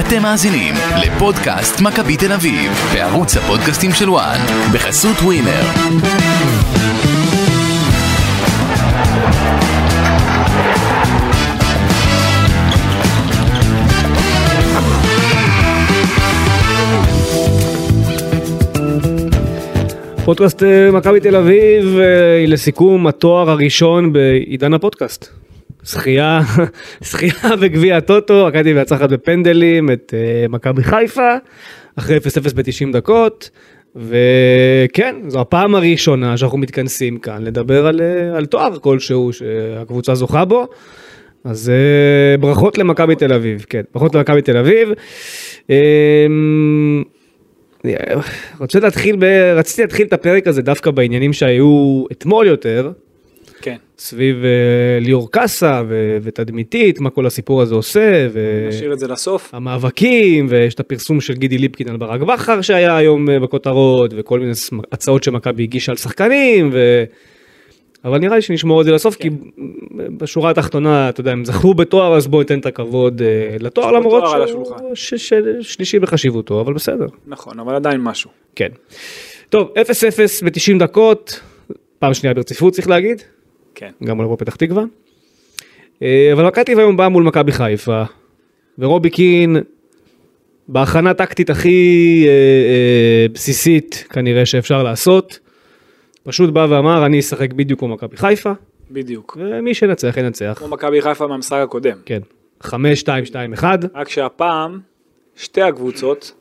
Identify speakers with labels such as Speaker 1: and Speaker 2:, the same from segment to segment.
Speaker 1: אתם מאזינים לפודקאסט מכבי תל אביב, בערוץ הפודקאסטים של וואן, בחסות ווינר.
Speaker 2: פודקאסט אה, מכבי תל אביב, אה, לסיכום התואר הראשון בעידן הפודקאסט. זכייה, זכייה בגביע הטוטו, מכבי מנצחת בפנדלים את אה, מכבי חיפה, אחרי 0-0 ב-90 דקות, וכן, זו הפעם הראשונה שאנחנו מתכנסים כאן לדבר על, אה, על תואר כלשהו שהקבוצה זוכה בו. אז אה, ברכות למכבי תל אביב, כן, ברכות למכבי תל אביב. אה, רוצה להתחיל, ב... רציתי להתחיל את הפרק הזה דווקא בעניינים שהיו אתמול יותר,
Speaker 3: כן.
Speaker 2: סביב uh, ליאור קאסה ו... ותדמיתית, מה כל הסיפור הזה עושה,
Speaker 3: נשאיר את זה
Speaker 2: אה.
Speaker 3: לסוף.
Speaker 2: והמאבקים, ויש את הפרסום של גידי ליפקין על ברק בכר שהיה היום אה, בכותרות, וכל מיני ס- הצעות שמכבי הגישה על שחקנים, ו... אבל נראה לי שנשמור את זה לסוף, כי
Speaker 3: כן.
Speaker 2: בשורה התחתונה, אתה יודע, הם זכו בתואר, אז בואו ניתן את הכבוד אה, לתואר,
Speaker 3: יש פה
Speaker 2: למרות
Speaker 3: תואר על
Speaker 2: שהוא
Speaker 3: השולחן.
Speaker 2: ש... ש... שלישי בחשיבותו, אבל בסדר.
Speaker 3: נכון, אבל עדיין משהו.
Speaker 2: כן. טוב, 0-0 ב-90 דקות, פעם שנייה ברציפות צריך להגיד,
Speaker 3: כן.
Speaker 2: גם מול הפועל פתח תקווה. אה, אבל מכבי היום באה מול מכבי חיפה, ורובי קין בהכנה טקטית הכי אה, אה, בסיסית כנראה שאפשר לעשות, פשוט בא ואמר אני אשחק בדיוק כמו מכבי חיפה,
Speaker 3: בדיוק.
Speaker 2: ומי שינצח ינצח.
Speaker 3: כמו מכבי חיפה מהמשחק הקודם.
Speaker 2: כן, 5-2-2-1,
Speaker 3: רק שהפעם, שתי הקבוצות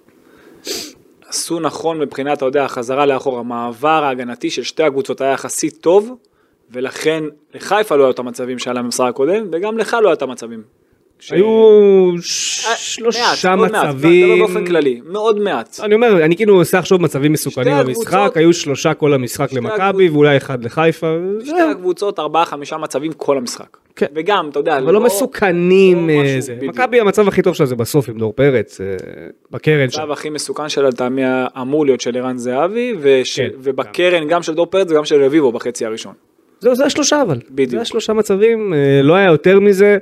Speaker 3: עשו נכון מבחינת, אתה יודע, החזרה לאחור. המעבר ההגנתי של שתי הקבוצות היה יחסית טוב, ולכן לחיפה לא היו את המצבים שהיה להם במשחק הקודם, וגם לך לא היו את המצבים. ש-
Speaker 2: היו
Speaker 3: אה,
Speaker 2: שלושה
Speaker 3: מעט, עוד מעט,
Speaker 2: מצבים.
Speaker 3: אתה לא באופן כללי, מאוד מעט.
Speaker 2: אני אומר, אני כאילו עושה עכשיו מצבים מסוכנים
Speaker 3: שתי
Speaker 2: במשחק,
Speaker 3: הקבוצות-
Speaker 2: היו שלושה כל המשחק
Speaker 3: שתי
Speaker 2: למכבי
Speaker 3: הקבוצות-
Speaker 2: ואולי אחד לחיפה, זהו.
Speaker 3: שתי הקבוצות, ארבעה, חמישה מצבים כל המשחק.
Speaker 2: כן.
Speaker 3: וגם, אתה יודע,
Speaker 2: אבל לא מסוכנים.
Speaker 3: לא
Speaker 2: אה,
Speaker 3: משהו,
Speaker 2: זה.
Speaker 3: בדיוק.
Speaker 2: מכבי המצב הכי טוב שלה זה בסוף עם דור פרץ, אה, בקרן שם.
Speaker 3: המצב הכי מסוכן שלה לטעמי אמור להיות של ערן זהבי, וש...
Speaker 2: כן,
Speaker 3: ובקרן גם של דור פרץ וגם של רביבו בחצי הראשון.
Speaker 2: זהו, זה השלושה אבל.
Speaker 3: בדיוק.
Speaker 2: זה השלושה מצבים, אה, לא היה יותר מזה.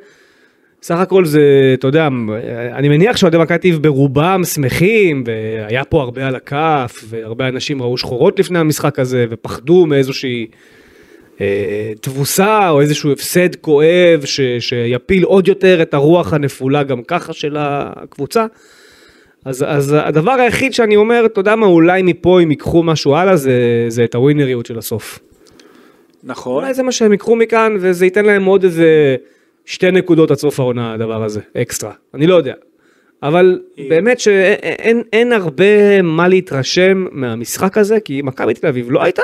Speaker 2: סך הכל זה, אתה יודע, אה, אני מניח שאוהדי מכבי תל אביב ברובם שמחים, והיה פה הרבה על הכף, והרבה אנשים ראו שחורות לפני המשחק הזה, ופחדו מאיזושהי אה, תבוסה, או איזשהו הפסד כואב, ש, שיפיל עוד יותר את הרוח הנפולה גם ככה של הקבוצה. אז, אז הדבר היחיד שאני אומר, אתה יודע מה, אולי מפה אם ייקחו משהו הלאה, זה, זה את הווינריות של הסוף.
Speaker 3: נכון,
Speaker 2: אולי זה מה שהם יקחו מכאן וזה ייתן להם עוד איזה שתי נקודות עד סוף העונה הדבר הזה אקסטרה אני לא יודע. אבל באמת שאין אין- אין הרבה מה להתרשם מהמשחק הזה כי מכבי תל אביב לא הייתה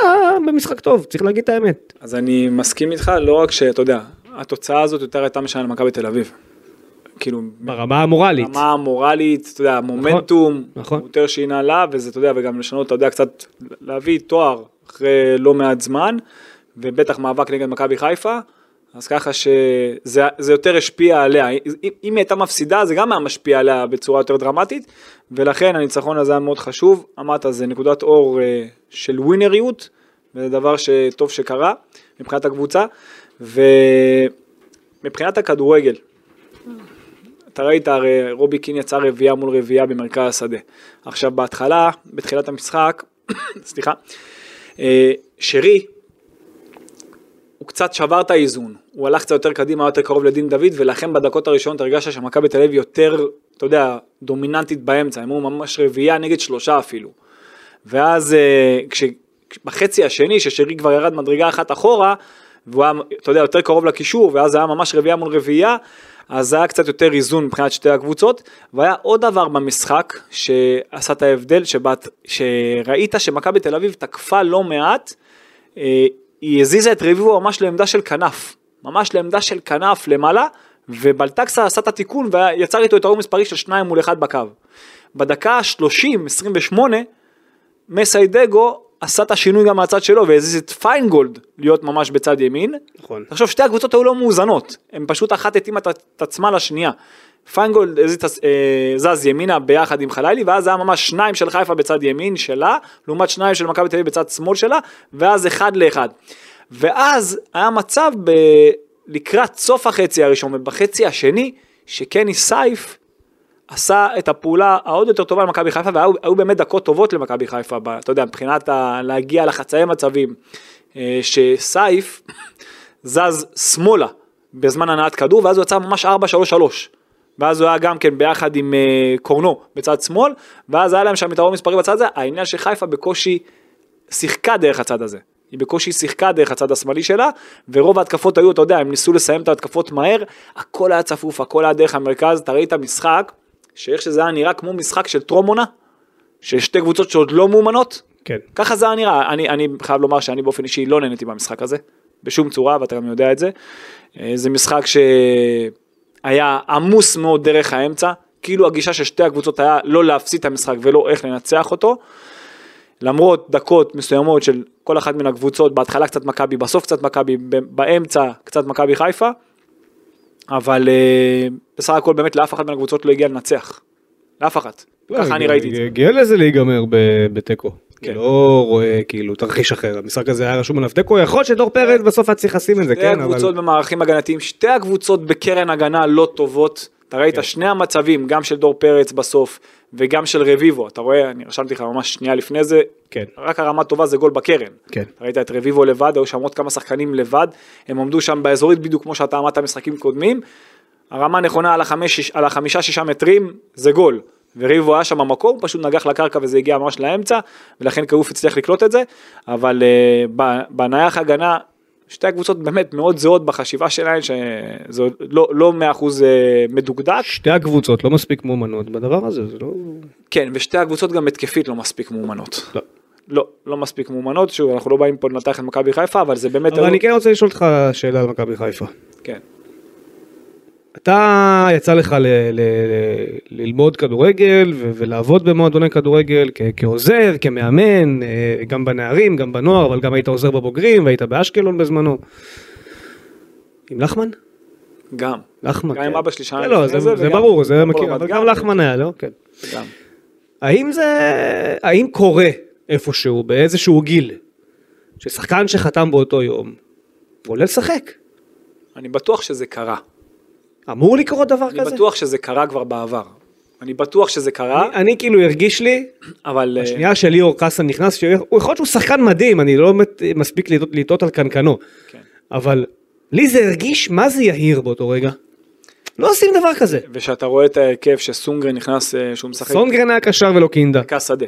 Speaker 2: במשחק טוב צריך להגיד את האמת.
Speaker 3: אז אני מסכים איתך, לא רק שאתה יודע, התוצאה הזאת יותר הייתה משנה למכבי תל אביב. כאילו,
Speaker 2: ברמה המורלית.
Speaker 3: ברמה המורלית, אתה יודע, המומנטום,
Speaker 2: נכון.
Speaker 3: הוא יותר שינה לה, וזה, אתה יודע, וגם לשנות, אתה יודע, קצת להביא תואר אחרי לא מעט זמן, ובטח מאבק נגד מכבי חיפה, אז ככה שזה זה יותר השפיע עליה. אם אם היא הייתה מפסידה, זה גם היה משפיע עליה בצורה יותר דרמטית, ולכן הניצחון הזה היה מאוד חשוב. אמרת, זה נקודת אור אה, של ווינריות, וזה דבר שטוב שקרה מבחינת הקבוצה, ומבחינת הכדורגל, אתה ראית, הרי רובי קין יצא רביעייה מול רביעייה במרכז השדה. עכשיו בהתחלה, בתחילת המשחק, סליחה, אה, שרי, הוא קצת שבר את האיזון. הוא הלך קצת יותר קדימה, יותר קרוב לדין דוד, ולכן בדקות הראשונות הרגשת שמכבי תל אביב יותר, אתה יודע, דומיננטית באמצע. הם היו ממש רביעייה נגד שלושה אפילו. ואז אה, כש... בחצי השני, ששרי כבר ירד מדרגה אחת אחורה, והוא היה, אתה יודע, יותר קרוב לקישור, ואז זה היה ממש רביעייה מול רביעייה, אז זה היה קצת יותר איזון מבחינת שתי הקבוצות. והיה עוד דבר במשחק שעשה את ההבדל, שבת, שראית שמכבי תל אביב תקפה לא מעט, אה, היא הזיזה את רביבו ממש לעמדה של כנף, ממש לעמדה של כנף למעלה, ובלטקסה עשה את התיקון ויצר איתו את האור מספרי של שניים מול אחד בקו. בדקה ה-30, 28, מסיידגו עשה את השינוי גם מהצד שלו והזיז את פיינגולד להיות ממש בצד ימין.
Speaker 2: נכון.
Speaker 3: תחשוב שתי הקבוצות היו לא מאוזנות, הן פשוט אחת התאימה את את עצמה לשנייה. פיינגולד הזיז את ה- אה, זז ימינה ביחד עם חלילי ואז היה ממש שניים של חיפה בצד ימין שלה, לעומת שניים של מכבי תל אביב בצד שמאל שלה, ואז אחד לאחד. ואז היה מצב ב... לקראת סוף החצי הראשון ובחצי השני, שקני סייף עשה את הפעולה העוד יותר טובה למכבי חיפה, והיו היו באמת דקות טובות למכבי חיפה, ב- אתה יודע, מבחינת ה, להגיע לחצאי מצבים, אה, שסייף זז שמאלה בזמן הנעת כדור, ואז הוא יצא ממש 4-3-3. ואז הוא היה גם כן ביחד עם אה, קורנו בצד שמאל, ואז היה להם שם יתרון מספרי בצד הזה, העניין שחיפה בקושי שיחקה דרך הצד הזה. היא בקושי שיחקה דרך הצד השמאלי שלה, ורוב ההתקפות היו, אתה יודע, הם ניסו לסיים את ההתקפות מהר, הכל היה צפוף, הכל היה דרך המרכז, אתה ראית משחק, שאיך שזה היה נראה כמו משחק של טרום עונה, של שתי קבוצות שעוד לא מאומנות,
Speaker 2: כן.
Speaker 3: ככה זה היה נראה, אני, אני חייב לומר שאני באופן אישי לא נהניתי במשחק הזה, בשום צורה, ואתה גם יודע את זה. אה, זה משחק שהיה עמוס מאוד דרך האמצע, כאילו הגישה של שתי הקבוצות היה לא להפסיד את המשחק ולא איך לנצח אותו. למרות דקות מסוימות של כל אחת מן הקבוצות, בהתחלה קצת מכבי, בסוף קצת מכבי, ב- באמצע קצת מכבי חיפה, אבל אה, בסך הכל באמת לאף אחת מן הקבוצות לא הגיע לנצח. לאף אחת. ככה אני ראיתי את זה.
Speaker 2: לא, הגיע לזה להיגמר ב- בתיקו.
Speaker 3: כן.
Speaker 2: אני לא רואה כאילו תרחיש אחר, המשחק הזה היה רשום עליו תיקו, יכול להיות שדור פרץ בסוף היה צריך לשים את זה,
Speaker 3: כן. שתי
Speaker 2: כן, אבל...
Speaker 3: הקבוצות במערכים הגנתיים, שתי הקבוצות בקרן הגנה לא טובות. אתה ראית
Speaker 2: כן.
Speaker 3: שני המצבים, גם של דור פרץ בסוף וגם של רביבו, אתה רואה, אני רשמתי לך ממש שנייה לפני זה,
Speaker 2: כן.
Speaker 3: רק הרמה טובה זה גול בקרן.
Speaker 2: כן.
Speaker 3: אתה ראית את רביבו לבד, היו שם עוד כמה שחקנים לבד, הם עמדו שם באזורית בדיוק כמו שאתה אמרת משחקים קודמים. הרמה הנכונה על, החמש, שיש- על החמישה שישה מטרים זה גול. ורביבו היה שם במקום, פשוט נגח לקרקע וזה הגיע ממש לאמצע, ולכן כעוף הצליח לקלוט את זה, אבל uh, בנייח הגנה, שתי הקבוצות באמת מאוד זהות בחשיבה שלהן, שזה עוד לא- לא מאה אחוז אה, מדוקדק,
Speaker 2: שתי הקבוצות לא מספיק מאומנות בדבר הזה, זה לא...
Speaker 3: כן, ושתי הקבוצות גם התקפית לא מספיק מאומנות.
Speaker 2: לא.
Speaker 3: לא, לא מספיק מאומנות, שוב, אנחנו לא באים פה לנתח את מכבי חיפה, אבל זה באמת...
Speaker 2: אבל אני כן רוצה לשאול אותך שאלה על מכבי חיפה.
Speaker 3: כן.
Speaker 2: אתה יצא לך ל, ל, ל, ללמוד כדורגל ו, ולעבוד במועדוני כדורגל כ, כעוזר, כמאמן, אה, גם בנערים, גם בנוער, אבל גם היית עוזר בבוגרים והיית באשקלון בזמנו. עם לחמן?
Speaker 3: גם,
Speaker 2: לחמן.
Speaker 3: גם עם
Speaker 2: כן.
Speaker 3: אבא שלי שנה
Speaker 2: כן, לא,
Speaker 3: לפני
Speaker 2: זה,
Speaker 3: זה,
Speaker 2: זה,
Speaker 3: וגם-
Speaker 2: ברור, זה
Speaker 3: גם
Speaker 2: מכיר,
Speaker 3: ברמת
Speaker 2: אבל
Speaker 3: גן.
Speaker 2: גם לחמן היה, לא? כן.
Speaker 3: גם.
Speaker 2: האם זה, האם קורה איפשהו, באיזשהו גיל, ששחקן שחתם באותו יום, עולה לשחק?
Speaker 3: אני בטוח שזה קרה.
Speaker 2: אמור לקרות דבר
Speaker 3: אני
Speaker 2: כזה?
Speaker 3: בטוח שזה קרה כבר בעבר. אני בטוח שזה קרה,
Speaker 2: אני, אני כאילו הרגיש לי
Speaker 3: אבל... אה,
Speaker 2: השנייה שליאור קאסם נכנס, שהוא הוא יכול להיות שהוא שחקן מדהים, אני לא באמת מספיק לטעות- לטעות על קנקנו,
Speaker 3: כן.
Speaker 2: אבל לי זה הרגיש מה זה יהיר באותו רגע. לא עושים דבר כזה.
Speaker 3: ושאתה רואה את ההרכב שסונגרן נכנס, אה, שהוא משחק...
Speaker 2: סונגרן היה קשר ולא קינדה.
Speaker 3: מרכז שדה.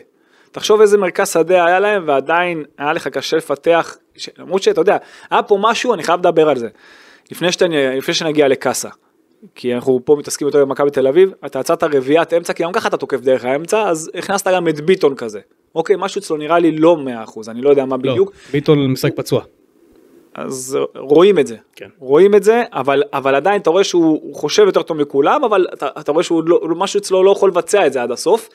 Speaker 3: תחשוב איזה מרכז שדה היה להם ועדיין היה לך קשה לפתח, ש... למרות שאתה יודע, היה פה משהו, אני חייב לדבר על זה. לפני, שאתה, לפני שנגיע לקאסה, כי אנחנו פה מתעסקים יותר במכבי תל אביב, אתה יצאת רביעיית אמצע, כי גם ככה אתה תוקף דרך האמצע, אז הכנסת גם את ביטון כזה. אוקיי, משהו אצלו נראה לי לא 100%, אני לא יודע מה בדיוק,
Speaker 2: לא, ביטון משחק פצוע.
Speaker 3: אז רואים את זה.
Speaker 2: כן.
Speaker 3: רואים את זה, אבל, אבל עדיין אתה רואה שהוא הוא חושב יותר טוב מכולם, אבל אתה, אתה רואה שהוא לא, משהו אצלו לא יכול לבצע את זה עד הסוף.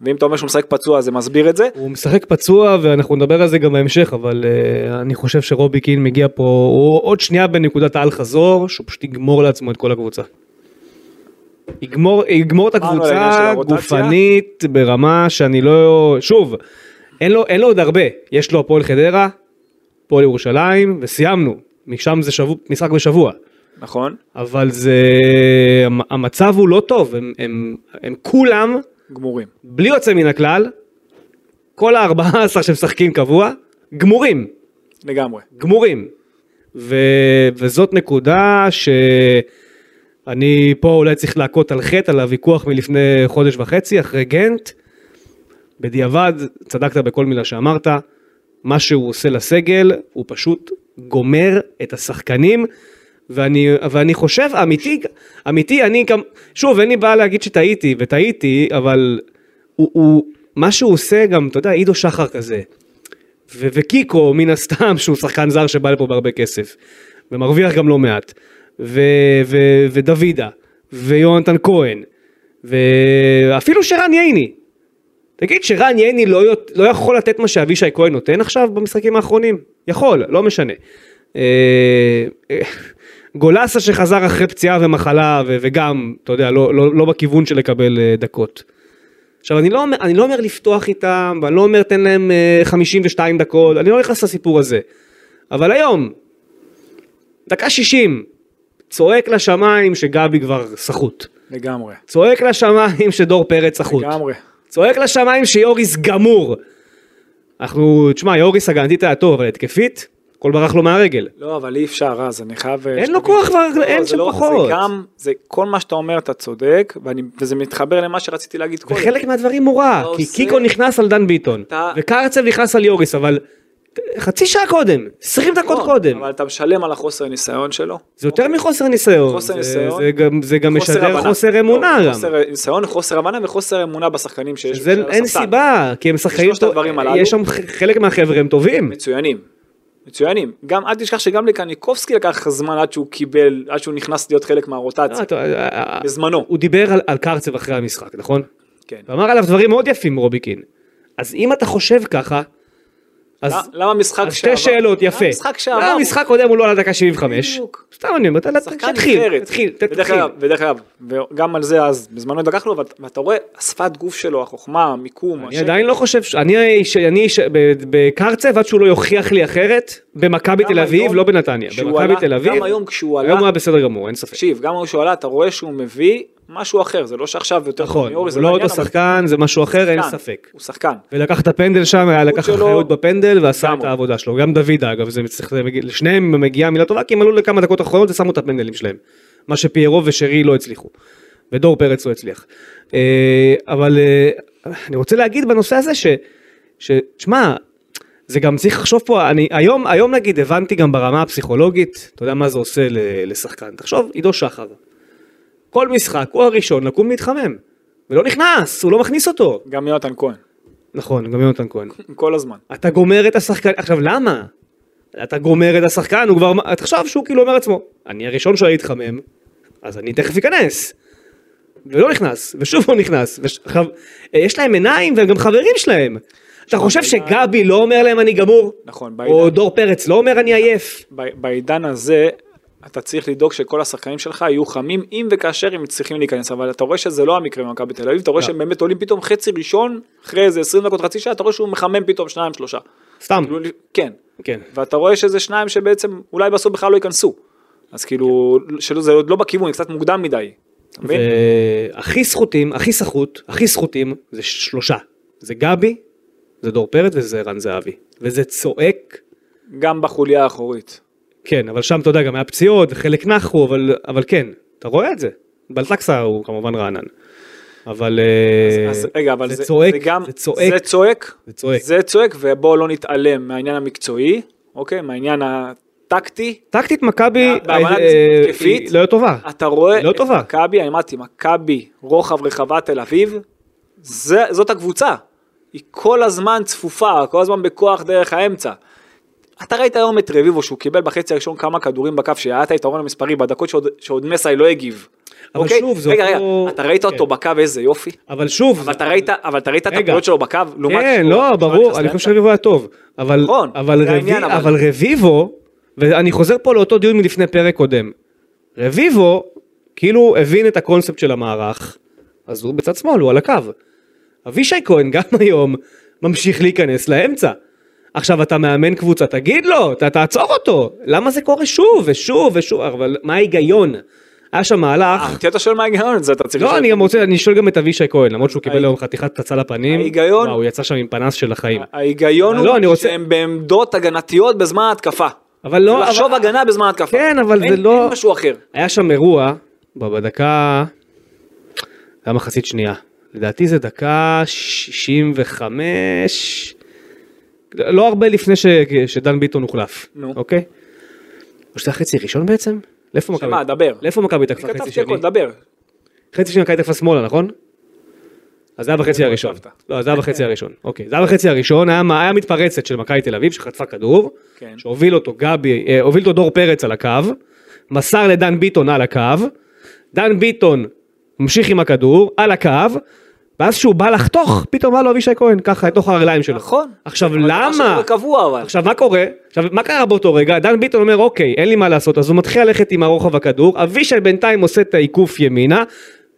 Speaker 3: ואם אתה אומר שהוא משחק פצוע, אז זה מסביר את זה.
Speaker 2: הוא משחק פצוע ואנחנו נדבר על זה גם בהמשך, אבל אה, אני חושב שרובי קין מגיע פה, הוא עוד שנייה בנקודת האל חזור, שהוא פשוט יגמור לעצמו את כל הקבוצה. יגמור, יגמור את
Speaker 3: אמרנו על העניין לא של
Speaker 2: הקבוצה
Speaker 3: הרוטציה.
Speaker 2: גופנית ברמה שאני לא... שוב, אין לו, אין לו עוד הרבה, יש לו הפועל חדרה, הפועל ירושלים, וסיימנו, משם זה שבוע, משחק בשבוע.
Speaker 3: נכון.
Speaker 2: אבל זה... המ- המצב הוא לא טוב, הם, הם, הם כולם
Speaker 3: גמורים.
Speaker 2: בלי יוצא מן הכלל, כל ה-14 שמשחקים קבוע, גמורים,
Speaker 3: לגמרי.
Speaker 2: גמורים. ו... וזאת נקודה שאני פה אולי צריך להכות על חטא על הוויכוח מלפני חודש וחצי, אחרי גנט. בדיעבד, צדקת בכל מילה שאמרת, מה שהוא עושה לסגל, הוא פשוט גומר את השחקנים, ואני, ואני חושב, אמיתי, אמיתי, אני גם, שוב, אין לי בעיה להגיד שטעיתי, וטעיתי, אבל הוא, הוא, מה שהוא עושה גם, אתה יודע, עידו שחר כזה, ו- וקיקו מן הסתם שהוא שחקן זר שבא לפה בהרבה כסף ומרוויח גם לא מעט ו- ו- ודוידה ויונתן כהן ואפילו שרן ייני תגיד שרן ייני לא, יות- לא יכול לתת מה שאבישי כהן נותן עכשיו במשחקים האחרונים יכול לא משנה אה, אה, גולסה שחזר אחרי פציעה ומחלה ו- וגם אתה יודע לא, לא, לא בכיוון של לקבל אה, דקות עכשיו אני לא, אומר, אני לא אומר לפתוח איתם, ואני לא אומר תן להם אה, 52 דקות, אני לא נכנס לסיפור הזה. אבל היום, דקה 60, צועק לשמיים שגבי כבר סחוט.
Speaker 3: לגמרי.
Speaker 2: צועק לשמיים שדור פרץ סחוט.
Speaker 3: לגמרי.
Speaker 2: צועק לשמיים שיוריס גמור. אנחנו, תשמע, יוריס הגנתית היה טוב, אבל התקפית, הכל ברח לו מהרגל.
Speaker 3: לא, אבל אי אפשר, אז אני חייב...
Speaker 2: אין
Speaker 3: שתבין.
Speaker 2: לו כוח כבר, אין
Speaker 3: זה
Speaker 2: שם
Speaker 3: לא-
Speaker 2: כוחות.
Speaker 3: זה גם, זה כל מה שאתה אומר, אתה צודק, ואני- וזה מתחבר למה שרציתי להגיד קודם.
Speaker 2: וחלק מהדברים הוא רע,
Speaker 3: אתה
Speaker 2: כי
Speaker 3: עושה-
Speaker 2: קיקו נכנס על דן ביטון,
Speaker 3: אתה-
Speaker 2: וקרצב נכנס על יוריס, אבל חצי שעה קודם, 20 דקות
Speaker 3: נכון,
Speaker 2: קודם.
Speaker 3: אבל אתה משלם על החוסר ניסיון שלו.
Speaker 2: זה יותר מחוסר ניסיון.
Speaker 3: חוסר
Speaker 2: זה-
Speaker 3: ניסיון.
Speaker 2: זה גם- זה גם
Speaker 3: חוסר
Speaker 2: משדר
Speaker 3: הבנה.
Speaker 2: חוסר
Speaker 3: לא,
Speaker 2: אמונה גם.
Speaker 3: חוסר ניסיון, חוסר הבנה וחוסר אמונה בשחקנים שיש.
Speaker 2: זה-
Speaker 3: על
Speaker 2: אין
Speaker 3: הספסל.
Speaker 2: סיבה, כי הם שחקנים,
Speaker 3: שלושת
Speaker 2: טוב-
Speaker 3: הדברים הללו.
Speaker 2: יש שם ח- חלק מהחבר'ה הם טובים.
Speaker 3: מצוינים. מצוינים. גם, אל תשכח שגם לקניקובסקי לקח זמן עד שהוא קיבל, עד שהוא נכנס להיות חלק
Speaker 2: לא,
Speaker 3: מהרוטציה.
Speaker 2: אתה- אה,
Speaker 3: בזמנו.
Speaker 2: הוא דיבר על- על קרצב אחרי המשחק, נכון?
Speaker 3: כן.
Speaker 2: ואמר עליו דברים מאוד יפים רוביקין. אז אם אתה חושב ככה, אז
Speaker 3: למה משחק
Speaker 2: אז שתי שאלות, יפה.
Speaker 3: למה משחק לא, שעבר?
Speaker 2: למה
Speaker 3: הוא-
Speaker 2: המשחק הקודם הוא לא על הדקה 75?
Speaker 3: בדיוק.
Speaker 2: סתם אני אומר, אתה-
Speaker 3: שחקן
Speaker 2: תתחיל,
Speaker 3: נבחרת.
Speaker 2: תתחיל,
Speaker 3: ודרך
Speaker 2: תתחיל.
Speaker 3: אגב, ודרך אגב, וגם על זה אז בזמנו התווכחנו, ואת- ואתה רואה, השפת גוף שלו, החוכמה, המיקום,
Speaker 2: אני
Speaker 3: השקט.
Speaker 2: עדיין לא חושב, ש- אני ש- אני ש- ב- בקרצב עד שהוא לא יוכיח לי אחרת, במכבי
Speaker 3: גם
Speaker 2: תל אביב,
Speaker 3: היום,
Speaker 2: לא בנתניה,
Speaker 3: כשהוא
Speaker 2: במכבי
Speaker 3: עלה-
Speaker 2: תל אביב,
Speaker 3: גם היום כשהוא עלה,
Speaker 2: היום הוא היה בסדר גמור, אין ספק.
Speaker 3: תקשיב, גם כשהוא עלה, אתה רואה שהוא מביא משהו אחר, זה לא שעכשיו יותר טוב
Speaker 2: נכון,
Speaker 3: מאורי, זה
Speaker 2: הוא לא
Speaker 3: העניין,
Speaker 2: אותו
Speaker 3: אבל
Speaker 2: שחקן, זה משהו אחר, אין
Speaker 3: שחקן.
Speaker 2: ספק.
Speaker 3: הוא שחקן.
Speaker 2: ולקח את הפנדל שם, היה לקח
Speaker 3: שלו-
Speaker 2: אחריות בפנדל ועשה את
Speaker 3: לגמרי.
Speaker 2: העבודה שלו. גם דוידה אגב, זה מצליח, זה מגיע- לשניהם מגיעה מילה טובה, כי הם עלו לכמה דקות אחרונות ושמו את הפנדלים שלהם. מה שפיירו ושרי לא הצליחו. ודור פרץ לא הצליח. אה, אבל אה, אני רוצה להגיד בנושא הזה ש... ש- תשמע, זה גם צריך לחשוב פה, אני היום, היום נגיד הבנתי גם ברמה הפסיכולוגית, אתה יודע מה זה עושה ל- לשחקן. תחשוב, עידו שחר. כל משחק הוא הראשון לקום להתחמם. ולא נכנס, הוא לא מכניס אותו.
Speaker 3: גם יונתן כהן,
Speaker 2: נכון, גם יונתן כהן.
Speaker 3: כל הזמן.
Speaker 2: אתה גומר את השחקן, עכשיו למה? אתה גומר את השחקן, הוא כבר, תחשוב שהוא כאילו אומר לעצמו, אני הראשון שהיה להתחמם, אז אני תכף אכנס. ולא נכנס, ושוב לא נכנס, ועכשיו, יש להם עיניים והם גם חברים שלהם. אתה חושב שגבי לא אומר להם אני גמור?
Speaker 3: נכון,
Speaker 2: או
Speaker 3: בעידן,
Speaker 2: דור פרץ לא אומר אני עייף?
Speaker 3: ב- בעידן הזה, אתה צריך לדאוג שכל השחקנים שלך יהיו חמים, אם וכאשר הם צריכים להיכנס, אבל אתה רואה שזה לא המקרה במכבי תל אביב, אתה רואה
Speaker 2: לא.
Speaker 3: שהם באמת עולים פתאום חצי ראשון, אחרי איזה 20 דקות, חצי שעה, אתה רואה שהוא מחמם פתאום שניים, שלושה.
Speaker 2: סתם,
Speaker 3: כאילו, כן.
Speaker 2: כן.
Speaker 3: ואתה רואה שזה שניים שבעצם אולי בסוף בכלל לא ייכנסו. אז כאילו, שלא- זה עוד לא בכיוון, זה קצת מוקדם מדי. אתה מבין?
Speaker 2: והכי סחוטים, אה, הכי סחוט, הכי סחוטים, זה שלושה. זה גבי, זה דור פרץ וזה ערן זהבי. וזה צועק
Speaker 3: גם בחוליה האחורית.
Speaker 2: כן, אבל שם אתה יודע, גם היה פציעות, וחלק נחו, אבל, אבל כן, אתה רואה את זה. בלטקסה הוא כמובן רענן. אבל... אה,
Speaker 3: אז רגע, אבל
Speaker 2: זה
Speaker 3: זה
Speaker 2: צועק,
Speaker 3: זה גם-
Speaker 2: זה צועק.
Speaker 3: זה צועק,
Speaker 2: זה צועק.
Speaker 3: זה צועק, ובואו לא נתעלם מהעניין המקצועי, אוקיי? מהעניין הטקטי.
Speaker 2: טקטית מכבי
Speaker 3: בהבנת
Speaker 2: אה,
Speaker 3: משחק
Speaker 2: אה,
Speaker 3: התקפית,
Speaker 2: היא לא הייתה טובה.
Speaker 3: אתה רואה
Speaker 2: לא
Speaker 3: את
Speaker 2: טובה.
Speaker 3: מכבי, אני אמרתי, מכבי, רוחב רחבה תל אביב, זה, זאת הקבוצה. היא כל הזמן צפופה, כל הזמן בכוח דרך האמצע. אתה ראית היום את רביבו שהוא קיבל בחצי הראשון כמה כדורים בכף שהיה את היתרון המספרי בדקות שעוד, שעוד מסאי לא הגיב.
Speaker 2: אבל
Speaker 3: אוקיי?
Speaker 2: שוב, זה
Speaker 3: רגע,
Speaker 2: אותו-
Speaker 3: רגע, אתה ראית אותו
Speaker 2: כן.
Speaker 3: בקו איזה יופי?
Speaker 2: אבל שוב,
Speaker 3: אבל אתה ראית, אבל אתה ראית את
Speaker 2: רגע.
Speaker 3: הפעולות שלו בקו לעומת...
Speaker 2: כן,
Speaker 3: שהוא-
Speaker 2: לא,
Speaker 3: שהוא
Speaker 2: ברור,
Speaker 3: נכנס
Speaker 2: אני
Speaker 3: לאמצע.
Speaker 2: חושב שרביבו היה טוב. אבל,
Speaker 3: נכון,
Speaker 2: אבל,
Speaker 3: זה
Speaker 2: רבי,
Speaker 3: העניין,
Speaker 2: אבל...
Speaker 3: אבל-
Speaker 2: רביבו, ואני חוזר פה לאותו דיון מלפני פרק קודם. רביבו, כאילו הבין את הקונספט של המערך, אז הוא בצד שמאל, הוא על הקו. אבישי כהן גם היום ממשיך להיכנס לאמצע. עכשיו אתה מאמן קבוצה, תגיד לו, ת, תעצור אותו, למה זה קורה שוב ושוב ושוב, אבל מה ההיגיון? היה שם מהלך,
Speaker 3: אה, אותי אתה שואל מה ההיגיון זה, אתה צריך...
Speaker 2: לא,
Speaker 3: לשאול.
Speaker 2: אני גם רוצה, אני שואל גם את אבישי כהן, למרות שהוא קיבל
Speaker 3: ההיג-
Speaker 2: היום חתיכת פצצה לפנים.
Speaker 3: ההיגיון- אה,
Speaker 2: וואו, הוא יצא שם עם פנס של החיים.
Speaker 3: ההיגיון
Speaker 2: לא, אני
Speaker 3: הוא
Speaker 2: רוצה-
Speaker 3: שהם בעמדות הגנתיות בזמן ההתקפה.
Speaker 2: אבל לא,
Speaker 3: זה לחשוב
Speaker 2: אבל-
Speaker 3: הגנה בזמן התקפה.
Speaker 2: כן, אבל
Speaker 3: אין-
Speaker 2: זה לא-
Speaker 3: אין משהו אחר.
Speaker 2: היה שם אירוע, ב- בדקה, זה היה מחצית שנייה. לדעתי זה דקה 65, לא הרבה לפני ש... שדן ביטון הוחלף.
Speaker 3: נו.
Speaker 2: אוקיי? או שזה החצי הראשון בעצם? לאיפה מכבי?
Speaker 3: שמע, דבר.
Speaker 2: לאיפה מכבי תקפה חצי
Speaker 3: כתבתי
Speaker 2: שני?
Speaker 3: הכל, דבר.
Speaker 2: חצי שני מכבי תקפה שמאלה, נכון? אז זה היה בחצי
Speaker 3: לא
Speaker 2: הראשון.
Speaker 3: כתבת.
Speaker 2: לא, זה היה בחצי הראשון. אוקיי, זה היה בחצי הראשון, היה מה- היה מתפרצת של מכבי תל אביב שחטפה כדור,
Speaker 3: כן.
Speaker 2: שהוביל אותו גבי, אה, הוביל אותו דור פרץ על הקו, מסר לדן ביטון על הקו, דן ביטון ממשיך עם הכדור, על הקו, ואז כשהוא בא לחתוך, פתאום בא לו אבישי כהן, ככה, לתוך הרגליים שלו.
Speaker 3: נכון.
Speaker 2: עכשיו
Speaker 3: אבל זה משהו
Speaker 2: למה?
Speaker 3: לא קבוע אבל.
Speaker 2: עכשיו מה קורה? עכשיו מה קרה באותו רגע? דן ביטון אומר אוקיי אין לי מה לעשות אז הוא מתחיל ללכת עם הרוחב הכדור אבישי בינתיים עושה את העיקוף ימינה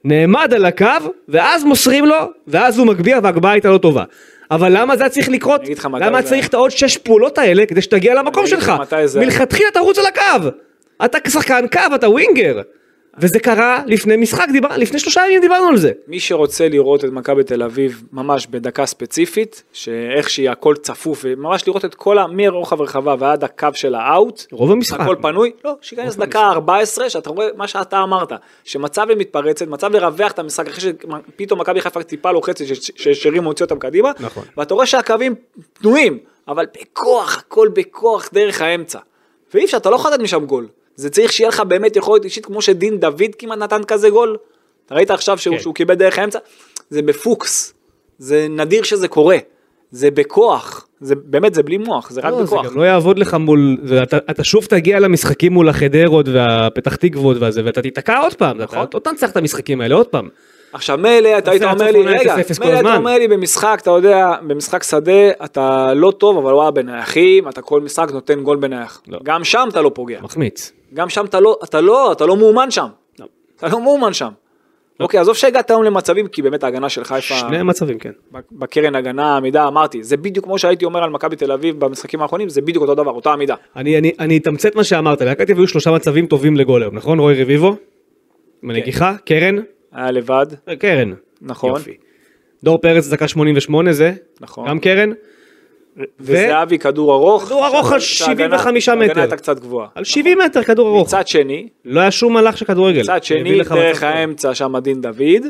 Speaker 2: נעמד על הקו ואז מוסרים לו ואז הוא מגביה והגבהה הייתה לא טובה אבל למה זה היה צריך לקרות?
Speaker 3: אני אגיד לך מתי
Speaker 2: למה
Speaker 3: זה
Speaker 2: צריך
Speaker 3: היה.
Speaker 2: את העוד שש פעולות האלה כדי שתגיע למקום
Speaker 3: אני אגיד לך
Speaker 2: שלך?
Speaker 3: מתי זה היה.
Speaker 2: מלכתחילה תרוץ על הקו אתה כשחקן קו, אתה ווינגר. וזה קרה לפני משחק, דיבר, לפני שלושה ימים דיברנו על זה.
Speaker 3: מי שרוצה לראות את מכבי תל אביב ממש בדקה ספציפית, שאיך שהיא הכל צפוף, וממש לראות את כל ה... מרוחב הרחבה ועד הקו של האאוט,
Speaker 2: רוב המשחק.
Speaker 3: הכל פנוי, לא, שייכנס דקה 14, שאתה רואה מה שאתה אמרת, שמצב למתפרצת, מצב לרווח את המשחק, אחרי שפתאום מכבי חיפה טיפה לוחצת, ש- ששירים מוציא אותם קדימה,
Speaker 2: נכון.
Speaker 3: ואתה רואה שהקווים פנויים, אבל בכוח, הכל בכוח דרך האמצע. ואי אפשר, אתה לא יכול לתת משם גול. זה צריך שיהיה לך באמת יכולת אישית, כמו שדין דוד כמעט נתן כזה גול. אתה ראית עכשיו שהוא,
Speaker 2: כן.
Speaker 3: שהוא קיבל דרך האמצע? זה בפוקס. זה נדיר שזה קורה. זה בכוח. זה באמת, זה בלי מוח, זה רק
Speaker 2: לא, זה
Speaker 3: בכוח.
Speaker 2: גם לא יעבוד לך מול, זה- אתה- אתה שוב תגיע למשחקים מול החדרות והפתח תקוות והזה, ואתה תיתקע עוד פעם, נכון?
Speaker 3: נכון.
Speaker 2: אתה עוד פעם צריך את המשחקים האלה עוד פעם.
Speaker 3: עכשיו מילא אתה היית
Speaker 2: עושה
Speaker 3: אומר לי,
Speaker 2: הצפון
Speaker 3: רגע,
Speaker 2: 0-0 כל
Speaker 3: מילא אתה
Speaker 2: הזמן.
Speaker 3: אומר לי במשחק, אתה יודע, במשחק שדה אתה לא טוב, אבל וואלה בנייחים, אתה כל משחק נותן גול בנייח.
Speaker 2: לא.
Speaker 3: גם שם אתה לא פוגע.
Speaker 2: מחמיץ.
Speaker 3: גם שם אתה לא, אתה לא, אתה לא מאומן שם.
Speaker 2: לא.
Speaker 3: אתה לא מאומן שם.
Speaker 2: לא.
Speaker 3: אוקיי, עזוב שהגעת היום למצבים, כי באמת ההגנה של חיפה,
Speaker 2: שני מצבים, כן.
Speaker 3: בקרן הגנה, עמידה, אמרתי, זה בדיוק כמו שהייתי אומר על מכבי תל אביב במשחקים האחרונים, זה בדיוק אותו דבר, אותה עמידה.
Speaker 2: אני, אני, אני אתמצת מה שאמרת, להקת היו שלושה מצבים טובים לגול היום, נכון? רוי רביבו? מנגיחה?
Speaker 3: כן.
Speaker 2: קרן? אה,
Speaker 3: היה לבד,
Speaker 2: קרן.
Speaker 3: נכון,
Speaker 2: יופי. דור פרץ דקה 88 זה?
Speaker 3: נכון.
Speaker 2: גם קרן?
Speaker 3: וזהבי כדור ארוך.
Speaker 2: כדור ארוך על
Speaker 3: שההגנה-
Speaker 2: 75 מטר.
Speaker 3: ההגנה הייתה קצת גבוהה.
Speaker 2: על 70 מטר כדור ארוך.
Speaker 3: נכון. מצד שני,
Speaker 2: לא היה שום מהלך של כדורגל.
Speaker 3: מצד
Speaker 2: הביא
Speaker 3: שני,
Speaker 2: לך
Speaker 3: דרך
Speaker 2: מצב טוב.
Speaker 3: האמצע שם דין דוד,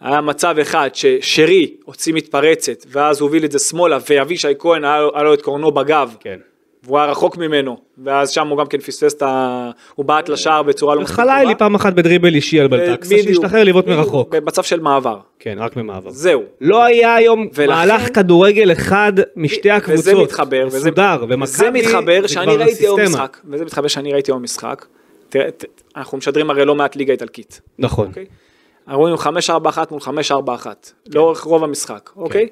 Speaker 3: היה מצב אחד ששרי הוציא מתפרצת, ואז הוא הוביל את זה שמאלה, ואבישי כהן היה לו- היה לו את קורנו בגב,
Speaker 2: כן.
Speaker 3: והוא היה רחוק ממנו, ואז שם הוא גם כן פספס את ה... הוא בעט לשער בצורה לא
Speaker 2: חלה לי פעם אחת בדריבל אישי אה, על בלטקסה,
Speaker 3: בדיוק,
Speaker 2: שהשתחרר לבעוט
Speaker 3: בדיוק,
Speaker 2: מרחוק.
Speaker 3: במצב של מעבר,
Speaker 2: כן, רק ממעבר.
Speaker 3: זהו.
Speaker 2: לא היה היום
Speaker 3: ולכן-
Speaker 2: מהלך כדורגל אחד משתי הקבוצות.
Speaker 3: וזה מתחבר, וזה-
Speaker 2: מסודר,
Speaker 3: וזה
Speaker 2: ומכבי
Speaker 3: מתחבר
Speaker 2: זה
Speaker 3: שאני
Speaker 2: כבר
Speaker 3: ראיתי היום
Speaker 2: הסיסטמה.
Speaker 3: משחק, וזה מתחבר שאני ראיתי היום משחק, תראה, ת- אנחנו משדרים הרי לא מעט ליגה איטלקית,
Speaker 2: נכון. כן.
Speaker 3: אוקיי? רואים 5-4-1 מול 5-4-1, לאורך רוב המשחק, אוקיי?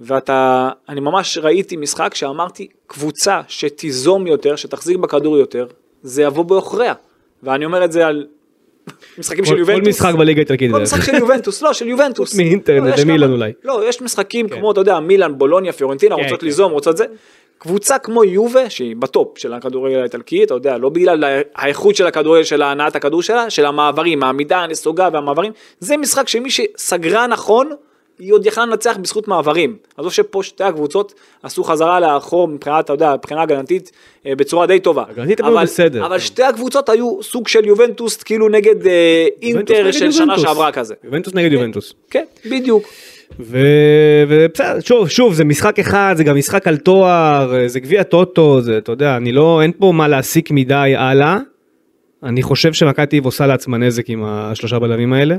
Speaker 3: ואתה, אני ממש ראיתי משחק שאמרתי, קבוצה שתיזום יותר, שתחזיק בכדור יותר, זה יבוא בעוכריה. ואני אומר את זה על משחקים
Speaker 2: כל-
Speaker 3: של יובנטוס.
Speaker 2: כל משחק בליגה האיטלקית.
Speaker 3: כל
Speaker 2: זה-
Speaker 3: משחק של יובנטוס, לא, של יובנטוס.
Speaker 2: חוץ מאינטר
Speaker 3: לא, יש
Speaker 2: ומילן
Speaker 3: כמה-
Speaker 2: אולי.
Speaker 3: לא, יש משחקים כמו, אתה יודע, מילאן, בולוניה, פיורנטינה,
Speaker 2: כן,
Speaker 3: רוצות
Speaker 2: כן.
Speaker 3: ליזום, רוצות זה. קבוצה כמו יובה, שהיא בטופ של הכדורגל האיטלקי, אתה יודע, לא בגלל האיכות של הכדורגל, של הנעת הכדור שלה, של המעברים, העמידה, הנסוגה והמעברים, זה משחק שמי שסגרה נכון, היא עוד יכלה לנצח בזכות מעברים. עזוב שפה שתי הקבוצות עשו חזרה לאחור מבחינת, אתה יודע, מבחינה הגנתית, אה, בצורה די טובה.
Speaker 2: הגנתית הם היו
Speaker 3: אבל-
Speaker 2: בסדר.
Speaker 3: אבל שתי הקבוצות היו סוג של יובנטוס, כאילו נגד אה,
Speaker 2: יובנטוס
Speaker 3: אינטר
Speaker 2: נגד
Speaker 3: של שנה
Speaker 2: יובנטוס.
Speaker 3: שעברה כזה.
Speaker 2: יובנטוס נגד יובנטוס.
Speaker 3: כן, בדיוק.
Speaker 2: ו- ובסדר, שוב, שוב, זה משחק אחד, זה גם משחק על תואר, אה, זה גביע טוטו, זה, אתה יודע, אני לא, אין פה מה להסיק מדי הלאה. אני חושב שמכבי תל אביב עושה לעצמה נזק עם השלושה בלמים האלה.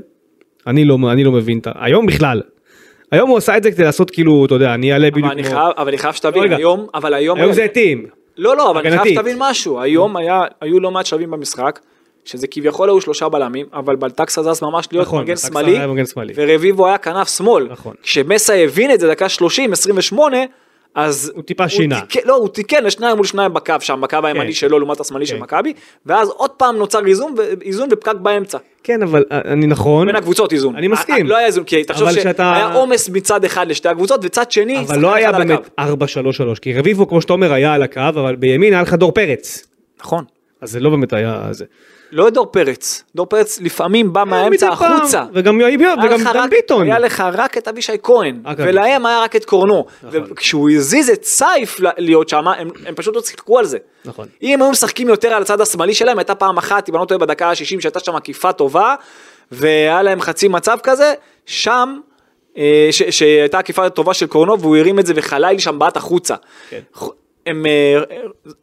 Speaker 2: אני לא, אני לא מבין את ה... היום בכלל. היום הוא עשה את זה כדי לעשות כאילו, אתה יודע, אני אעלה בדיוק
Speaker 3: אבל
Speaker 2: כמו...
Speaker 3: אני חייב, אבל אני חייב
Speaker 2: לא,
Speaker 3: שתבין,
Speaker 2: רגע.
Speaker 3: היום, אבל היום,
Speaker 2: היום
Speaker 3: היה-
Speaker 2: זה התאים.
Speaker 3: לא, לא, אבל אני חייב
Speaker 2: הגנתית.
Speaker 3: שתבין משהו, היום היה, היו לא מעט שלבים במשחק, שזה כביכול היו שלושה בלמים, אבל בלטקסה זז ממש להיות
Speaker 2: נכון,
Speaker 3: מגן
Speaker 2: בלטקסה
Speaker 3: שמאלי,
Speaker 2: היה מגן שמאלי.
Speaker 3: ורביבו היה כנף שמאל,
Speaker 2: נכון.
Speaker 3: כשמסה הבין את זה דקה 30, 28, אז
Speaker 2: הוא טיפה שינה.
Speaker 3: תיקן, לא, הוא תיקן לשניים מול שניים בקו שם, בקו הימני שלו לעומת השמאלי של
Speaker 2: כן.
Speaker 3: מכבי, ואז עוד פעם נוצר איזון, ו- איזון ופקק באמצע.
Speaker 2: כן, אבל אה, אני נכון.
Speaker 3: בין הקבוצות איזון.
Speaker 2: אני מסכים.
Speaker 3: לא היה איזון, כי תחשוב
Speaker 2: אבל כשאתה-
Speaker 3: שהיה עומס מצד אחד לשתי הקבוצות, וצד שני,
Speaker 2: אבל לא
Speaker 3: שחקן
Speaker 2: היה
Speaker 3: אחד על
Speaker 2: באמת
Speaker 3: הקו.
Speaker 2: 4-3-3, כי רביבו, כמו שאתה אומר, היה על הקו, אבל בימין היה לך דור פרץ.
Speaker 3: נכון.
Speaker 2: אז זה לא באמת היה זה.
Speaker 3: לא את דור פרץ, דור פרץ לפעמים בא מהאמצע
Speaker 2: אה, מדי פעם.
Speaker 3: החוצה.
Speaker 2: וגם יואב,
Speaker 3: היה
Speaker 2: וגם
Speaker 3: לך
Speaker 2: דן
Speaker 3: רק-
Speaker 2: ביטון.
Speaker 3: היה לך רק את אבישי כהן,
Speaker 2: רק נכון.
Speaker 3: ולהם היה רק את קורנו. וכשהוא הזיז את סייף ל- להיות שם, הם הם פשוט לא שיחקו על זה.
Speaker 2: נכון.
Speaker 3: אם היו משחקים יותר על הצד השמאלי שלהם, הייתה פעם אחת, אם אני לא טועה, בדקה ה-60, שהייתה שם עקיפה טובה, והיה להם חצי מצב כזה, שם... אה, ש- שהייתה עקיפה טובה של קורנו והוא הרים את זה וחלילי שם בעט החוצה.
Speaker 2: כן.
Speaker 3: הם, אה, אה,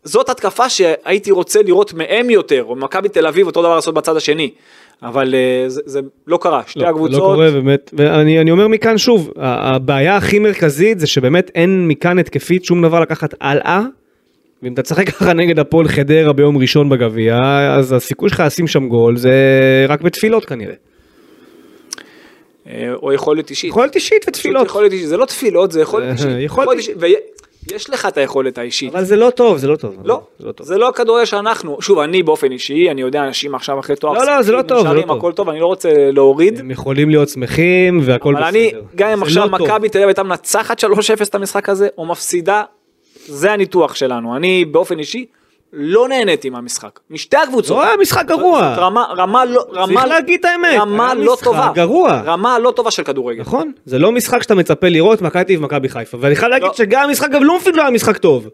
Speaker 3: זאת התקפה שהייתי רוצה לראות מהם יותר, או מכבי תל אביב אותו דבר לעשות בצד השני, אבל אה, זה, זה לא קרה, שתי
Speaker 2: לא,
Speaker 3: הקבוצות,
Speaker 2: לא קורה באמת, ואני אני אומר מכאן שוב, ה- הבעיה הכי מרכזית זה שבאמת אין מכאן התקפית שום דבר לקחת הלאה, ואם אתה תשחק ככה נגד הפועל חדרה ביום ראשון בגביע, אז הסיכוי שלך לשים שם גול זה רק בתפילות כנראה.
Speaker 3: אה, או יכולת אישית.
Speaker 2: יכולת אישית
Speaker 3: פשוט
Speaker 2: ותפילות,
Speaker 3: יכולת אישית, זה לא תפילות, זה יכולת
Speaker 2: אה,
Speaker 3: אישית.
Speaker 2: יכולת אישית.
Speaker 3: ויש לך את היכולת האישית.
Speaker 2: אבל זה לא טוב, זה לא טוב.
Speaker 3: לא,
Speaker 2: זה לא טוב.
Speaker 3: זה לא הכדורגל שאנחנו, שוב, אני באופן אישי, אני יודע, אנשים עכשיו אחרי תואר,
Speaker 2: לא, לא, זה לא
Speaker 3: משחקים,
Speaker 2: טוב, זה לא
Speaker 3: נשארים,
Speaker 2: טוב.
Speaker 3: הכל טוב, אני לא רוצה להוריד,
Speaker 2: הם יכולים להיות שמחים והכל
Speaker 3: אבל
Speaker 2: בסדר.
Speaker 3: אני, גם אם
Speaker 2: זה
Speaker 3: עכשיו
Speaker 2: לא טוב.
Speaker 3: מכבי תל אביב הייתה מנצחת 3-0 את המשחק הזה, או מפסידה, זה הניתוח שלנו. אני באופן אישי לא נהניתי מהמשחק, משתי הקבוצות.
Speaker 2: לא היה משחק גרוע.
Speaker 3: זאת רמה, רמה לא, רמה,
Speaker 2: צריך להגיד את האמת,
Speaker 3: רמה
Speaker 2: היה
Speaker 3: לא
Speaker 2: משחק
Speaker 3: טובה,
Speaker 2: גרוע.
Speaker 3: רמה לא טובה של כדורגל.
Speaker 2: נכון, זה לא משחק שאתה מצפה לראות מכבי ומכבי חיפה. ואני חייב להגיד
Speaker 3: לא.
Speaker 2: שגם המשחק גם לומפיד לא היה משחק טוב.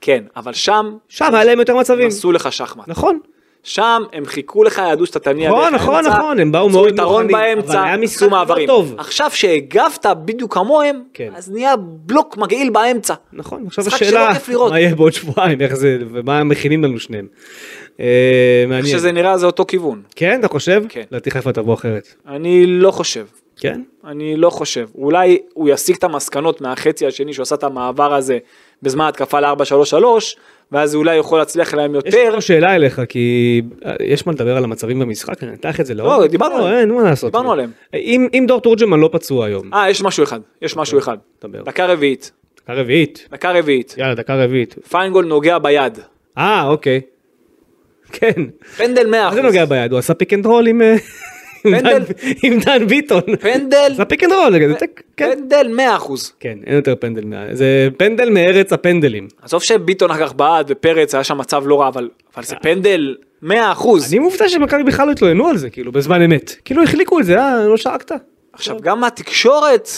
Speaker 3: כן, אבל שם,
Speaker 2: שם היה להם יותר מצבים.
Speaker 3: הם עשו לך שחמט.
Speaker 2: נכון.
Speaker 3: שם הם חיכו לך, ידעו שאתה תניע
Speaker 2: נכון,
Speaker 3: דרך
Speaker 2: נכון,
Speaker 3: האמצע,
Speaker 2: נכון, הם באו
Speaker 3: עשו
Speaker 2: מאוד
Speaker 3: יתרון
Speaker 2: מוכנים, אבל
Speaker 3: באמצע,
Speaker 2: היה משחק
Speaker 3: עשו
Speaker 2: לא
Speaker 3: מעברים.
Speaker 2: טוב.
Speaker 3: עכשיו שהגבת בדיוק כמוהם,
Speaker 2: כן.
Speaker 3: אז נהיה בלוק מגעיל באמצע.
Speaker 2: נכון, עכשיו
Speaker 3: משחק
Speaker 2: השאלה,
Speaker 3: שלא כיף לראות.
Speaker 2: מה יהיה בעוד שבועיים, איך זה, ומה מכינים לנו שניהם. אה,
Speaker 3: איך
Speaker 2: מעניין.
Speaker 3: שזה נראה זה אותו כיוון.
Speaker 2: כן, אתה חושב?
Speaker 3: כן.
Speaker 2: לדעתי חיפה תבוא אחרת.
Speaker 3: אני לא חושב.
Speaker 2: כן?
Speaker 3: אני לא חושב. אולי הוא יסיק את המסקנות מהחצי השני שהוא עשה את המעבר הזה בזמן התקפה ל-4-3-3, ואז אולי יכול להצליח להם
Speaker 2: יש לי
Speaker 3: יותר.
Speaker 2: פה שאלה אליך, כי אה, יש מה לדבר על המצבים במשחק, אני אתן לך את זה לעומק.
Speaker 3: לא, דיברנו עליהם.
Speaker 2: אין מה לעשות.
Speaker 3: דיברנו עליהם.
Speaker 2: אם אם דור תורג'מן לא פצוע היום,
Speaker 3: אה, יש משהו אחד. יש משהו אחד.
Speaker 2: כן, דבר.
Speaker 3: דקה רביעית.
Speaker 2: דקה רביעית,
Speaker 3: דקה רביעית.
Speaker 2: יאללה, דקה רביעית.
Speaker 3: פיינגול נוגע ביד.
Speaker 2: אה, אוקיי. כן.
Speaker 3: פנדל 100%.
Speaker 2: מה זה נוגע ביד? הוא עשה פיק אנד רול עם אה, עם
Speaker 3: פנדל.
Speaker 2: דן- עם דן ביטון.
Speaker 3: פנדל.
Speaker 2: עשה פיק אנד רול, רגע, זה טק, כן.
Speaker 3: פנדל 100%.
Speaker 2: כן, אין יותר פנדל מה... זה פנדל מארץ הפנדלים.
Speaker 3: עזוב שביטון אחר כך בעד ופרץ היה שם מצב לא רע, אבל אבל זה פנדל 100%.
Speaker 2: אה. אני מופתע שמכבי בכלל לא התלוננו על זה, כאילו, בזמן אמת. כאילו החליקו את זה, אה, לא שרקת.
Speaker 3: עכשיו גם התקשורת,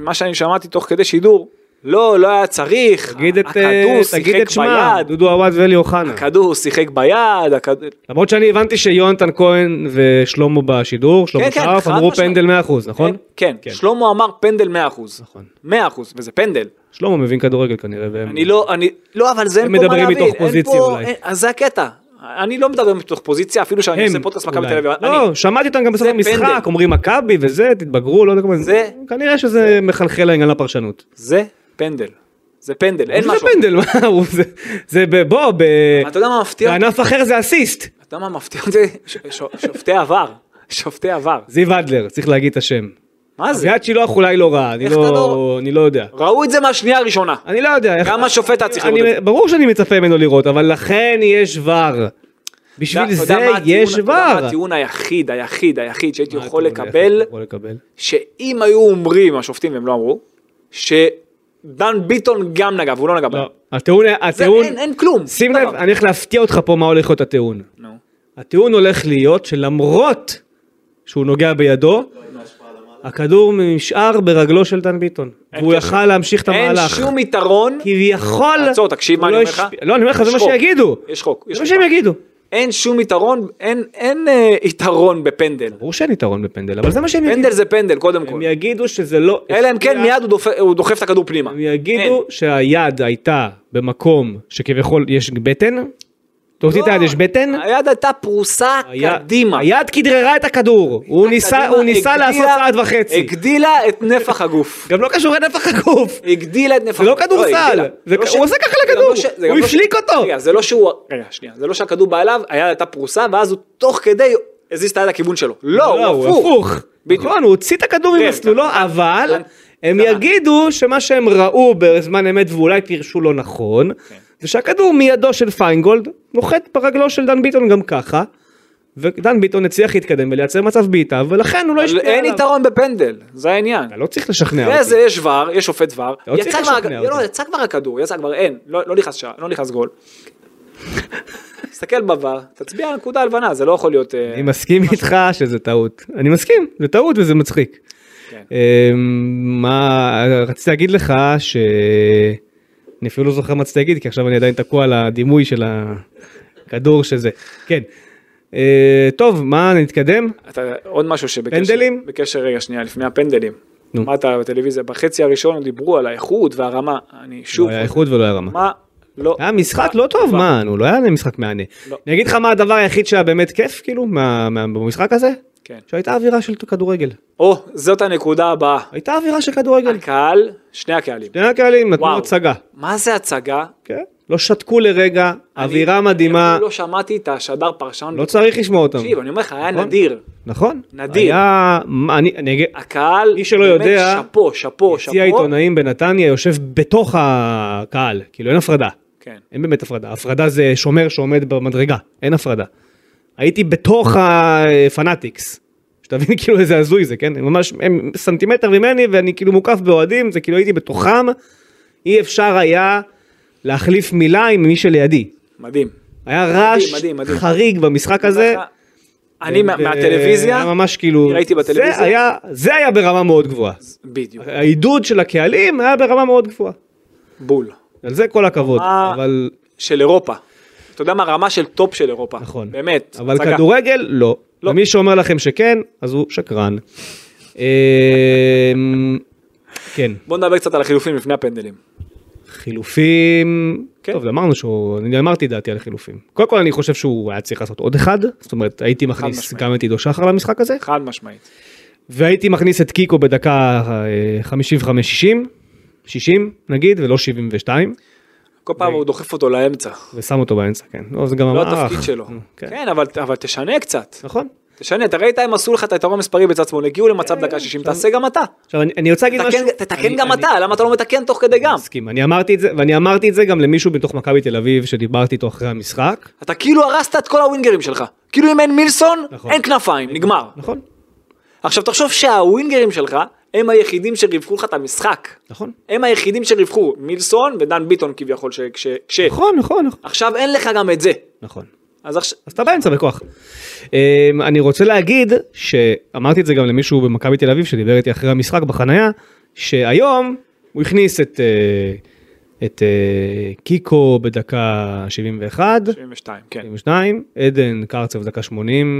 Speaker 3: מה שאני שמעתי תוך כדי שידור, לא, לא היה צריך,
Speaker 2: תגיד את אה,
Speaker 3: הכדור
Speaker 2: תגיד
Speaker 3: שיחק
Speaker 2: את שמה,
Speaker 3: ביד,
Speaker 2: דודו עוואד ואלי אוחנה.
Speaker 3: הכדור שיחק ביד, הכד- כן,
Speaker 2: למרות שאני הבנתי שיונתן כהן ושלמה בשידור, שלמה
Speaker 3: כן, כן,
Speaker 2: שרף,
Speaker 3: חד
Speaker 2: אמרו
Speaker 3: משמעית.
Speaker 2: פנדל 100%, נכון?
Speaker 3: כן,
Speaker 2: כן.
Speaker 3: שלמה אמר פנדל 100%,
Speaker 2: נכון.
Speaker 3: 100%, וזה פנדל,
Speaker 2: שלמה מבין כדורגל כנראה. והם-
Speaker 3: אני לא, אני, לא, אבל זה אין
Speaker 2: הם
Speaker 3: פה מה
Speaker 2: מדברים
Speaker 3: להבין,
Speaker 2: מתוך
Speaker 3: אין
Speaker 2: פוזיציה
Speaker 3: פה-
Speaker 2: אולי.
Speaker 3: אין- אז זה הקטע, אני לא מדבר מתוך פוזיציה, אפילו שאני עושה
Speaker 2: הם,
Speaker 3: פודקאסט מכבי
Speaker 2: אולי.
Speaker 3: תל אביב, אני-
Speaker 2: לא, שמעתי אותם גם בסוף
Speaker 3: זה
Speaker 2: המשחק,
Speaker 3: פנדל.
Speaker 2: אומרים מכבי וזה, תתבגרו, לא יודע כמה
Speaker 3: זה-
Speaker 2: כנראה שזה מחלחל לעניין לפרשנות.
Speaker 3: זה פנדל, זה פנדל, אין
Speaker 2: זה
Speaker 3: משהו,
Speaker 2: פנדל, מה הוא, זה- זה ב- בוא, ב-
Speaker 3: אתה יודע מה מפתיע? אותי?
Speaker 2: בענף אחר זה אסיסט.
Speaker 3: אתה יודע מה מפתיע אותי? ש- ש- שופטי עבר, שופטי עבר,
Speaker 2: זיו אדלר, צריך להגיד את השם.
Speaker 3: מה זה?
Speaker 2: אביעד שילוח אולי לא רע, אני
Speaker 3: איך אתה
Speaker 2: לא,
Speaker 3: לא-
Speaker 2: אני לא יודע.
Speaker 3: ראו את זה מהשנייה הראשונה.
Speaker 2: אני לא יודע. איך-
Speaker 3: גם השופט היה צריך
Speaker 2: אני-
Speaker 3: לראות את
Speaker 2: ברור שאני מצפה ממנו לראות, אבל לכן יש ור. בשביל
Speaker 3: אתה
Speaker 2: זה
Speaker 3: יודע מה הטיעון-
Speaker 2: יש
Speaker 3: אתה יודע מה
Speaker 2: ור.
Speaker 3: הטיעון היחיד, היחיד, היחיד שהייתי
Speaker 2: מה
Speaker 3: יכול
Speaker 2: הטיעון
Speaker 3: לקבל,
Speaker 2: היחיד יכול לקבל?
Speaker 3: שאם היו אומרים השופטים, והם לא אמרו, שדן ביטון גם נגע, והוא לא נגע בהם.
Speaker 2: לא. הטיעון,
Speaker 3: זה
Speaker 2: הטיעון,
Speaker 3: אין אין כלום.
Speaker 2: שים
Speaker 3: שום
Speaker 2: לב,
Speaker 3: דבר.
Speaker 2: אני הולך להפתיע אותך פה מה הולך להיות הטיעון.
Speaker 3: נו.
Speaker 2: הטיעון הולך להיות שלמרות שהוא נוגע בידו, הכדור נשאר ברגלו של דן ביטון.
Speaker 3: אין
Speaker 2: והוא
Speaker 3: קשר.
Speaker 2: יכל להמשיך את
Speaker 3: אין
Speaker 2: המהלך.
Speaker 3: שום יתרון,
Speaker 2: כביכול...
Speaker 3: תעצור, תקשיב
Speaker 2: הוא
Speaker 3: מה אני
Speaker 2: לא
Speaker 3: אומר לך.
Speaker 2: השפיע- לא, אני אומר לך, זה
Speaker 3: יש
Speaker 2: מה
Speaker 3: חוק.
Speaker 2: שיגידו.
Speaker 3: יש חוק, יש
Speaker 2: זה מה
Speaker 3: חוק.
Speaker 2: שהם יגידו.
Speaker 3: אין שום יתרון, אין- אין אה, יתרון בפנדל.
Speaker 2: ברור שאין יתרון בפנדל, אבל זה מה שהם יגידו.
Speaker 3: פנדל זה פנדל, קודם כל.
Speaker 2: הם יגידו שזה לא...
Speaker 3: אלא אם כן
Speaker 2: השפיע.
Speaker 3: מיד הוא דופ- הוא דוחף את הכדור פנימה.
Speaker 2: הם יגידו שהיד הייתה במקום שכביכול יש בטן,
Speaker 3: לא,
Speaker 2: תוציא את היד יש בטן,
Speaker 3: היד הייתה פרוסה
Speaker 2: היד-
Speaker 3: קדימה.
Speaker 2: היד כדררה את הכדור, הוא ניסה-
Speaker 3: קדימה,
Speaker 2: הוא ניסה
Speaker 3: הגדילה-
Speaker 2: לעשות צעד וחצי,
Speaker 3: הגדילה את נפח הגוף.
Speaker 2: גם לא קשור לנפח הגוף,
Speaker 3: הגדילה את נפח
Speaker 2: זה לא
Speaker 3: הגוף.
Speaker 2: כדורסל.
Speaker 3: הגדילה.
Speaker 2: זה-
Speaker 3: לא
Speaker 2: הוא עושה ככה
Speaker 3: זה גם
Speaker 2: לכדור.
Speaker 3: לא ש- זה גם
Speaker 2: הוא
Speaker 3: לא ש-
Speaker 2: הפליק אותו.
Speaker 3: רגע, זה לא שהוא... רגע, שנייה. זה לא שהכדור בא אליו, היד הייתה פרוסה, ואז הוא תוך כדי הזיז את היד לכיוון שלו. לא, הוא הפוך. בדיוק.
Speaker 2: נכון, הוא הוציא את הכדור
Speaker 3: כן,
Speaker 2: ממסלולו,
Speaker 3: קטן,
Speaker 2: אבל
Speaker 3: קטן,
Speaker 2: הם
Speaker 3: קטן.
Speaker 2: יגידו שמה שהם ראו בזמן אמת ואולי פירשו לא נכון,
Speaker 3: כן.
Speaker 2: זה שהכדור מידו של פיינגולד נוחת ברגלו של דן ביטון גם ככה, ודן ביטון הצליח להתקדם ולייצר מצב בעיטה, ולכן הוא לא
Speaker 3: אבל
Speaker 2: השפיע עליו.
Speaker 3: אין יתרון בפנדל, זה העניין.
Speaker 2: אתה לא צריך לשכנע אותי.
Speaker 3: אחרי זה יש ור, יש שופט ור,
Speaker 2: לא צריך
Speaker 3: יצא כבר-
Speaker 2: לשכנע
Speaker 3: לא,
Speaker 2: אותי.
Speaker 3: יצא כבר הכדור, יצא כבר, אין, לא לא נכנס שער, לא נכנס גול. תסתכל בוור, תצביע על נקודה הלבנה, זה לא יכול להיות... אה,
Speaker 2: אני מסכים איתך שזה טעות. אני מסכים, זה טעות וזה מצחיק.
Speaker 3: כן.
Speaker 2: אה, מה, רציתי להגיד לך ש... אני אפילו לא זוכר מה רציתי להגיד, כי עכשיו אני עדיין תקוע על הדימוי של הכדור שזה. כן. אה, טוב, מה, נתקדם?
Speaker 3: אתה, עוד משהו שבקשר...
Speaker 2: פנדלים?
Speaker 3: בקשר, רגע, שנייה, לפני הפנדלים.
Speaker 2: נו.
Speaker 3: אמרת בטלוויזיה, בחצי הראשון דיברו על האיכות והרמה, אני
Speaker 2: לא
Speaker 3: שוב...
Speaker 2: היה איכות ולא היה רמה.
Speaker 3: מה? לא.
Speaker 2: היה משחק לא טוב, מה, נו, לא היה להם משחק מהנה.
Speaker 3: לא.
Speaker 2: אני אגיד לך מה הדבר היחיד שהיה באמת כיף, כאילו, מה- מה- במשחק הזה?
Speaker 3: כן.
Speaker 2: שהייתה אווירה של כדורגל.
Speaker 3: או, זאת הנקודה הבאה.
Speaker 2: הייתה אווירה של כדורגל.
Speaker 3: הקהל, שני הקהלים.
Speaker 2: שני הקהלים נתנו
Speaker 3: אה, וואו.
Speaker 2: הצגה.
Speaker 3: מה זה הצגה?
Speaker 2: כן. לא שתקו לרגע, אווירה
Speaker 3: אני-
Speaker 2: מדהימה,
Speaker 3: אני לא שמעתי את השדר פרשן.
Speaker 2: לא צריך לשמוע אותם.
Speaker 3: תקשיב, אני אומר לך, היה
Speaker 2: נכון.
Speaker 3: נדיר.
Speaker 2: נכון.
Speaker 3: נדיר.
Speaker 2: היה, מה, אני, אני אגיד,
Speaker 3: הקהל,
Speaker 2: מי שלא
Speaker 3: באמת,
Speaker 2: יודע,
Speaker 3: שאפו, שאפו, שאפו.
Speaker 2: יציע העיתונאים בנתניה יושב בתוך הקהל, כאילו אין הפרדה.
Speaker 3: כן.
Speaker 2: אין באמת הפרדה. הפרדה זה שומר שעומד במדרגה, אין הפרדה. הייתי בתוך הפנאטיקס. שתבין כאילו איזה הזוי זה, כן? הם ממש, הם סנטימטר ממני ואני כאילו מוקף באוהדים, זה כאילו הייתי בתוכם. אי אפשר היה להחליף מילה עם מי שלידי.
Speaker 3: מדהים.
Speaker 2: היה רעש
Speaker 3: מדהים, מדהים.
Speaker 2: חריג במשחק הזה.
Speaker 3: אני מה-
Speaker 2: ו-
Speaker 3: מהטלוויזיה,
Speaker 2: היה ממש כאילו,
Speaker 3: ראיתי בטלוויזיה.
Speaker 2: זה היה, זה היה ברמה מאוד גבוהה.
Speaker 3: בדיוק,
Speaker 2: העידוד של הקהלים היה ברמה מאוד גבוהה.
Speaker 3: בול.
Speaker 2: על זה כל הכבוד,
Speaker 3: אה,
Speaker 2: אבל,
Speaker 3: של אירופה. אתה יודע מה? רמה של טופ של אירופה.
Speaker 2: נכון.
Speaker 3: באמת.
Speaker 2: אבל
Speaker 3: הצגה.
Speaker 2: כדורגל לא.
Speaker 3: לא.
Speaker 2: ומי שאומר לכם שכן, אז הוא שקרן. אמ, כן,
Speaker 3: בוא נדבר קצת על החילופים לפני הפנדלים.
Speaker 2: חילופים,
Speaker 3: כן.
Speaker 2: טוב, אמרנו שהוא, אני אמרתי דעתי על החילופים. קודם כל אני חושב שהוא היה צריך לעשות עוד אחד, זאת אומרת הייתי מכניס
Speaker 3: משמעית.
Speaker 2: גם את עידו שחר למשחק הזה,
Speaker 3: חד משמעית.
Speaker 2: והייתי מכניס את קיקו בדקה אה, 55-60, 60 נגיד, ולא 72,
Speaker 3: כל פעם הוא דוחף אותו לאמצע.
Speaker 2: ושם אותו באמצע, כן. לא, זה גם
Speaker 3: לא
Speaker 2: המערך.
Speaker 3: התפקיד שלו.
Speaker 2: כן.
Speaker 3: כן, אבל אבל תשנה קצת.
Speaker 2: נכון.
Speaker 3: תשנה, אתה ראית הם עשו לך את היתרון המספרי בצד שמאל, הגיעו למצב דקה 60, תעשה גם אתה.
Speaker 2: אה, עכשיו אני, אני רוצה להגיד משהו.
Speaker 3: תתקן- תתקן
Speaker 2: אני-
Speaker 3: גם
Speaker 2: אני-
Speaker 3: אתה, למה אתה לא מתקן תוך כדי גם?
Speaker 2: מסכים, אני אמרתי את זה, ואני אמרתי את זה גם למישהו בתוך מכבי תל אביב שדיברתי איתו אחרי המשחק,
Speaker 3: אתה כאילו הרסת את כל הווינגרים שלך. כאילו אם אין מילסון,
Speaker 2: נכון.
Speaker 3: אין כנפיים, נגמר.
Speaker 2: נכון,
Speaker 3: עכשיו תחשוב שהווינגרים שלך הם היחידים שריווחו לך את המשחק.
Speaker 2: נכון,
Speaker 3: הם היחידים שריווחו, מילסון ודן ביטון כביכול, ש- כש... כש-
Speaker 2: נכון, נכון, נכון,
Speaker 3: עכשיו אין לך גם את זה.
Speaker 2: נכון.
Speaker 3: אז עכשיו...
Speaker 2: אז אתה באמצע בכוח. אמ, אני רוצה להגיד שאמרתי את זה גם למישהו במכבי תל אביב שדיבר איתי אחרי המשחק בחנייה, שהיום הוא הכניס את, אה, את אה, קיקו בדקה 71,
Speaker 3: 72, כן.
Speaker 2: 72, עדן קרצב דקה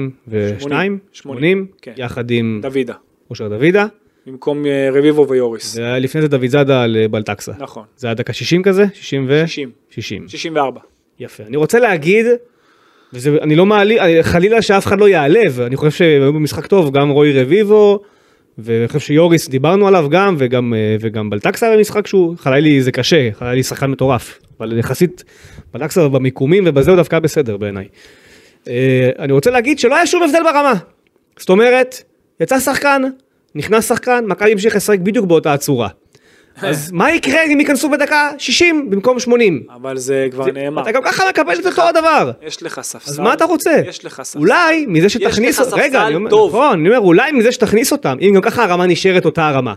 Speaker 2: 82, 80,
Speaker 3: שמונים, כן.
Speaker 2: יחד עם
Speaker 3: דוידה.
Speaker 2: אושר דוידה,
Speaker 3: במקום אה, רביבו ויוריס.
Speaker 2: זה היה לפני זה דוד זאדה על אה, בלטקסה.
Speaker 3: נכון.
Speaker 2: זה היה דקה 60 כזה? 60 ו...
Speaker 3: 60.
Speaker 2: 60.
Speaker 3: 64.
Speaker 2: יפה. אני רוצה להגיד, וזה, אני לא מעליב, אני- חלילה שאף אחד לא ייעלב, אני חושב שהם היו במשחק טוב, גם רוי רביבו, ואני חושב שיוריס, דיברנו עליו גם, וגם, אה, וגם בלטקסה היה במשחק שהוא, חלילי זה קשה, חלילי שחקן מטורף, אבל יחסית, בלטקסה במיקומים ובזה הוא דווקא היה בסדר בעיניי. אה, אני רוצה להגיד שלא היה שום הבדל ברמה. זאת אומרת, יצא שחקן, נכנס שחקן, מכבי המשיך לשחק בדיוק באותה הצורה. אז מה יקרה אם ייכנסו בדקה 60 במקום 80?
Speaker 3: אבל זה כבר נאמר.
Speaker 2: אתה גם ככה מקבל את אותו הדבר.
Speaker 3: יש לך ספסל.
Speaker 2: אז מה אתה רוצה?
Speaker 3: יש לך ספסל.
Speaker 2: אולי מזה שתכניס...
Speaker 3: לך ספסל
Speaker 2: רגע, אני אומר,
Speaker 3: טוב.
Speaker 2: נכון, אני אומר, אולי מזה שתכניס אותם, אם גם ככה הרמה נשארת אותה הרמה.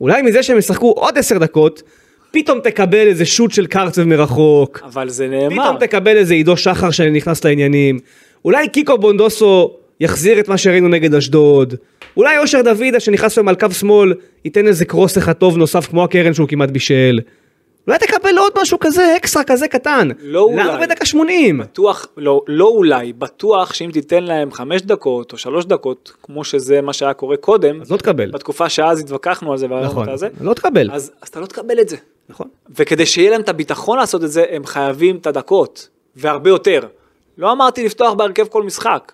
Speaker 2: אולי מזה שהם ישחקו עוד עשר דקות, פתאום תקבל איזה שוט של קרצב מרחוק,
Speaker 3: אבל זה נאמר.
Speaker 2: פתאום תקבל איזה עידו שחר שנכנס לעניינים, אולי קיקו בונדוסו יחזיר את מה שראינו נגד אשדוד, אולי אושר דוידה שנכנס היום על קו שמאל, ייתן איזה קרוס אחד טוב נוסף כמו הקרן שהוא כמעט בישל. אולי תקבל עוד משהו כזה, אקסטרה כזה קטן.
Speaker 3: לא
Speaker 2: למה
Speaker 3: אולי.
Speaker 2: בדקה 80?
Speaker 3: בטוח, לא, לא אולי, בטוח שאם תיתן להם חמש דקות או שלוש דקות, כמו שזה מה שהיה קורה קודם,
Speaker 2: אז לא תקבל.
Speaker 3: בתקופה שאז התווכחנו על זה, והיה לנו
Speaker 2: נכון.
Speaker 3: את הזה,
Speaker 2: לא תקבל.
Speaker 3: אז, אז אתה לא תקבל את זה.
Speaker 2: נכון.
Speaker 3: וכדי שיהיה להם את הביטחון לעשות את זה, הם חייבים את הדקות, והרבה יותר. לא אמרתי לפתוח בהרכב כל משחק.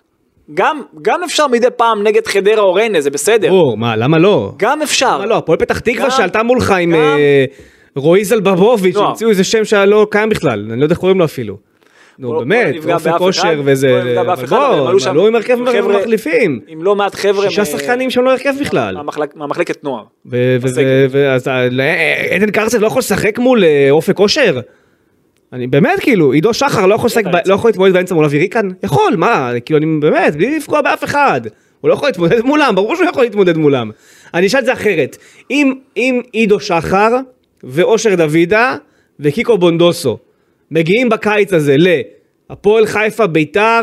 Speaker 3: גם, גם אפשר מדי פעם נגד חדרה או ריינה, זה בסדר.
Speaker 2: ברור, מה, למה לא?
Speaker 3: גם אפשר.
Speaker 2: למה לא? הפועל פתח תקווה
Speaker 3: גם-
Speaker 2: שעלתה מולך עם
Speaker 3: גם-
Speaker 2: אה, רועי זלבבוביץ',
Speaker 3: נוער.
Speaker 2: המציאו איזה שם שהיה לא קיים בכלל, אני לא יודע איך קוראים לו אפילו. נו
Speaker 3: לא-
Speaker 2: באמת,
Speaker 3: לא נפגע
Speaker 2: אופק
Speaker 3: באף אחד,
Speaker 2: כושר וזה,
Speaker 3: לא נפגע באף
Speaker 2: אבל
Speaker 3: אחד, אבל הם
Speaker 2: בואו,
Speaker 3: עלו
Speaker 2: הם
Speaker 3: שם
Speaker 2: עלו עם הרכב
Speaker 3: עם חבר'ה-
Speaker 2: מחליפים.
Speaker 3: עם לא מעט חבר'ה.
Speaker 2: שישה
Speaker 3: מ-
Speaker 2: שחקנים שהם לא הרכב בכלל.
Speaker 3: מהמחלק- מהמחלקת נוער.
Speaker 2: ו- וזה-
Speaker 3: בסגל.
Speaker 2: ואז ה- לא, עדן קרצב לא יכול לשחק מול אה, אופק כושר? אני באמת כאילו, עידו שחר לא יכול לשחק, ב- לא יכול להתמודד באמצע מול אווירי כאן? יכול, מה, כאילו אני באמת, בלי לפגוע באף אחד. הוא לא יכול להתמודד מולם, ברור שהוא לא יכול להתמודד מולם. אני אשאל את זה אחרת, אם, אם עידו שחר ואושר דוידה וקיקו בונדוסו מגיעים בקיץ הזה להפועל חיפה, ביתר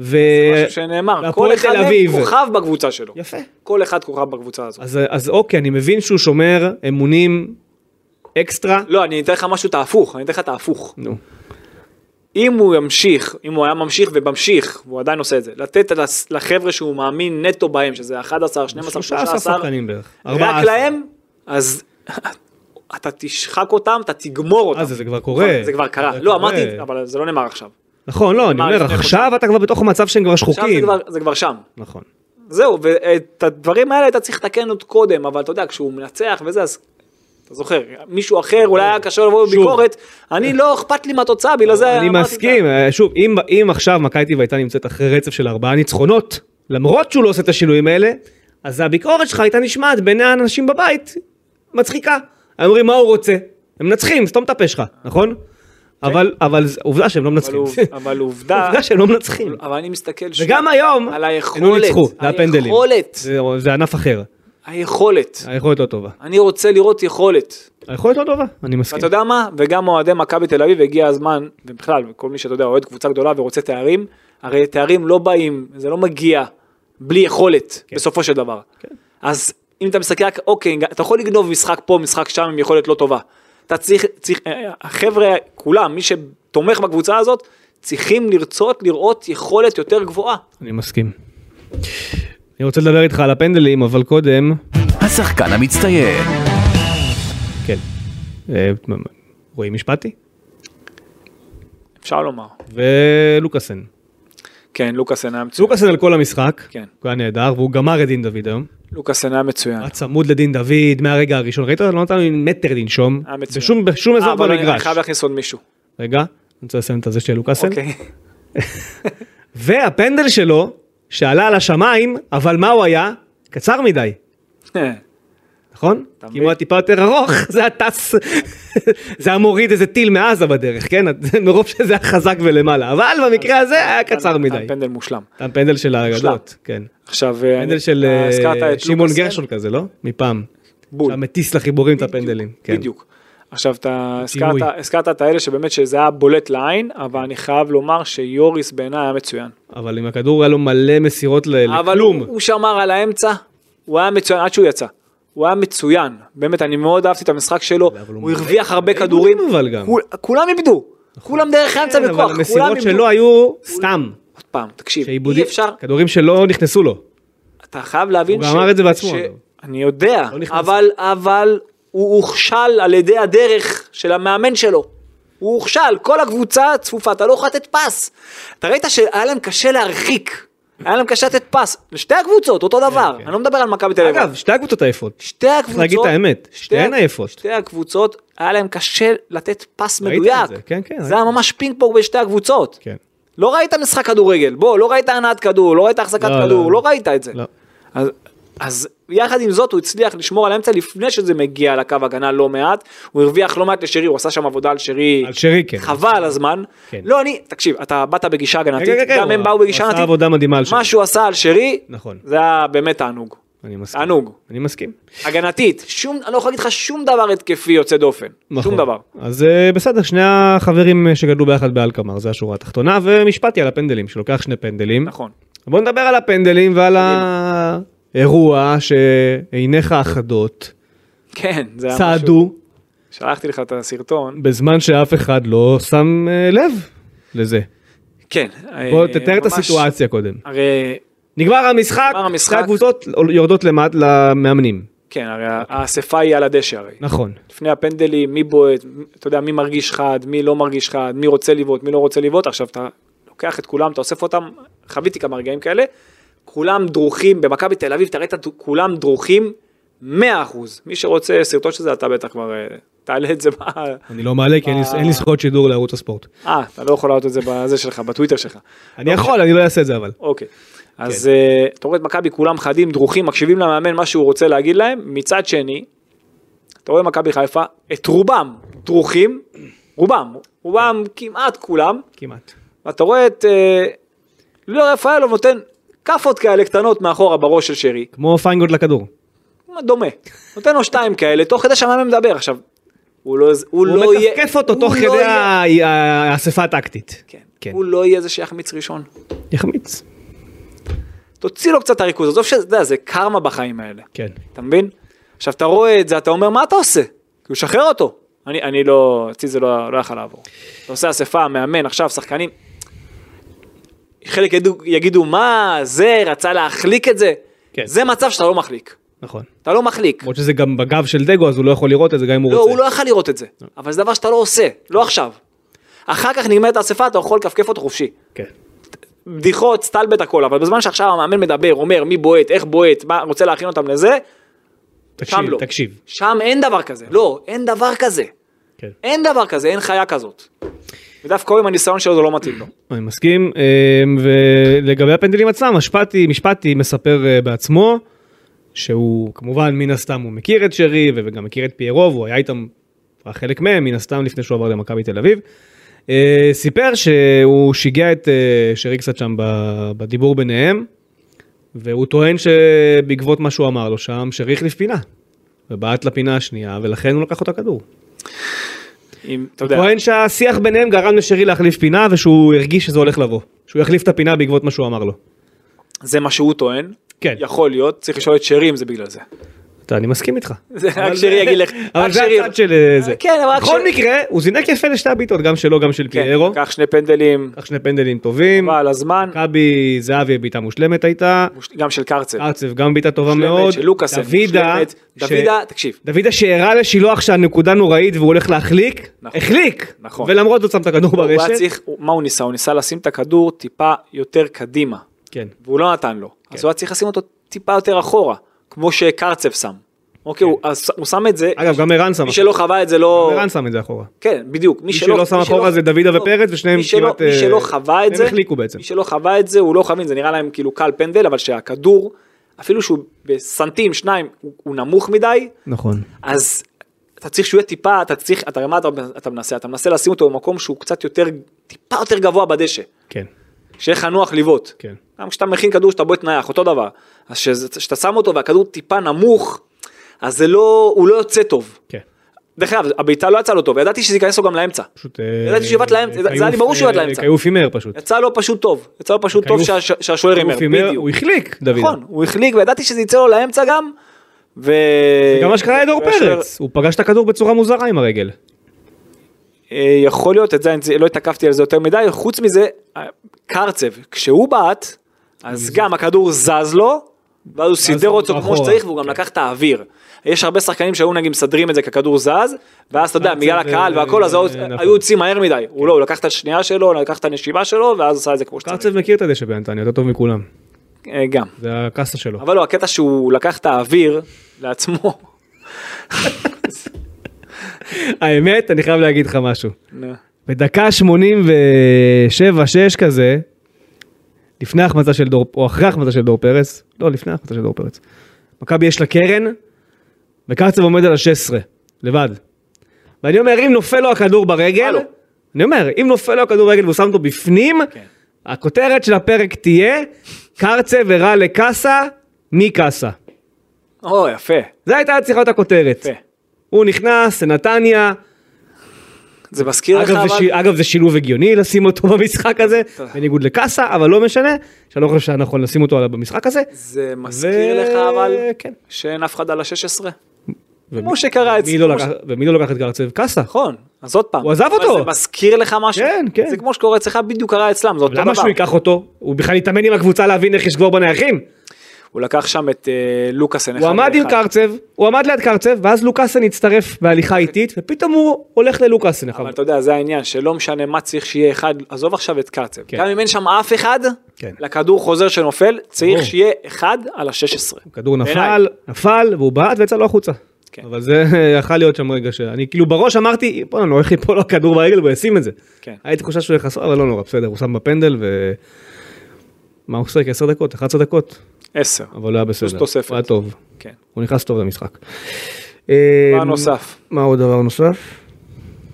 Speaker 2: ו...
Speaker 3: משהו שנאמר, כל
Speaker 2: והפועל
Speaker 3: אחד
Speaker 2: אה, תל
Speaker 3: מהם
Speaker 2: אביב.
Speaker 3: כוכב בקבוצה שלו.
Speaker 2: יפה.
Speaker 3: כל אחד כוכב בקבוצה הזאת.
Speaker 2: אז, אז אוקיי, אני מבין שהוא שומר אמונים אקסטרה.
Speaker 3: לא, אני אתן לך משהו את ההפוך, אני אתן לך את ההפוך.
Speaker 2: נו.
Speaker 3: אם הוא ימשיך, אם הוא היה ממשיך וממשיך, והוא עדיין עושה את זה, לתת לס- לחבר'ה שהוא מאמין נטו בהם, שזה 11, 12,
Speaker 2: 13
Speaker 3: 13,
Speaker 2: שחקנים בערך.
Speaker 3: רק להם, אז אתה תשחק אותם, אתה תגמור אותם.
Speaker 2: אה, זה- זה כבר קורה.
Speaker 3: זה כבר קרה.
Speaker 2: זה
Speaker 3: לא,
Speaker 2: קורה.
Speaker 3: אמרתי, אבל זה לא נאמר עכשיו.
Speaker 2: נכון, לא, אני
Speaker 3: מה,
Speaker 2: אומר,
Speaker 3: לפני
Speaker 2: עכשיו
Speaker 3: חודשיים?
Speaker 2: אתה כבר בתוך מצב שהם כבר
Speaker 3: עכשיו זה
Speaker 2: שחוקים.
Speaker 3: כבר- זה כבר שם.
Speaker 2: נכון.
Speaker 3: זהו, ואת הדברים האלה אתה צריך לתקן עוד קודם, אבל אתה יודע, כשהוא מנצח וזה, אז אתה זוכר, מישהו אחר, אולי היה קשה לבוא
Speaker 2: שוב.
Speaker 3: בביקורת, אני לא אכפת לי מהתוצאה, בגלל זה
Speaker 2: אני
Speaker 3: אמרתי כן.
Speaker 2: מסכים,
Speaker 3: לך.
Speaker 2: אה, שוב, אם- אם עכשיו מכבי תל אביב הייתה נמצאת אחרי רצף של ארבעה ניצחונות, למרות שהוא לא עושה את השינויים האלה, אז הביקורת שלך הייתה נשמעת בין האנשים בבית, מצחיקה. היו אומרים, מה הוא רוצה? הם מנצחים, סתום את הפה שלך, נכון? אבל, אבל זה- עובדה שהם לא
Speaker 3: כן. אבל
Speaker 2: מנצחים.
Speaker 3: עוב- אבל עובדה,
Speaker 2: עובדה שהם לא מנצחים.
Speaker 3: אבל אני מסתכל שוב,
Speaker 2: וגם היום,
Speaker 3: על
Speaker 2: הם
Speaker 3: היכולת,
Speaker 2: לא ניצחו, זה
Speaker 3: על
Speaker 2: הפנדלים.
Speaker 3: היכולת.
Speaker 2: זה- זה ענף אחר.
Speaker 3: היכולת.
Speaker 2: היכולת לא טובה.
Speaker 3: אני רוצה לראות יכולת.
Speaker 2: היכולת לא טובה, אני מסכים.
Speaker 3: ואתה יודע מה? וגם אוהדי מכבי תל אביב, הגיע הזמן, ובכלל, כל מי שאתה יודע, אוהד קבוצה גדולה ורוצה תארים, הרי תארים לא באים, זה לא מגיע בלי יכולת, כן. בסופו של דבר. כן. אז אם אתה מסתכל, רק, אוקיי, אתה יכול לגנוב משחק פה, משחק שם עם יכולת לא טובה. אתה צריך, צריך, אה, החבר'ה, כולם, מי שתומך בקבוצה הזאת, צריכים לרצות לראות יכולת יותר גבוהה.
Speaker 2: אני מסכים. אני רוצה לדבר איתך על הפנדלים, אבל קודם,
Speaker 1: השחקן המצטיין.
Speaker 2: כן. אה, רועי משפטי
Speaker 3: אפשר לומר.
Speaker 2: ולוקאסן.
Speaker 3: כן, לוקאסן היה מצוין.
Speaker 2: לוקאסן על כל המשחק,
Speaker 3: כן.
Speaker 2: הוא היה נהדר, והוא גמר את דין דוד היום.
Speaker 3: לוקאסן היה מצוין.
Speaker 2: היה צמוד לדין דוד מהרגע הראשון, ראית? לא נתן לי מטר לנשום,
Speaker 3: היה מצוין.
Speaker 2: בשום, בשום
Speaker 3: אה,
Speaker 2: אזור
Speaker 3: אבל אני- אני
Speaker 2: במגרש.
Speaker 3: חייב להכניס עוד מישהו.
Speaker 2: רגע, אני רוצה לסיים את הזה של לוקאסן.
Speaker 3: אוקיי.
Speaker 2: והפנדל שלו, שעלה על השמיים, אבל מה הוא היה? קצר מדי,
Speaker 3: אוקיי.
Speaker 2: נכון?
Speaker 3: אתה
Speaker 2: כי
Speaker 3: מבין?
Speaker 2: אם הוא היה טיפה יותר ארוך, זה היה טס, זה היה מוריד איזה טיל מעזה בדרך, כן? מרוב שזה היה חזק ולמעלה, אבל במקרה הזה היה קצר מדי.
Speaker 3: פנדל מושלם.
Speaker 2: אתה פנדל של האגדות, כן.
Speaker 3: עכשיו,
Speaker 2: פנדל של
Speaker 3: אה, הזכרת
Speaker 2: אה,
Speaker 3: את
Speaker 2: שמעון
Speaker 3: לוקאסן?
Speaker 2: גרשון כזה, לא? מפעם.
Speaker 3: בול.
Speaker 2: אתה מטיס לחיבורים את הפנדלים. כן.
Speaker 3: בדיוק. עכשיו אתה
Speaker 2: שינוי.
Speaker 3: הזכרת, הזכרת את האלה שבאמת שזה היה בולט לעין, אבל אני חייב לומר שיוריס בעיניי היה מצוין.
Speaker 2: אבל עם הכדור היה לו מלא מסירות ל-
Speaker 3: אבל
Speaker 2: לכלום.
Speaker 3: הוא, הוא שמר על האמצע, הוא היה מצוין עד שהוא יצא. הוא היה מצוין, באמת, אני מאוד אהבתי את המשחק שלו,
Speaker 2: אבל הוא
Speaker 3: הוא הרוויח הרבה
Speaker 2: איבודים
Speaker 3: כדורים,
Speaker 2: אבל גם.
Speaker 3: כול- כולם איבדו, כולם דרך
Speaker 2: כן,
Speaker 3: אמצע בכוח,
Speaker 2: אבל
Speaker 3: כולם
Speaker 2: המסירות
Speaker 3: איבדו.
Speaker 2: שלו היו סתם.
Speaker 3: עוד פעם, תקשיב,
Speaker 2: שעיבודים-
Speaker 3: אי אפשר,
Speaker 2: כדורים שלא נכנסו לו.
Speaker 3: אתה חייב להבין
Speaker 2: הוא גם אמר את זה בעצמו,
Speaker 3: ש-
Speaker 2: אגב.
Speaker 3: אני יודע,
Speaker 2: לא נכנס.
Speaker 3: אבל, אבל הוא הוכשל על ידי הדרך של המאמן שלו. הוא הוכשל, כל הקבוצה צפופה, אתה לא יכול לתת פס. אתה ראית שהיה להם קשה להרחיק, היה להם קשה לתת פס. לשתי הקבוצות, אותו דבר.
Speaker 2: כן.
Speaker 3: אני לא מדבר על מכבי תל אביב.
Speaker 2: אגב, שתי הקבוצות עייפות.
Speaker 3: שתי הקבוצות,
Speaker 2: להגיד את האמת,
Speaker 3: שתי-
Speaker 2: שתיהן עייפות.
Speaker 3: שתי הקבוצות, היה להם קשה לתת פס
Speaker 2: ראיתי את
Speaker 3: מדויק.
Speaker 2: זה, כן, כן,
Speaker 3: זה
Speaker 2: ראיתי.
Speaker 3: היה ממש פינג פונג בין שתי הקבוצות.
Speaker 2: כן.
Speaker 3: לא ראית משחק כדורגל, בוא, לא ראית הנעת כדור, לא ראית החזקת
Speaker 2: לא,
Speaker 3: כדור,
Speaker 2: לא.
Speaker 3: לא ראית את זה.
Speaker 2: לא.
Speaker 3: אז, אז יחד עם זאת הוא הצליח לשמור על האמצע לפני שזה מגיע לקו הגנה לא מעט, הוא הרוויח לא מעט לשרי, הוא עשה שם עבודה על שרי,
Speaker 2: על שרי, כן.
Speaker 3: חבל הזמן.
Speaker 2: כן.
Speaker 3: לא, אני, תקשיב, אתה באת בגישה הגנתית,
Speaker 2: רגע, רגע,
Speaker 3: גם הם
Speaker 2: הוא-
Speaker 3: באו
Speaker 2: הוא
Speaker 3: בגישה
Speaker 2: עשה
Speaker 3: הגנתית,
Speaker 2: עבודה מדהימה על שרי.
Speaker 3: מה שהוא עשה על שרי,
Speaker 2: נכון.
Speaker 3: זה היה באמת תענוג,
Speaker 2: אני מסכים.
Speaker 3: תענוג.
Speaker 2: אני מסכים.
Speaker 3: הגנתית, שום, אני לא יכול להגיד לך שום דבר התקפי יוצא דופן,
Speaker 2: נכון.
Speaker 3: שום דבר.
Speaker 2: אז אה, בסדר, שני החברים אה, שגדלו ביחד באלקמר, זה השורה התחתונה, ומשפטי על הפנדלים, שלוקח שני פנדלים.
Speaker 3: נכון.
Speaker 2: בוא נדבר על הפנדלים ועל האירוע שעיניך החדות
Speaker 3: כן, זה היה משהו.
Speaker 2: צעדו
Speaker 3: שלחתי לך את הסרטון.
Speaker 2: בזמן שאף אחד לא שם אה, לב לזה.
Speaker 3: כן.
Speaker 2: בוא
Speaker 3: אה,
Speaker 2: תתאר את
Speaker 3: ממש-
Speaker 2: הסיטואציה קודם.
Speaker 3: הרי
Speaker 2: נגמר המשחק,
Speaker 3: נגמר המשחק.
Speaker 2: שתי הקבוצות יורדות למט למאמנים.
Speaker 3: כן, הרי האספה היא על הדשא הרי.
Speaker 2: נכון.
Speaker 3: לפני הפנדלים, מי בועט, מ- אתה יודע, מי מרגיש חד, מי לא מרגיש חד, מי רוצה לבעוט, מי לא רוצה לבעוט, עכשיו אתה לוקח את כולם, אתה אוסף אותם, חוויתי כמה רגעים כאלה, כולם דרוכים, במכבי תל אביב, אתה ראית, את כולם דרוכים 100%. מי שרוצה סרטון של זה, אתה בטח כבר, אה, תעלה את זה, ב-
Speaker 2: אני לא מעלה כי אין לי- אין לי זכויות שידור לערוץ הספורט.
Speaker 3: אה, אתה לא יכול לעלות את זה בזה שלך, בטוויטר שלך.
Speaker 2: אני יכול, אני לא אעשה את זה אבל.
Speaker 3: אוקיי.
Speaker 2: כן.
Speaker 3: אז אה, אתה רואה את מכבי כולם חדים, דרוכים, מקשיבים למאמן מה שהוא רוצה להגיד להם. מצד שני, אתה רואה מכבי חיפה, את רובם דרוכים, רובם, רובם כמעט כולם,
Speaker 2: כמעט.
Speaker 3: ואתה רואה את אה, לואי רפאלוב נותן כאפות כאלה קטנות מאחורה בראש של שרי,
Speaker 2: כמו פיינגולד לכדור.
Speaker 3: דומה, נותן לו שתיים כאלה, תוך כדי שהמאמן מדבר. עכשיו, הוא לא, הוא
Speaker 2: הוא
Speaker 3: לא יהיה...
Speaker 2: מתקף אותו
Speaker 3: הוא
Speaker 2: תוך
Speaker 3: לא
Speaker 2: כדי
Speaker 3: יהיה-
Speaker 2: ה- ה- האספה הטקטית.
Speaker 3: כן.
Speaker 2: כן.
Speaker 3: הוא לא יהיה זה שיחמיץ ראשון.
Speaker 2: יחמיץ.
Speaker 3: תוציא לו קצת את הריכוז, עזוב שזה, אתה יודע, זה קרמה בחיים האלה.
Speaker 2: כן.
Speaker 3: אתה מבין? עכשיו אתה רואה את זה, אתה אומר, מה אתה עושה? כאילו, שחרר אותו. אני, אני לא, אצלי זה לא, לא יכול לעבור. אתה עושה אספה, מאמן, עכשיו, שחקנים. חלק יגידו, יגידו, מה, זה, רצה להחליק את זה.
Speaker 2: כן.
Speaker 3: זה מצב שאתה לא מחליק.
Speaker 2: נכון.
Speaker 3: אתה לא מחליק.
Speaker 2: למרות שזה גם בגב של דגו אז הוא לא יכול לראות את זה גם אם הוא
Speaker 3: לא,
Speaker 2: רוצה.
Speaker 3: הוא לא יכל לראות את זה. אבל זה דבר שאתה לא עושה, לא עכשיו. אחר כך נגמרת האספה, אתה יכול לקפקף אותו חופשי.
Speaker 2: כן.
Speaker 3: בדיחות, סטלבט, הכל, אבל בזמן שעכשיו המאמן מדבר, אומר מי בועט, איך בועט, מה, רוצה להכין אותם לזה,
Speaker 2: תקשיב,
Speaker 3: שם לא.
Speaker 2: תקשיב.
Speaker 3: שם אין דבר כזה. לא, אין דבר כזה.
Speaker 2: כן.
Speaker 3: אין דבר כזה, אין חיה כזאת. ודווקא הוא עם הניסיון שלו זה לא מתאים לו.
Speaker 2: אני מסכים, אה, ולגבי הפנדלים עצמם, משפטי, משפטי מספר אה, בעצמו, שהוא כמובן מן הסתם הוא מכיר את שרי וגם מכיר את פיירו, והוא היה איתם, הוא היה חלק מהם מן הסתם לפני שהוא עבר למכבי תל אביב. אה, סיפר שהוא שיגע את אה, שרי קצת שם ב- בדיבור ביניהם, והוא טוען שבעקבות מה שהוא אמר לו שם, שרי החליף פינה. ובעט לפינה השנייה, ולכן הוא לקח אותה כדור.
Speaker 3: אם, אתה
Speaker 2: הוא
Speaker 3: יודע,
Speaker 2: טוען שהשיח ביניהם גרם לשרי להחליף פינה, ושהוא הרגיש שזה הולך לבוא. שהוא יחליף את הפינה בעקבות מה שהוא אמר לו.
Speaker 3: זה מה שהוא טוען.
Speaker 2: כן.
Speaker 3: יכול להיות, צריך לשאול את שרי אם זה בגלל זה.
Speaker 2: אתה, אני מסכים איתך.
Speaker 3: זה רק
Speaker 2: אבל-
Speaker 3: שרי יגיד לך,
Speaker 2: אבל
Speaker 3: רק
Speaker 2: זה
Speaker 3: שרי-
Speaker 2: הצד של אה, זה.
Speaker 3: כן, אבל רק
Speaker 2: בכל
Speaker 3: שרי-
Speaker 2: מקרה, הוא זינק יפה לשתי הבעיטות, גם שלו, גם של
Speaker 3: כן,
Speaker 2: פיירו.
Speaker 3: קח שני פנדלים,
Speaker 2: קח שני פנדלים טובים.
Speaker 3: אבל הזמן,
Speaker 2: מכבי זהבי בעיטה מושלמת הייתה.
Speaker 3: גם של קרצב.
Speaker 2: ארצב גם בעיטה טובה
Speaker 3: מושלמת,
Speaker 2: מאוד.
Speaker 3: של לוקאסן,
Speaker 2: דוידה,
Speaker 3: מושלמת.
Speaker 2: ש-
Speaker 3: דוידה, תקשיב.
Speaker 2: דוידה שהראה לשילוח שהנקודה נוראית והוא הולך להחליק.
Speaker 3: נכון.
Speaker 2: החליק.
Speaker 3: נכון.
Speaker 2: ולמרות זאת שם את הכדור
Speaker 3: הוא היה
Speaker 2: ברשת.
Speaker 3: צריך, הוא- מה הוא ניסה? הוא ניסה לשים את הכדור טיפה יותר קדימה,
Speaker 2: כן.
Speaker 3: והוא לא נתן לו. אז הוא היה צריך לשים אותו טיפה יותר אחורה, כמו שקרצב שם. אוקיי, הוא- אז הוא שם את זה,
Speaker 2: כן. אגב, גם ערן שם.
Speaker 3: מי שלא חווה את זה לא...
Speaker 2: ערן שם את זה אחורה.
Speaker 3: כן, בדיוק. מי
Speaker 2: שלא שם
Speaker 3: מי
Speaker 2: אחורה זה דוידה
Speaker 3: לא,
Speaker 2: ופרץ, ושניהם
Speaker 3: מי שלא-
Speaker 2: כמעט,
Speaker 3: מי
Speaker 2: אה,
Speaker 3: שלא חווה את
Speaker 2: הם
Speaker 3: זה,
Speaker 2: החליקו בעצם.
Speaker 3: מי שלא חווה את זה, הוא לא חווין, זה נראה להם כאילו קל פנדל, אבל שהכדור, אפילו שהוא בסנטים, שניים, הוא- הוא נמוך מדי,
Speaker 2: נכון.
Speaker 3: אז אתה צריך שהוא יהיה טיפה, אתה צריך, אתה הרי מה אתה, אתה מנסה? אתה מנסה לשים אותו במקום שהוא קצת יותר, טיפה יותר גבוה בדשא,
Speaker 2: כן.
Speaker 3: שיהיה לך נוח לבעוט.
Speaker 2: כן.
Speaker 3: גם כשאתה מכין כדור שאתה בועט נייח, אותו דבר. אז שזה- כשאתה שם אותו והכדור טיפה נמוך, אז זה לא, הוא לא יוצא טוב.
Speaker 2: כן.
Speaker 3: דרך אגב, הבעיטה לא יצאה לו טוב, ידעתי שזה ייכנס לו גם לאמצע.
Speaker 2: פשוט... אה,
Speaker 3: ידעתי שהוא יבעט לאמצע, זה היה לי
Speaker 2: כיוף,
Speaker 3: ברור שהוא יבעט
Speaker 2: אה,
Speaker 3: לאמצע.
Speaker 2: כיוף הימר פשוט.
Speaker 3: יצא לו פשוט טוב, יצא לו פשוט טוב
Speaker 2: כיוף-
Speaker 3: שה- שה- שהשוער הימר,
Speaker 2: כיוף הימר,
Speaker 3: בדיוק.
Speaker 2: הוא החליק, דוידה.
Speaker 3: נכון, הוא החליק וידעתי שזה יצא לו לאמצע גם. ו...
Speaker 2: גם מה
Speaker 3: אה,
Speaker 2: שקרה לדור
Speaker 3: והשוער-
Speaker 2: פרץ, הוא פגש את הכדור בצורה מוזרה עם הרגל.
Speaker 3: אה, יכול להיות, את זה אני לא התעכבתי על זה יותר מדי, חוץ מזה, אה, קרצב, כשהוא בעט, אז גם הכדור זז לו, ואז הוא סידר
Speaker 2: הוא
Speaker 3: אותו כמו
Speaker 2: אחורה.
Speaker 3: שצריך, והוא גם
Speaker 2: כן.
Speaker 3: לקח את האוויר. יש הרבה שחקנים שהיו נגיד מסדרים את זה ככדור זז, ואז אתה יודע,
Speaker 2: קרצב,
Speaker 3: בגלל
Speaker 2: אה,
Speaker 3: הקהל והכל, אז היו-
Speaker 2: נכון.
Speaker 3: היו יוצאים מהר מדי. הוא לא, הוא לקח את השנייה שלו, לקח את הנשימה שלו, ואז עשה את זה כמו שצריך.
Speaker 2: קרצב מכיר את הדשא בנתניה, יותר טוב מכולם.
Speaker 3: אה, גם.
Speaker 2: זה הקאסה שלו.
Speaker 3: אבל לא, הקטע שהוא לקח את האוויר לעצמו.
Speaker 2: האמת, אני חייב להגיד לך משהו.
Speaker 3: נו,
Speaker 2: בדקה 87-6 כזה, לפני ההחמצה של דור, או אחרי ההחמצה של דור פרץ, לא, לפני ההחמצה של דור פרץ. מכבי יש לה קרן, וקרצב עומד על ה-16, לבד. ואני אומר, אם נופל לו הכדור ברגל,
Speaker 3: הלו.
Speaker 2: אני אומר, אם נופל לו הכדור ברגל והוא שם אותו בפנים,
Speaker 3: כן.
Speaker 2: הכותרת של הפרק תהיה, קרצב הראה לקאסה מקאסה.
Speaker 3: או, יפה,
Speaker 2: זו הייתה צריכה להיות הכותרת.
Speaker 3: יפה.
Speaker 2: הוא נכנס לנתניה,
Speaker 3: זה מזכיר לך,
Speaker 2: אגב, זה, ש...
Speaker 3: אבל...
Speaker 2: אגב, זה שילוב הגיוני לשים אותו במשחק הזה, בניגוד לקאסה, אבל לא משנה, שאני לא חושב שהיה נכון לשים אותו עליו במשחק הזה.
Speaker 3: זה מזכיר לך, אבל...
Speaker 2: כן.
Speaker 3: שאין אף אחד על ה-16.
Speaker 2: ומי-
Speaker 3: כמו שקרה אצלי,
Speaker 2: מי לא
Speaker 3: כמו
Speaker 2: לקח- ומי לא לקח את גרצב? קאסה.
Speaker 3: נכון, אז עוד פעם.
Speaker 2: הוא עזב
Speaker 3: אבל
Speaker 2: אותו.
Speaker 3: זה מזכיר לך משהו?
Speaker 2: כן, כן.
Speaker 3: זה כמו שקורה אצלך, בדיוק קרה אצלם, זה אותו דבר.
Speaker 2: למה שהוא ייקח אותו? הוא בכלל יתאמן עם הקבוצה להבין איך יש גבור בנייחים.
Speaker 3: הוא לקח שם את אה, לוקאסן
Speaker 2: הוא
Speaker 3: אחד
Speaker 2: עמד עם
Speaker 3: לאחד.
Speaker 2: קרצב, הוא עמד ליד קרצב, ואז לוקאסן הצטרף בהליכה איטית, ופתאום הוא הולך נכון. ללוקאסן.
Speaker 3: אוקיי. אבל
Speaker 2: אחריו.
Speaker 3: אתה יודע, זה העניין, שלא משנה מה צריך שיהיה אחד, עזוב עכשיו את קרצב.
Speaker 2: כן.
Speaker 3: גם אם אין שם אף אחד,
Speaker 2: כן.
Speaker 3: לכדור חוזר שנופל, צריך
Speaker 2: ברור. אוקיי.
Speaker 3: שיהיה אחד על ה-16.
Speaker 2: הכדור נפל, נפל, והוא בעט ויצא לו החוצה.
Speaker 3: כן.
Speaker 2: אבל זה יכול להיות שם רגע שאני כאילו בראש אמרתי בוא'נה נו איך יפול לו הכדור ברגל והוא ישים את זה.
Speaker 3: כן.
Speaker 2: הייתי תחושה שהוא יחסר אבל לא נורא בסדר הוא שם בפנדל ו... מה הוא שיחק 10 דקות 11 דקות
Speaker 3: 10.
Speaker 2: אבל לא היה בסדר.
Speaker 3: פלוס תוספת.
Speaker 2: הוא היה טוב.
Speaker 3: כן.
Speaker 2: הוא נכנס טוב למשחק.
Speaker 3: דבר
Speaker 2: אה,
Speaker 3: נוסף,
Speaker 2: מה עוד דבר נוסף?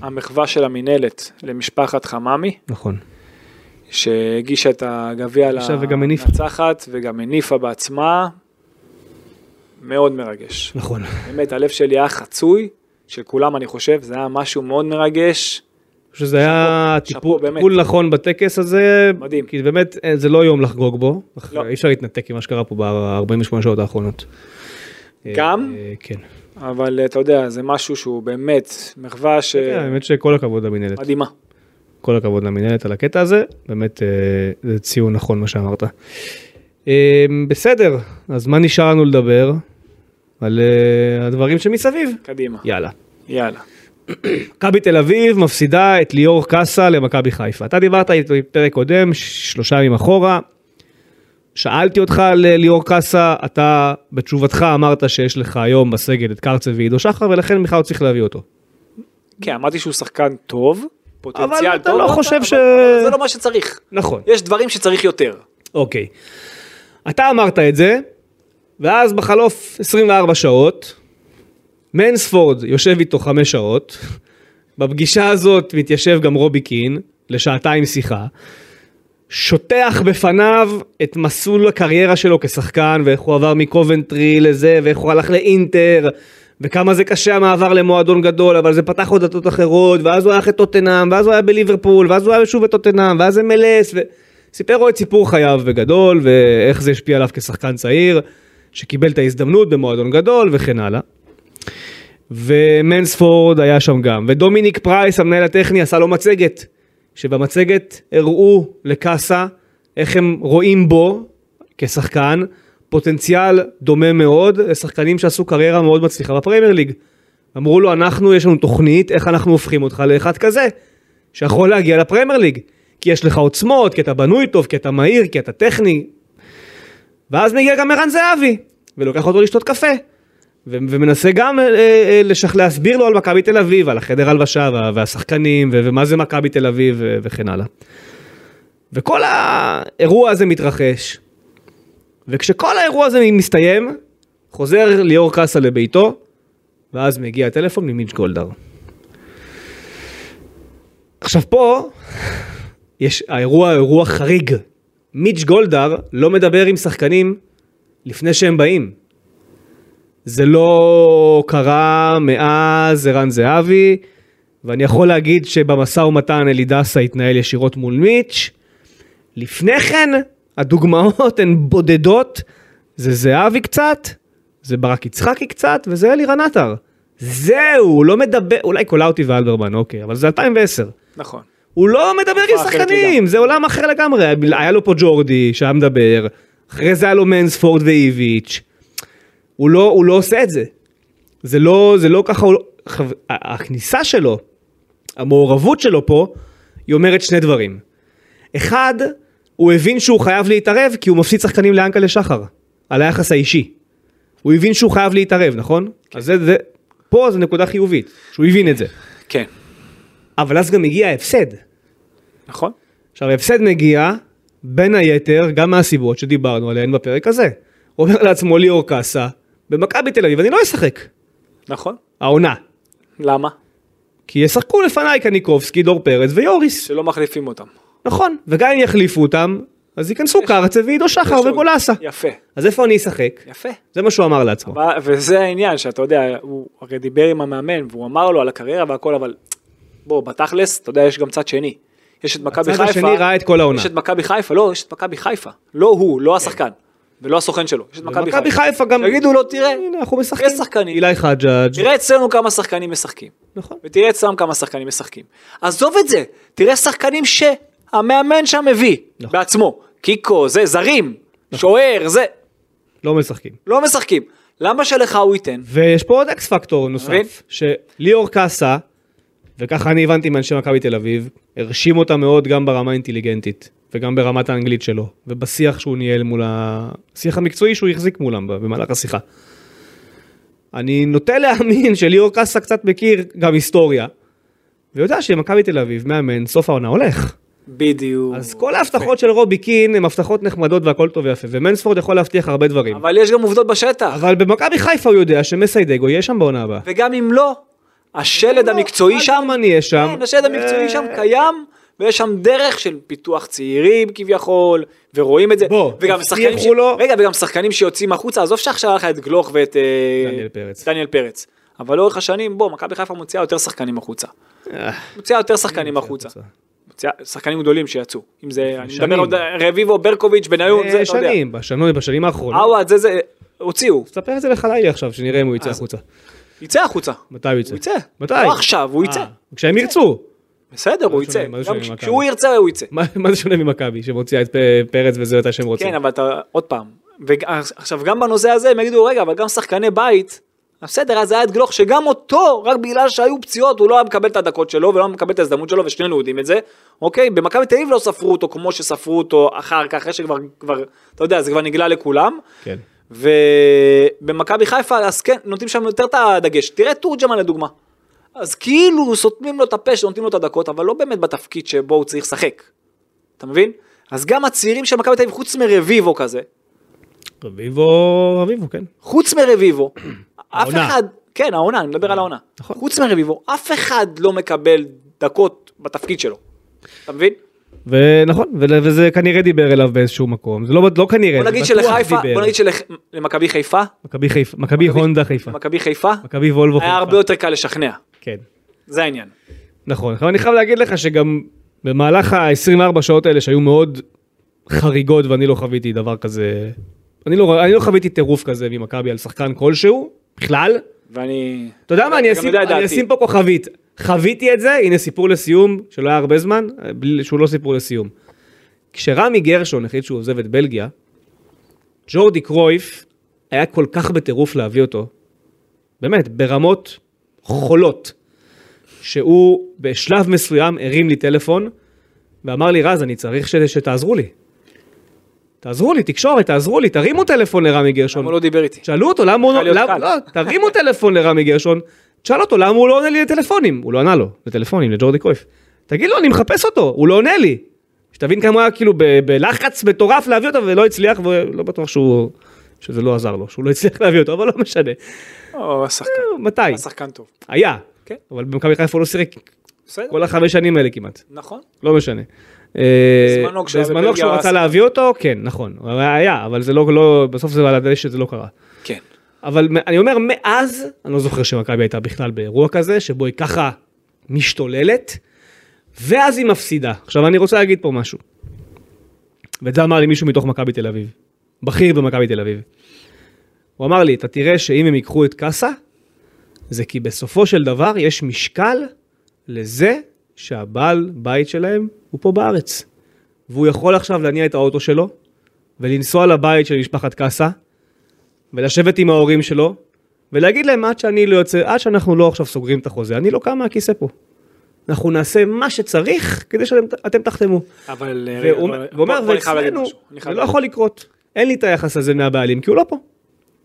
Speaker 3: המחווה של המינהלת למשפחת חממי,
Speaker 2: נכון.
Speaker 3: שהגישה את הגביע
Speaker 2: הגישה וגם הניפה.
Speaker 3: לנצחת וגם הניפה בעצמה. מאוד מרגש.
Speaker 2: נכון.
Speaker 3: באמת, הלב שלי היה חצוי, של כולם אני חושב, זה היה משהו מאוד מרגש.
Speaker 2: שזה היה
Speaker 3: שאפו,
Speaker 2: טיפול
Speaker 3: באמת.
Speaker 2: טיפול נכון בטקס הזה.
Speaker 3: מדהים.
Speaker 2: כי באמת אה, זה לא יום לחגוג בו. אך-
Speaker 3: לא.
Speaker 2: אי אפשר להתנתק ממה שקרה פה ב-48 שעות האחרונות.
Speaker 3: גם?
Speaker 2: אה, כן.
Speaker 3: אבל אה, אתה יודע, זה משהו שהוא באמת מחווה ש...
Speaker 2: כן, האמת שכל הכבוד למינהלת,
Speaker 3: מדהימה.
Speaker 2: כל הכבוד למינהלת על הקטע הזה, באמת אה, זה ציון נכון מה שאמרת. אה, בסדר, אז מה נשאר לנו לדבר? על אה, הדברים שמסביב.
Speaker 3: קדימה.
Speaker 2: יאללה.
Speaker 3: יאללה.
Speaker 2: מכבי תל אביב מפסידה את ליאור קאסה למכבי חיפה. אתה דיברת איתו בפרק קודם, ש- שלושה ימים אחורה. שאלתי אותך על אה, ליאור קאסה, אתה בתשובתך אמרת שיש לך היום בסגל את קרצב ועידו שחר ולכן בכלל לא צריך להביא אותו.
Speaker 3: כן, אמרתי שהוא שחקן טוב, פוטנציאל טוב.
Speaker 2: אתה לא
Speaker 3: אבל-
Speaker 2: חושב
Speaker 3: אבל-
Speaker 2: ש-
Speaker 3: אבל זה לא מה שצריך.
Speaker 2: נכון.
Speaker 3: יש דברים שצריך יותר.
Speaker 2: אוקיי. אתה אמרת את זה, ואז בחלוף 24 שעות, מנספורד יושב איתו חמש שעות, בפגישה הזאת מתיישב גם רובי קין, לשעתיים שיחה, שוטח בפניו את מסלול הקריירה שלו כשחקן, ואיך הוא עבר מקובנטרי לזה, ואיך הוא הלך לאינטר, וכמה זה קשה המעבר למועדון גדול, אבל זה פתח עוד דלתות אחרות, ואז הוא הלך לטוטנאם, ואז הוא היה בליברפול, ואז הוא היה שוב בטוטנאם, ואז MLS, וסיפר לו את סיפור חייו בגדול, ואיך זה השפיע עליו כשחקן צעיר, שקיבל את ההזדמנות במועדון גדול, וכן הלאה. ומנספורד היה שם גם, ודומיניק פרייס, המנהל הטכני, עשה לו מצגת, שבמצגת הראו לקאסה איך הם רואים בו כשחקן, פוטנציאל דומה מאוד לשחקנים שעשו קריירה מאוד מצליחה בפרמייר ליג. אמרו לו, אנחנו, יש לנו תוכנית, איך אנחנו הופכים אותך לאחד כזה, שיכול להגיע לפרמייר ליג, כי יש לך עוצמות, כי אתה בנוי טוב, כי אתה מהיר, כי אתה טכני. ואז מגיע גם ערן זהבי, ולוקח אותו לשתות קפה. ו- ומנסה גם אה, אה, לשכ... להסביר לו על מכבי תל אביב, על החדר הלבשה וה- והשחקנים ו- ומה זה מכבי תל אביב ו- וכן הלאה. וכל האירוע הזה מתרחש, וכשכל האירוע הזה מסתיים, חוזר ליאור קאסה לביתו, ואז מגיע הטלפון ממיץ' גולדהר. עכשיו פה, יש, האירוע הוא אירוע חריג. מיץ' גולדהר לא מדבר עם שחקנים לפני שהם באים. זה לא קרה מאז ערן זהבי, ואני יכול להגיד שבמשא ומתן אלי דסה התנהל ישירות מול מיץ'. לפני כן, הדוגמאות הן בודדות, זה זהבי קצת, זה ברק יצחקי קצת, וזה אלירן עטר. זהו, הוא לא מדבר, אולי קולאוטי ואלברמן, אוקיי, אבל זה 2010.
Speaker 3: נכון.
Speaker 2: הוא לא מדבר עם
Speaker 3: אחרת
Speaker 2: שחקנים,
Speaker 3: לגמרי.
Speaker 2: זה עולם אחר לגמרי. היה לו פה ג'ורדי שהיה מדבר, אחרי זה היה לו מנספורד ואיביץ'. הוא לא, הוא לא עושה את זה. זה לא, זה לא ככה, הוא לא... חו... ה- הכניסה שלו, המעורבות שלו פה, היא אומרת שני דברים. אחד, הוא הבין שהוא חייב להתערב כי הוא מפסיד שחקנים לאנקלה שחר, על היחס האישי. הוא הבין שהוא חייב להתערב, נכון? כן. אז זה, זה, פה זו נקודה חיובית, שהוא הבין את זה.
Speaker 3: כן.
Speaker 2: אבל אז גם הגיע ההפסד.
Speaker 3: נכון?
Speaker 2: עכשיו ההפסד מגיע בין היתר גם מהסיבות שדיברנו עליהן בפרק הזה. אומר לעצמו ליאור קאסה, במכבי תל אביב אני לא אשחק,
Speaker 3: נכון.
Speaker 2: העונה.
Speaker 3: למה?
Speaker 2: כי ישחקו לפניי קניקובסקי, דור פרץ ויוריס,
Speaker 3: שלא מחליפים אותם.
Speaker 2: נכון. וגם אם יחליפו אותם, אז ייכנסו קרצה ועידו שחר
Speaker 3: יש עוד-
Speaker 2: וגולסה.
Speaker 3: יפה,
Speaker 2: אז איפה אני אשחק?
Speaker 3: יפה.
Speaker 2: זה מה שהוא אמר לעצמו.
Speaker 3: ו- וזה העניין שאתה יודע, הוא הרי דיבר עם המאמן והוא אמר לו על הקריירה והכל, אבל בוא, בתכלס, אתה יודע, יש גם צד שני. יש את מכבי חיפה.
Speaker 2: הצד השני ראה את כל העונה.
Speaker 3: יש את מכבי חיפה, לא, יש את מכבי חיפה. לא הוא, לא השחקן. ולא הסוכן שלו. יש את
Speaker 2: מכבי חיפה גם...
Speaker 3: תגידו לו, תראה,
Speaker 2: הנה אנחנו משחקים.
Speaker 3: יש שחקנים.
Speaker 2: אילי חג'אג'.
Speaker 3: תראה אצלנו כמה שחקנים משחקים.
Speaker 2: נכון.
Speaker 3: ותראה אצלם כמה שחקנים משחקים. עזוב את זה, תראה שחקנים שהמאמן שם מביא,
Speaker 2: נכון.
Speaker 3: בעצמו. קיקו, זה, זרים, שוער, זה,
Speaker 2: לא משחקים.
Speaker 3: לא משחקים. למה שלך הוא ייתן?
Speaker 2: ויש פה עוד אקס פקטור
Speaker 3: מבין?
Speaker 2: נוסף, שליאור קאסה, וככה אני הבנתי מאנשי מכבי תל אביב, הרשים אותה מאוד גם ברמה האינטליגנטית, וגם ברמת האנגלית שלו, ובשיח שהוא ניהל מול ה... השיח המקצועי שהוא החזיק מולם במהלך השיחה. אני נוטה להאמין שליאור קאסה קצת מכיר גם היסטוריה, ויודע שמכבי תל אביב מאמן סוף העונה הולך.
Speaker 3: בדיוק.
Speaker 2: אז כל ההבטחות של רובי קין הן הבטחות נחמדות והכל טוב ויפה, ומנספורד יכול להבטיח הרבה דברים.
Speaker 3: אבל יש גם עובדות בשטח,
Speaker 2: אבל במכבי חיפה הוא יודע שמסיידגו יהיה שם בעונה הבאה.
Speaker 3: וגם אם לא, השלד
Speaker 2: לא,
Speaker 3: המקצועי שם,
Speaker 2: אלברמן יהיה שם. אה.
Speaker 3: כן, השלד המקצועי שם קיים, ויש שם דרך של פיתוח צעירים כביכול, ורואים את זה,
Speaker 2: בוא,
Speaker 3: וגם
Speaker 2: הבטיחו
Speaker 3: שחקנים, ש...
Speaker 2: לו-
Speaker 3: רגע, וגם שחקנים שיוצאים החוצה, עזוב שעכשיו היה לך את גלוך ואת אה,
Speaker 2: דניאל פרץ.
Speaker 3: דניאל פרץ. אבל לאורך השנים, בוא, מכבי חיפה מוציאה יותר שחקנים החוצה.
Speaker 2: אה,
Speaker 3: מוציאה יותר שחקנים החוצה. מוציאה- שחקנים גדולים שיצאו. אם זה, אני
Speaker 2: שנים. אה,
Speaker 3: מדבר עוד, רביבו, ברקוביץ', בניון, זה, אתה יודע. אה,
Speaker 2: שנים, בשנים, בשנים האחרונות.
Speaker 3: עווד, זה, זה, הוציאו.
Speaker 2: תספר את זה לחלילי עכשיו, שנראה אם הוא יצא החוצה.
Speaker 3: יצא החוצה.
Speaker 2: מתי הוא יצא?
Speaker 3: אה, הוא יצא.
Speaker 2: מתי?
Speaker 3: לא עכשיו, הוא יצא.
Speaker 2: אה, כשהם ירצו.
Speaker 3: בסדר, הוא
Speaker 2: לא שונה,
Speaker 3: יצא.
Speaker 2: מה זה
Speaker 3: גם
Speaker 2: שונה ממכבי?
Speaker 3: כשהוא ירצה, הוא יצא.
Speaker 2: מה מה זה שונה ממכבי, שמוציאה את פ- פרץ וזה מתי שהם רוצים.
Speaker 3: כן, אבל אתה, עוד פעם, ועכשיו גם בנושא הזה הם יגידו, רגע, אבל גם שחקני בית, אז בסדר, אז היה את גלוך, שגם אותו, רק בגלל שהיו פציעות, הוא לא היה מקבל את הדקות שלו, ולא היה מקבל את ההזדמנות שלו, ושנינו יודעים את זה, אוקיי? במכבי תל אביב לא ספרו אותו כמו שספרו אותו אחר כך, אחרי שכבר, כבר, אתה יודע, זה כבר נגלה לכולם.
Speaker 2: כן.
Speaker 3: ובמכבי חיפה, אז כן, נותנים שם יותר את הדגש. תראה את תורג'מן לדוגמה. אז כאילו סותמים לו את הפה, שנותנים לו את הדקות, אבל לא באמת בתפקיד שבו הוא צריך לשחק. אתה מבין? אז גם הצעירים של מכבי תל אביב, חוץ מרביבו כזה,
Speaker 2: רביבו, רביבו, כן.
Speaker 3: חוץ מרביבו, אף
Speaker 2: העונה.
Speaker 3: אחד, כן העונה, אני מדבר על העונה,
Speaker 2: נכון. כן,
Speaker 3: חוץ מרביבו, אף אחד לא מקבל דקות בתפקיד שלו, אתה מבין?
Speaker 2: ונכון, ול- וזה כנראה דיבר אליו באיזשהו מקום, זה לא, לא כנראה, זה
Speaker 3: בוא נגיד
Speaker 2: בטוח
Speaker 3: שלחיפה,
Speaker 2: דיבר.
Speaker 3: בוא נגיד שלמכבי חיפה,
Speaker 2: מכבי חיפה, מכבי הונדה חיפה,
Speaker 3: מכבי חיפה,
Speaker 2: מכבי וולבו חיפה,
Speaker 3: היה הרבה יותר קל לשכנע,
Speaker 2: כן,
Speaker 3: זה העניין.
Speaker 2: נכון, אבל אני חייב להגיד לך שגם במהלך ה-24 שעות האלה שהיו מאוד חריגות ואני לא חוויתי דבר כזה, אני לא, אני לא חוויתי טירוף כזה ממכבי על שחקן כלשהו, בכלל,
Speaker 3: ואני...
Speaker 2: אתה יודע מה, אני
Speaker 3: גם
Speaker 2: אשים,
Speaker 3: יודע את
Speaker 2: אני
Speaker 3: דעתי.
Speaker 2: אשים פה כוכבית. חוויתי את זה, הנה סיפור לסיום, שלא היה הרבה זמן, בלי, שהוא לא סיפור לסיום. כשרמי גרשון החליט שהוא עוזב את בלגיה, ג'ורדי קרויף היה כל כך בטירוף להביא אותו, באמת, ברמות חולות, שהוא בשלב מסוים הרים לי טלפון ואמר לי, רז, אני צריך ש- שתעזרו לי. תעזרו לי, תקשורת, תעזרו לי, תרימו טלפון לרמי גרשון.
Speaker 3: למה הוא לא דיבר איתי?
Speaker 2: שאלו אותו למה הוא
Speaker 3: יכול
Speaker 2: לא...
Speaker 3: להיות
Speaker 2: למה-
Speaker 3: קל.
Speaker 2: לא, תרימו טלפון לרמי גרשון, תשאל אותו למה הוא לא עונה לי לטלפונים. הוא לא ענה לו, לטלפונים, לג'ורדי קרויף. תגיד לו, אני מחפש אותו, הוא לא עונה לי. שתבין כמה הוא היה כאילו ב- בלחץ מטורף להביא אותו ולא הצליח, ולא לא בטוח שהוא... שזה לא עזר לו, שהוא לא הצליח להביא אותו, אבל לא משנה.
Speaker 3: או, השחקן,
Speaker 2: מתי?
Speaker 3: השחקן טוב.
Speaker 2: היה.
Speaker 3: כן.
Speaker 2: אבל במכבי חיפה הוא לא שיחק
Speaker 3: בסדר,
Speaker 2: כל החמש שנים האלה כמעט.
Speaker 3: נכון.
Speaker 2: לא משנה. אה,
Speaker 3: בזמנו כשהיה
Speaker 2: בזמנו
Speaker 3: בבלגיה
Speaker 2: כשהוא
Speaker 3: הוא
Speaker 2: רצה
Speaker 3: עשה.
Speaker 2: להביא אותו, כן, נכון. הוא היה, אבל זה לא- לא... בסוף זה על הדשא, זה לא קרה.
Speaker 3: כן.
Speaker 2: אבל מ- אני אומר, מאז, אני לא זוכר שמכבי הייתה בכלל באירוע כזה, שבו היא ככה משתוללת, ואז היא מפסידה. עכשיו, אני רוצה להגיד פה משהו. ואת זה אמר לי מישהו מתוך מכבי תל אביב. בכיר במכבי תל אביב. הוא אמר לי, אתה תראה שאם הם ייקחו את קאסה, זה כי בסופו של דבר יש משקל לזה שהבעל בית שלהם הוא פה בארץ. והוא יכול עכשיו להניע את האוטו שלו, ולנסוע לבית של משפחת קאסה, ולשבת עם ההורים שלו, ולהגיד להם עד שאני לא יוצא, עד שאנחנו לא עכשיו סוגרים את החוזה, אני לא קם מהכיסא פה. אנחנו נעשה מה שצריך כדי שאתם אתם תחתמו.
Speaker 3: אבל אה, רגע,
Speaker 2: והוא
Speaker 3: בוא-
Speaker 2: והוא אומר,
Speaker 3: בוא- בוא, אני חייב להגיד
Speaker 2: ואצלנו
Speaker 3: משהו. אני
Speaker 2: זה
Speaker 3: חייב
Speaker 2: לא
Speaker 3: להגיד.
Speaker 2: יכול לקרות. אין לי את היחס הזה מהבעלים, כי הוא לא פה.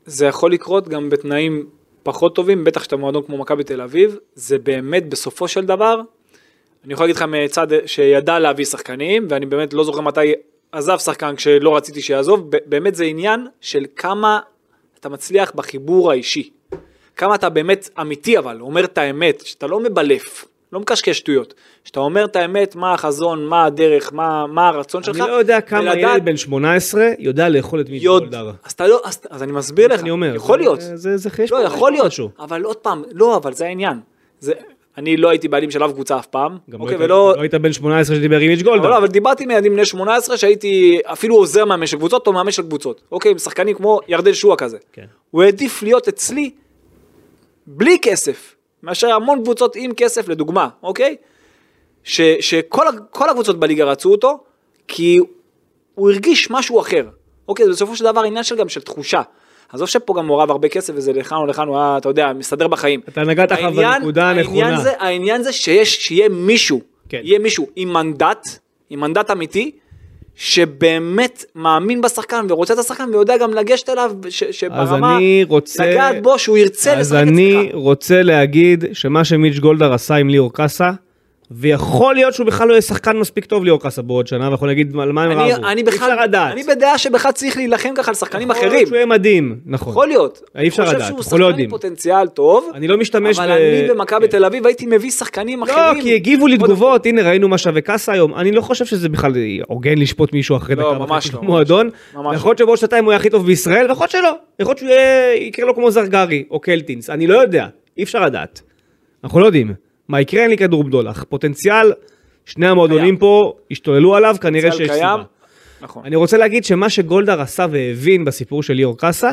Speaker 3: זה יכול לקרות גם בתנאים פחות טובים, בטח שאתה מועדון כמו מכבי תל אביב, זה באמת בסופו של דבר, אני יכול להגיד לך מצד שידע להביא שחקנים, ואני באמת לא זוכר מתי עזב שחקן כשלא רציתי שיעזוב, ב- באמת זה עניין של כמה אתה מצליח בחיבור האישי. כמה אתה באמת אמיתי אבל, אומר את האמת, שאתה לא מבלף, לא מקשקש שטויות, שאתה אומר את האמת, מה החזון, מה הדרך, מה, מה הרצון שלך,
Speaker 2: אני לא יודע כמה
Speaker 3: ולדעת-
Speaker 2: ילד בן 18 יודע לאכול את מי
Speaker 3: יוד,
Speaker 2: גולדרה.
Speaker 3: אז אתה לא, אז, אז אני מסביר לך,
Speaker 2: אני אומר.
Speaker 3: יכול
Speaker 2: זה-
Speaker 3: להיות,
Speaker 2: זה, זה, יש
Speaker 3: לא,
Speaker 2: פה-
Speaker 3: יכול
Speaker 2: יש פה
Speaker 3: להיות,
Speaker 2: משהו.
Speaker 3: אבל עוד פעם, לא, אבל זה העניין. זה, אני לא הייתי בעלים של אף קבוצה אף פעם,
Speaker 2: גם
Speaker 3: אוקיי,
Speaker 2: לא היית-
Speaker 3: ולא,
Speaker 2: לא היית בן 18 שדיבר עם מיץ'
Speaker 3: אבל,
Speaker 2: גולדרה.
Speaker 3: לא, אבל דיברתי עם ילדים בני 18 שהייתי אפילו עוזר מאמן של קבוצות או מאמן של קבוצות, אוקיי, עם שחקנים כמו ירדן שועה כזה.
Speaker 2: כן.
Speaker 3: הוא העדיף להיות אצלי בלי כסף, מאשר המון קבוצות עם כסף לדוגמה, אוקיי? ש, שכל ה- כל הקבוצות בליגה רצו אותו, כי הוא הרגיש משהו אחר. אוקיי, זה בסופו של דבר עניין של גם של תחושה. עזוב שפה גם מעורב הרבה כסף וזה לכאן או לכאן, הוא היה, אתה יודע, מסתדר בחיים.
Speaker 2: אתה נגעת לך
Speaker 3: העניין-
Speaker 2: בנקודה
Speaker 3: העניין
Speaker 2: הנכונה.
Speaker 3: זה, העניין זה שיש, שיהיה מישהו,
Speaker 2: כן.
Speaker 3: יהיה מישהו עם מנדט, עם מנדט אמיתי, שבאמת מאמין בשחקן ורוצה את השחקן ויודע גם לגשת אליו, ש,
Speaker 2: אז
Speaker 3: שברמה,
Speaker 2: אני רוצה...
Speaker 3: לגעת בו, שהוא ירצה לשחק
Speaker 2: אז
Speaker 3: אצלך.
Speaker 2: אני רוצה להגיד שמה שמיץ' גולדהר עשה עם ליאור קאסה, ויכול להיות שהוא בכלל לא יהיה שחקן מספיק טוב ליאור קאסה בעוד שנה, ויכול להגיד על מה הם
Speaker 3: אני,
Speaker 2: רבו.
Speaker 3: אני
Speaker 2: אי אפשר
Speaker 3: בכלל,
Speaker 2: לדעת.
Speaker 3: אני בדעה שבכלל צריך להילחם ככה על שחקנים
Speaker 2: יכול להיות
Speaker 3: אחרים.
Speaker 2: שהוא יהיה מדהים, נכון.
Speaker 3: יכול להיות.
Speaker 2: אי אפשר לדעת,
Speaker 3: אני חושב
Speaker 2: אנחנו
Speaker 3: שהוא
Speaker 2: לא
Speaker 3: שחקן
Speaker 2: יודעים.
Speaker 3: עם פוטנציאל טוב,
Speaker 2: אני לא משתמש
Speaker 3: אבל
Speaker 2: ב-
Speaker 3: אני במכבי
Speaker 2: כן.
Speaker 3: תל אביב הייתי מביא שחקנים
Speaker 2: לא,
Speaker 3: אחרים.
Speaker 2: כי הגיבו לי
Speaker 3: קודם
Speaker 2: תגובות, הנה ראינו מה שווה קאסה היום, אני לא חושב שזה בכלל הוגן לשפוט מישהו אחרי
Speaker 3: לא,
Speaker 2: דקה
Speaker 3: ממש
Speaker 2: וחצי
Speaker 3: לא,
Speaker 2: במועדון,
Speaker 3: ממש לא.
Speaker 2: יכול להיות שבעוד שנתיים הוא יהיה הכי טוב בישראל, ויכול להיות שלא, יכול להיות שהוא יהיה- יקרה לו כמו זרגרי או קלטינס, אני לא יודע, אי אפשר לדעת, אנחנו לא יודעים, מה יקרה אין לי כדור בדולח, פוטנציאל, שני המועדונים
Speaker 3: קיים.
Speaker 2: פה השתוללו עליו, כנראה
Speaker 3: פוטנציאל
Speaker 2: שיש
Speaker 3: קיים.
Speaker 2: סיבה.
Speaker 3: נכון.
Speaker 2: אני רוצה להגיד שמה שגולדהר עשה והבין בסיפור של ליאור קאסה,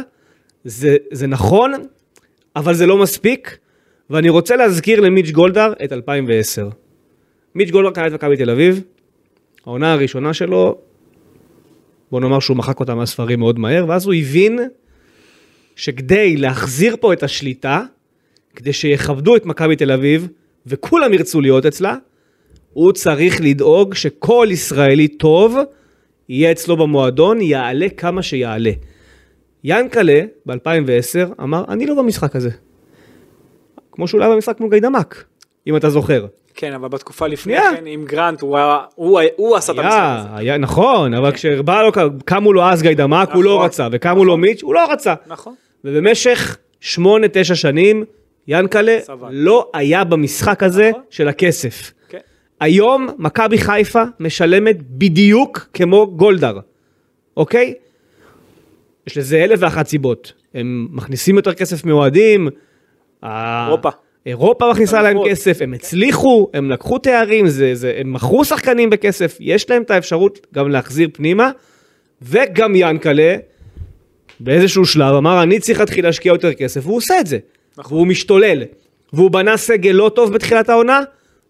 Speaker 2: זה, זה נכון, אבל זה לא מספיק, ואני רוצה להזכיר למיץ' גולדהר את 2010. מיץ' גולדהר קנה את מכבי תל אביב, העונה הראשונה שלו, בוא נאמר שהוא מחק אותה מהספרים מאוד מהר, ואז הוא הבין שכדי להחזיר פה את השליטה, כדי שיכבדו את מכבי תל אביב, וכולם ירצו להיות אצלה, הוא צריך לדאוג שכל ישראלי טוב יהיה אצלו במועדון, יעלה כמה שיעלה. ינקלה ב-2010 אמר, אני לא במשחק הזה. כמו שהוא לא היה במשחק מול גיידמק, אם אתה זוכר.
Speaker 3: כן, אבל בתקופה לפני
Speaker 2: שנייה.
Speaker 3: כן, עם גרנט, הוא היה- הוא היה- הוא עשה את המשחק הזה.
Speaker 2: היה, היה, נכון, אבל כשבא לו, קמו לו אז גיידמק, הוא לא
Speaker 3: נכון.
Speaker 2: רצה, וקמו לו מיץ', הוא לא רצה.
Speaker 3: נכון.
Speaker 2: ובמשך שמונה, תשע שנים, ינקלה
Speaker 3: סבל.
Speaker 2: לא היה במשחק הזה
Speaker 3: נכון.
Speaker 2: של הכסף.
Speaker 3: כן.
Speaker 2: היום מכבי חיפה משלמת בדיוק כמו גולדהר, אוקיי? יש לזה אלף ואחת סיבות. הם מכניסים יותר כסף מאוהדים. ה-
Speaker 3: אירופה.
Speaker 2: אירופה מכניסה להם
Speaker 3: אלופות.
Speaker 2: כסף, הם הצליחו, הם לקחו תארים, זה, זה, הם מכרו שחקנים בכסף, יש להם את האפשרות גם להחזיר פנימה, וגם ינקלה, באיזשהו שלב אמר, אני צריך להתחיל להשקיע יותר כסף, והוא עושה את זה. נכון. והוא משתולל. והוא בנה סגל לא טוב בתחילת העונה,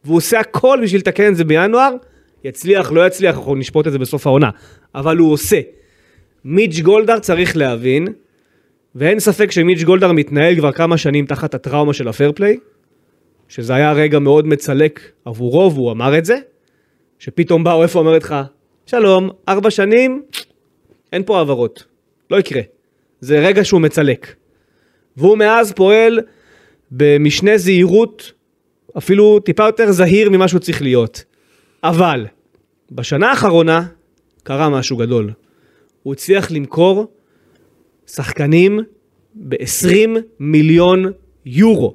Speaker 2: והוא עושה הכל בשביל לתקן את זה בינואר. יצליח, לא יצליח, אנחנו נשפוט את זה בסוף העונה. אבל הוא עושה. מיץ' גולדהר צריך להבין, ואין ספק שמיץ' גולדהר מתנהל כבר כמה שנים תחת הטראומה של הפייר פליי, שזה היה רגע מאוד מצלק עבורו, והוא אמר את זה, שפתאום באו, איפה אומרת לך, שלום, ארבע שנים, אין פה העברות, לא יקרה. זה רגע שהוא מצלק. והוא מאז פועל במשנה זהירות, אפילו טיפה יותר זהיר ממה שהוא צריך להיות. אבל, בשנה האחרונה קרה משהו גדול. הוא הצליח למכור שחקנים ב-20 מיליון יורו.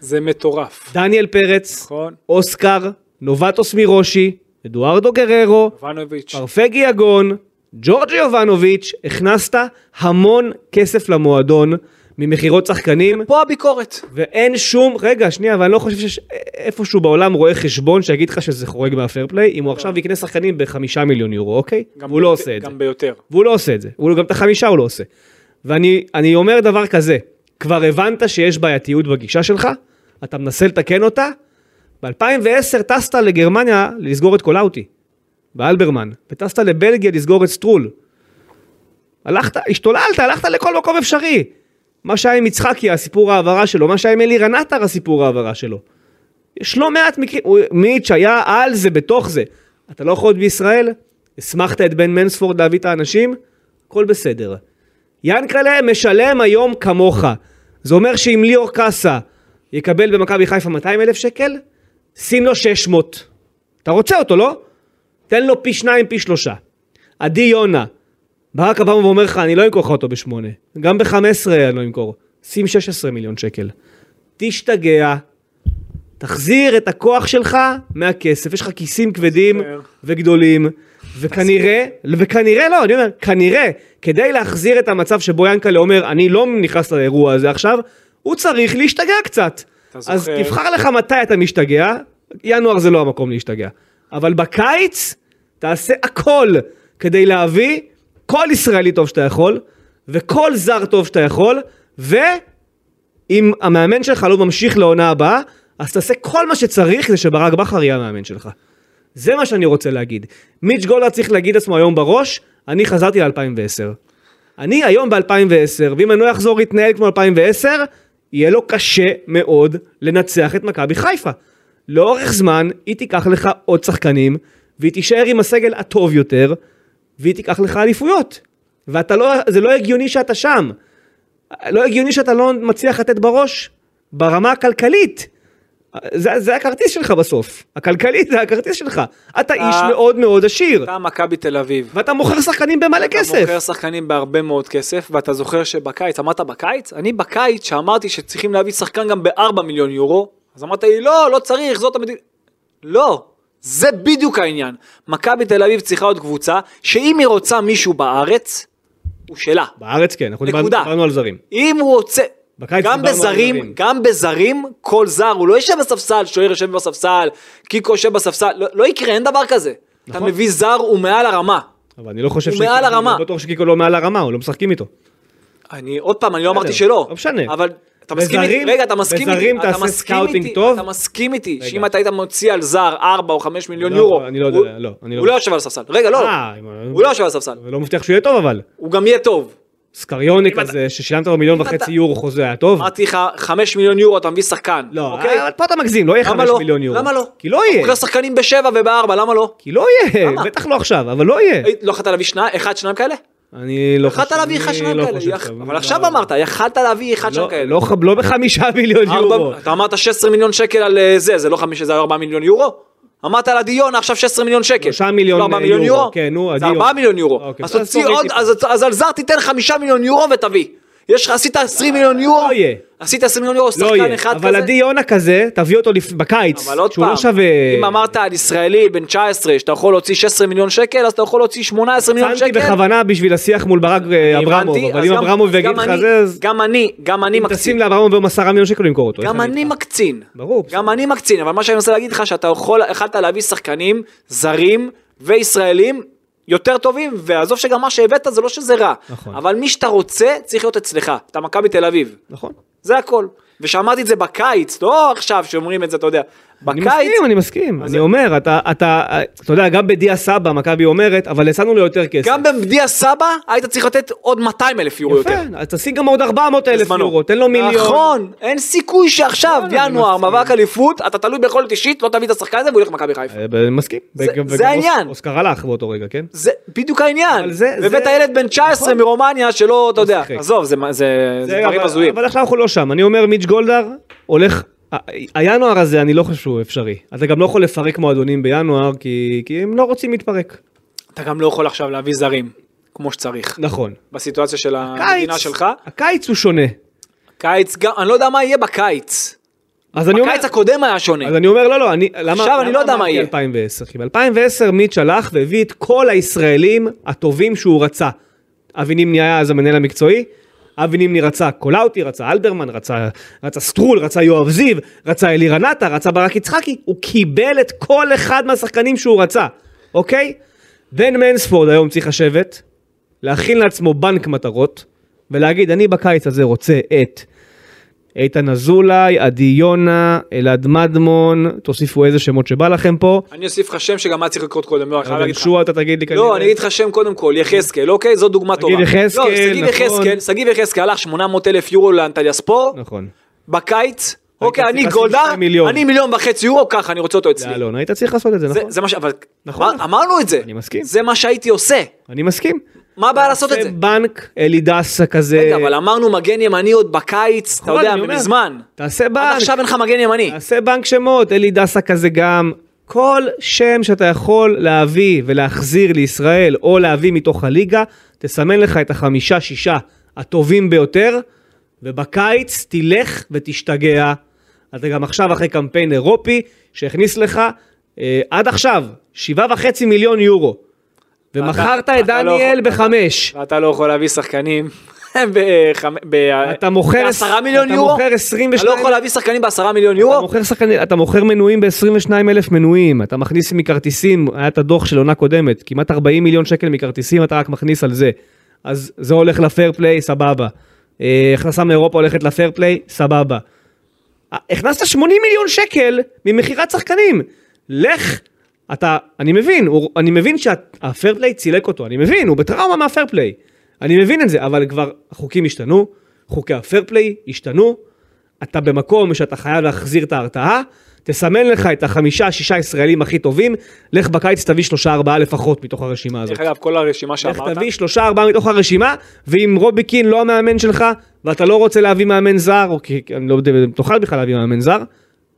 Speaker 3: זה מטורף.
Speaker 2: דניאל פרץ,
Speaker 3: נכון.
Speaker 2: אוסקר, נובטוס מירושי, אדוארדו גררו,
Speaker 3: יובנוביץ',
Speaker 2: פרפגי יגון, ג'ורג'י יובנוביץ', הכנסת המון כסף למועדון ממכירות שחקנים,
Speaker 3: פה הביקורת.
Speaker 2: ואין שום, רגע, שנייה, אבל אני לא חושב שיש איפשהו בעולם רואה חשבון שיגיד לך שזה חורג מהפייר פליי, אם הוא עכשיו יקנה שחקנים בחמישה מיליון יורו, אוקיי?
Speaker 3: גם
Speaker 2: הוא לא
Speaker 3: ביותר-
Speaker 2: עושה את זה.
Speaker 3: גם ביותר.
Speaker 2: והוא לא עושה את זה, הוא גם את החמישה הוא לא עושה. ואני אני אומר דבר כזה, כבר הבנת שיש בעייתיות בגישה שלך, אתה מנסה לתקן אותה, ב-2010 טסת לגרמניה לסגור את קולאוטי, באלברמן, וטסת לבלגיה לסגור את סטרול. הלכת, השתוללת, הלכת לכל מקום אפשרי. מה שהיה עם יצחקי, הסיפור ההעברה שלו, מה שהיה עם אלירן עטר, הסיפור ההעברה שלו. יש לא מעט מקרים, הוא- מיץ' היה על זה, בתוך זה. אתה לא יכול להיות בישראל? הסמכת את בן מנספורד להביא את האנשים? הכל בסדר. ינקלה משלם היום כמוך. זה אומר שאם ליאור קאסה יקבל במכבי חיפה 200 אלף שקל, שים לו 600. אתה רוצה אותו, לא? תן לו פי שניים, פי שלושה. עדי יונה, ברק אבאום אומר לך, אני לא אמכור לך אותו בשמונה. גם ב-15 אני לא אמכור. שים 16 מיליון שקל. תשתגע, תחזיר את הכוח שלך מהכסף, יש לך כיסים כבדים
Speaker 3: בסדר.
Speaker 2: וגדולים, וכנראה, וכנראה לא, אני אומר, כנראה, כדי להחזיר את המצב שבו ינקלה אומר, אני לא נכנס לאירוע הזה עכשיו, הוא צריך להשתגע קצת.
Speaker 3: אתה
Speaker 2: אז
Speaker 3: זוכר.
Speaker 2: תבחר לך מתי אתה משתגע, ינואר זה לא המקום להשתגע. אבל בקיץ, תעשה הכל כדי להביא כל ישראלי טוב שאתה יכול, וכל זר טוב שאתה יכול, ו... אם המאמן שלך לא ממשיך לעונה הבאה, אז תעשה כל מה שצריך זה שברק בכר יהיה המאמן שלך. זה מה שאני רוצה להגיד. מיץ' גולדהר צריך להגיד לעצמו היום בראש, אני חזרתי ל-2010. אני היום ב-2010, ואם אני לא אחזור להתנהל כמו 2010, יהיה לו קשה מאוד לנצח את מכבי חיפה. לאורך זמן, היא תיקח לך עוד שחקנים, והיא תישאר עם הסגל הטוב יותר, והיא תיקח לך אליפויות. ואתה לא, זה לא הגיוני שאתה שם. לא הגיוני שאתה לא מצליח לתת בראש ברמה הכלכלית. זה, זה הכרטיס שלך בסוף, הכלכלית זה הכרטיס שלך. אתה איש מאוד מאוד עשיר,
Speaker 3: אה. אתה מכבי תל אביב.
Speaker 2: ואתה מוכר שחקנים במלא
Speaker 3: אתה
Speaker 2: כסף.
Speaker 3: מוכר שחקנים בהרבה מאוד כסף, ואתה זוכר שבקיץ, אמרת בקיץ? אני בקיץ שאמרתי שצריכים להביא שחקן גם ב-4 מיליון יורו, אז אמרת לי לא, לא צריך, זאת המדינה. לא, זה בדיוק העניין. מכבי תל אביב צריכה עוד קבוצה, שאם היא רוצה מישהו בארץ, הוא שלה.
Speaker 2: בארץ כן, אנחנו דיברנו
Speaker 3: נקודה.
Speaker 2: דיברנו על זרים.
Speaker 3: אם הוא רוצה,
Speaker 2: בקיץ
Speaker 3: גם
Speaker 2: דיברנו על
Speaker 3: בזרים,
Speaker 2: זרים.
Speaker 3: גם בזרים, כל זר, הוא לא יושב בספסל, שוער יושב בספסל, קיקו יושב בספסל, לא, לא יקרה, אין דבר כזה. אתה
Speaker 2: נכון.
Speaker 3: מביא זר, הוא מעל הרמה.
Speaker 2: אבל אני לא חושב
Speaker 3: הוא מעל
Speaker 2: אני
Speaker 3: הרמה.
Speaker 2: לא בטוח שקיקו לא מעל הרמה, הוא לא משחקים איתו.
Speaker 3: אני, עוד פעם, אני לא אמרתי
Speaker 2: בסדר,
Speaker 3: שלא.
Speaker 2: לא משנה.
Speaker 3: אבל אתה מסכים איתי,
Speaker 2: בזרים-
Speaker 3: רגע, אתה מסכים איתי,
Speaker 2: בזרים
Speaker 3: אתה
Speaker 2: תעשה
Speaker 3: מסכים
Speaker 2: סקאוטינג
Speaker 3: איתי,
Speaker 2: טוב?
Speaker 3: אתה מסכים איתי,
Speaker 2: רגע.
Speaker 3: שאם אתה היית מוציא על זר 4 או 5 מיליון
Speaker 2: לא,
Speaker 3: יורו,
Speaker 2: אני לא יודע,
Speaker 3: הוא-
Speaker 2: לא, אני לא-
Speaker 3: הוא לא יושב על הספסל. רגע, לא,
Speaker 2: אה,
Speaker 3: לא.
Speaker 2: אם-
Speaker 3: הוא לא יושב על הספסל,
Speaker 2: ולא מבטיח שהוא יהיה טוב אבל.
Speaker 3: הוא גם יהיה טוב.
Speaker 2: סקריוניק
Speaker 3: אם אתה-
Speaker 2: הזה ששילמת לו מיליון
Speaker 3: אם אתה-
Speaker 2: וחצי יורו חוזה היה טוב?
Speaker 3: אמרתי לך, 5 מיליון יורו אתה מביא שחקן,
Speaker 2: לא,
Speaker 3: אוקיי?
Speaker 2: אבל פה אתה מגזים, לא יהיה
Speaker 3: למה
Speaker 2: חמש
Speaker 3: לא?
Speaker 2: מיליון יורו.
Speaker 3: למה לא?
Speaker 2: כי לא
Speaker 3: אתה
Speaker 2: יהיה.
Speaker 3: מוכר שחקנים בשבע ובארבע, למה לא?
Speaker 2: כי לא יהיה, בטח לא עכשיו, אבל לא יהיה.
Speaker 3: היית- לא יכולת להביא שניים, אחד, שניים כאלה?
Speaker 2: אני לא חושב,
Speaker 3: יכלת להביא אחד,
Speaker 2: אני
Speaker 3: שניים
Speaker 2: לא
Speaker 3: כאלה.
Speaker 2: חושב
Speaker 3: יכ-
Speaker 2: שאתה-
Speaker 3: אבל
Speaker 2: לא,
Speaker 3: עכשיו
Speaker 2: לא.
Speaker 3: אמרת, יכלת להביא אחד, שניים
Speaker 2: לא,
Speaker 3: כאלה.
Speaker 2: לא ח- לא בחמישה מיליון
Speaker 3: ארבע-
Speaker 2: יורו.
Speaker 3: אתה אמרת 16 מיליון שקל על אה, זה, זה לא חמישה, זה ארבעה מיליון יורו? אמרת על הדיון עכשיו 16 מיליון שקל.
Speaker 2: שלושה מיליון,
Speaker 3: לא, ארבעה
Speaker 2: אה,
Speaker 3: מיליון
Speaker 2: יורו.
Speaker 3: יורו?
Speaker 2: כן, נו,
Speaker 3: זה
Speaker 2: הדיון.
Speaker 3: ארבעה מיליון יורו.
Speaker 2: אוקיי,
Speaker 3: אז
Speaker 2: בסדר,
Speaker 3: תוציא
Speaker 2: תוריד
Speaker 3: עוד,
Speaker 2: טיפה.
Speaker 3: אז- אז על זר תיתן חמישה מיליון יורו ותביא. יש לך, עשית 20 מיליון יורו?
Speaker 2: לא יהיה.
Speaker 3: עשית 20 מיליון יורו,
Speaker 2: לא
Speaker 3: שחקן
Speaker 2: יהיה,
Speaker 3: אחד כזה?
Speaker 2: אבל עדי יונה כזה, תביא אותו לפ- בקיץ,
Speaker 3: אבל עוד
Speaker 2: שהוא
Speaker 3: פעם,
Speaker 2: לא שווה...
Speaker 3: אם אמרת על ישראלי בן 19 שאתה יכול להוציא 16 מיליון שקל, אז אתה יכול להוציא 18 מיליון שקל.
Speaker 2: שמתי בכוונה בשביל השיח מול ברק אה, אברמוב,
Speaker 3: הבנתי,
Speaker 2: אבל
Speaker 3: אז
Speaker 2: אם
Speaker 3: גם-
Speaker 2: אברמוב
Speaker 3: אז
Speaker 2: יגיד
Speaker 3: גם
Speaker 2: לך
Speaker 3: אני-
Speaker 2: זה, אז
Speaker 3: גם אני, גם אני
Speaker 2: אם
Speaker 3: מקצין.
Speaker 2: תשים לאברמוב היום עשרה מיליון שקל הוא ימכור אותו.
Speaker 3: גם
Speaker 2: איך
Speaker 3: אני
Speaker 2: אגיד לך?
Speaker 3: מקצין.
Speaker 2: ברור, בסדר.
Speaker 3: גם אני מקצין, אבל מה שאני מנסה להגיד לך, שאתה יכול, יכלת להביא שחקנים זרים וישראלים יותר טובים, ועזוב שגם מה שהבאת זה לא שזה רע.
Speaker 2: נכון.
Speaker 3: אבל מי שאתה רוצה צריך להיות אצלך, אתה מכבי תל אביב.
Speaker 2: נכון.
Speaker 3: זה הכל. ושמעתי את זה בקיץ, לא עכשיו שאומרים את זה, אתה יודע.
Speaker 2: אני
Speaker 3: בקיץ,
Speaker 2: מסכים, אני מסכים, אני אומר, אתה, אתה, אתה יודע, גם בדיה סבא מכבי אומרת, אבל יצאנו לו יותר כסף.
Speaker 3: גם במדיע סבא, היית צריך לתת עוד 200 אלף יורו יותר.
Speaker 2: יפה, אז תשים גם עוד 400 אלף
Speaker 3: בזמנו.
Speaker 2: יורו, תן לו מיליון.
Speaker 3: נכון, אין סיכוי שעכשיו,
Speaker 2: וואלה, אני
Speaker 3: ינואר,
Speaker 2: מסכים.
Speaker 3: מאבק אליפות, אתה תלוי ביכולת אישית, לא תביא את השחקן הזה והוא ילך למכבי חיפה.
Speaker 2: אה, ב- מסכים.
Speaker 3: זה-
Speaker 2: וגם-
Speaker 3: זה
Speaker 2: וגם
Speaker 3: העניין.
Speaker 2: אוסקר הלך באותו רגע, כן?
Speaker 3: זה בדיוק העניין.
Speaker 2: אבל זה-
Speaker 3: והבאת
Speaker 2: זה-
Speaker 3: ילד בן 19
Speaker 2: נכון.
Speaker 3: מרומניה שלא, אתה יודע,
Speaker 2: שיחק.
Speaker 3: עזוב, זה מה- זה זה דברים
Speaker 2: אבל-
Speaker 3: הזויים.
Speaker 2: אבל עכשיו אנחנו לא שם, אני אומר מיץ' גולדהר הולך, ה- הינואר הזה אני לא חושב שהוא אפשרי. אתה גם לא יכול לפרק מועדונים בינואר, כי כי הם לא רוצים להתפרק.
Speaker 3: אתה גם לא יכול עכשיו להביא זרים, כמו שצריך.
Speaker 2: נכון.
Speaker 3: בסיטואציה של המדינה שלך.
Speaker 2: הקיץ הוא שונה.
Speaker 3: קיץ, גם- אני לא יודע מה יהיה בקיץ.
Speaker 2: אז אני אומר,
Speaker 3: בקיץ הקודם היה שונה.
Speaker 2: אז אני אומר, לא, לא, אני, למה,
Speaker 3: עכשיו אני
Speaker 2: למה
Speaker 3: לא יודע מה
Speaker 2: אמרתי
Speaker 3: יהיה.
Speaker 2: 2010, כי ב-2010 מיץ' הלך והביא את כל הישראלים הטובים שהוא רצה. אבי נימני היה אז המנהל המקצועי, אבי נימני רצה קולאוטי, רצה אלברמן, רצה, רצה סטרול, רצה יואב זיו, רצה אלירן עטר, רצה ברק יצחקי, הוא קיבל את כל אחד מהשחקנים שהוא רצה, אוקיי? בן מנספורד היום צריך לשבת, להכין לעצמו בנק מטרות, ולהגיד, אני בקיץ הזה רוצה את איתן אזולאי, עדי יונה, אלעד מדמון, תוסיפו איזה שמות שבא לכם פה.
Speaker 3: אני אוסיף לך שם שגם היה צריך לקרות קודם, לא, אני חייב
Speaker 2: אבל
Speaker 3: להגיד לך.
Speaker 2: שועה אתה תגיד לי כנראה.
Speaker 3: לא, אני אגיד לך שם קודם כל, יחזקאל, אוקיי? זו דוגמה טובה.
Speaker 2: יחזקאל,
Speaker 3: לא, שגיב
Speaker 2: נכון.
Speaker 3: יחזקאל, שגיב יחזקאל הלך 800 אלף יורו לאנטליה ספורט,
Speaker 2: נכון.
Speaker 3: בקיץ, אוקיי,
Speaker 2: צריך
Speaker 3: אני
Speaker 2: לשים
Speaker 3: גולדר,
Speaker 2: שני מיליון.
Speaker 3: אני מיליון וחצי יורו, ככה, אני רוצה אותו אצלי.
Speaker 2: לאלון, היית צריך לעשות את זה,
Speaker 3: זה-
Speaker 2: נכון?
Speaker 3: זה מה ש... אבל
Speaker 2: נכון.
Speaker 3: אמר- אמרנו את זה.
Speaker 2: אני מסכים.
Speaker 3: זה מה שהייתי עושה.
Speaker 2: אני מסכים.
Speaker 3: מה הבעיה לעשות את זה?
Speaker 2: בנק, אלי דסה כזה.
Speaker 3: רגע, אבל אמרנו מגן ימני עוד בקיץ, אתה
Speaker 2: נכון,
Speaker 3: יודע,
Speaker 2: אני אומר.
Speaker 3: מזמן.
Speaker 2: תעשה
Speaker 3: עד
Speaker 2: בנק,
Speaker 3: עכשיו אין לך מגן ימני.
Speaker 2: תעשה בנק שמות, אלי דסה כזה גם. כל שם שאתה יכול להביא ולהחזיר לישראל, או להביא מתוך הליגה, תסמן לך את החמישה, שישה הטובים ביותר, ובקיץ תלך ותשתגע. אתה גם עכשיו אחרי קמפיין אירופי, שהכניס לך אה, עד עכשיו שבעה וחצי מיליון יורו. ומכרת
Speaker 3: אתה-
Speaker 2: את
Speaker 3: אתה לא
Speaker 2: דניאל
Speaker 3: יכול-
Speaker 2: בחמש.
Speaker 3: ואתה לא יכול להביא שחקנים בחמ- ב-
Speaker 2: אתה מוכר...
Speaker 3: בעשרה לא- מיליון
Speaker 2: אתה
Speaker 3: יורו?
Speaker 2: מוכר 22...
Speaker 3: אתה לא יכול להביא שחקנים בעשרה מיליון
Speaker 2: אתה
Speaker 3: יורו?
Speaker 2: מוכר, שחקני, אתה מוכר מנויים ב-22 אלף מנויים, אתה מכניס מכרטיסים, היה את הדוח של עונה קודמת, כמעט 40 מיליון שקל מכרטיסים אתה רק מכניס על זה. אז זה הולך לפייר פליי, סבבה. אה, הכנסה מאירופה הולכת לפייר פליי, סבבה. אה, הכנסת 80 מיליון שקל ממכירת שחקנים. לך, אתה, אני מבין, הוא, אני מבין שהפייר פליי צילק אותו, אני מבין, הוא בטראומה מהפייר פליי. אני מבין את זה, אבל כבר החוקים השתנו, חוקי הפייר פליי השתנו, אתה במקום שאתה חייב להחזיר את ההרתעה, תסמן לך את החמישה, שישה ישראלים הכי טובים, לך בקיץ תביא שלושה, ארבעה לפחות מתוך הרשימה הזאת.
Speaker 3: דרך אגב, כל הרשימה
Speaker 2: לך
Speaker 3: שאמרת,
Speaker 2: תביא שלושה ארבעה מתוך הרשימה, ואם רובי קין לא המאמן שלך, ואתה לא רוצה להביא מאמן זר, או כי אני לא יודע אם תוכל בכלל להביא מאמן זר,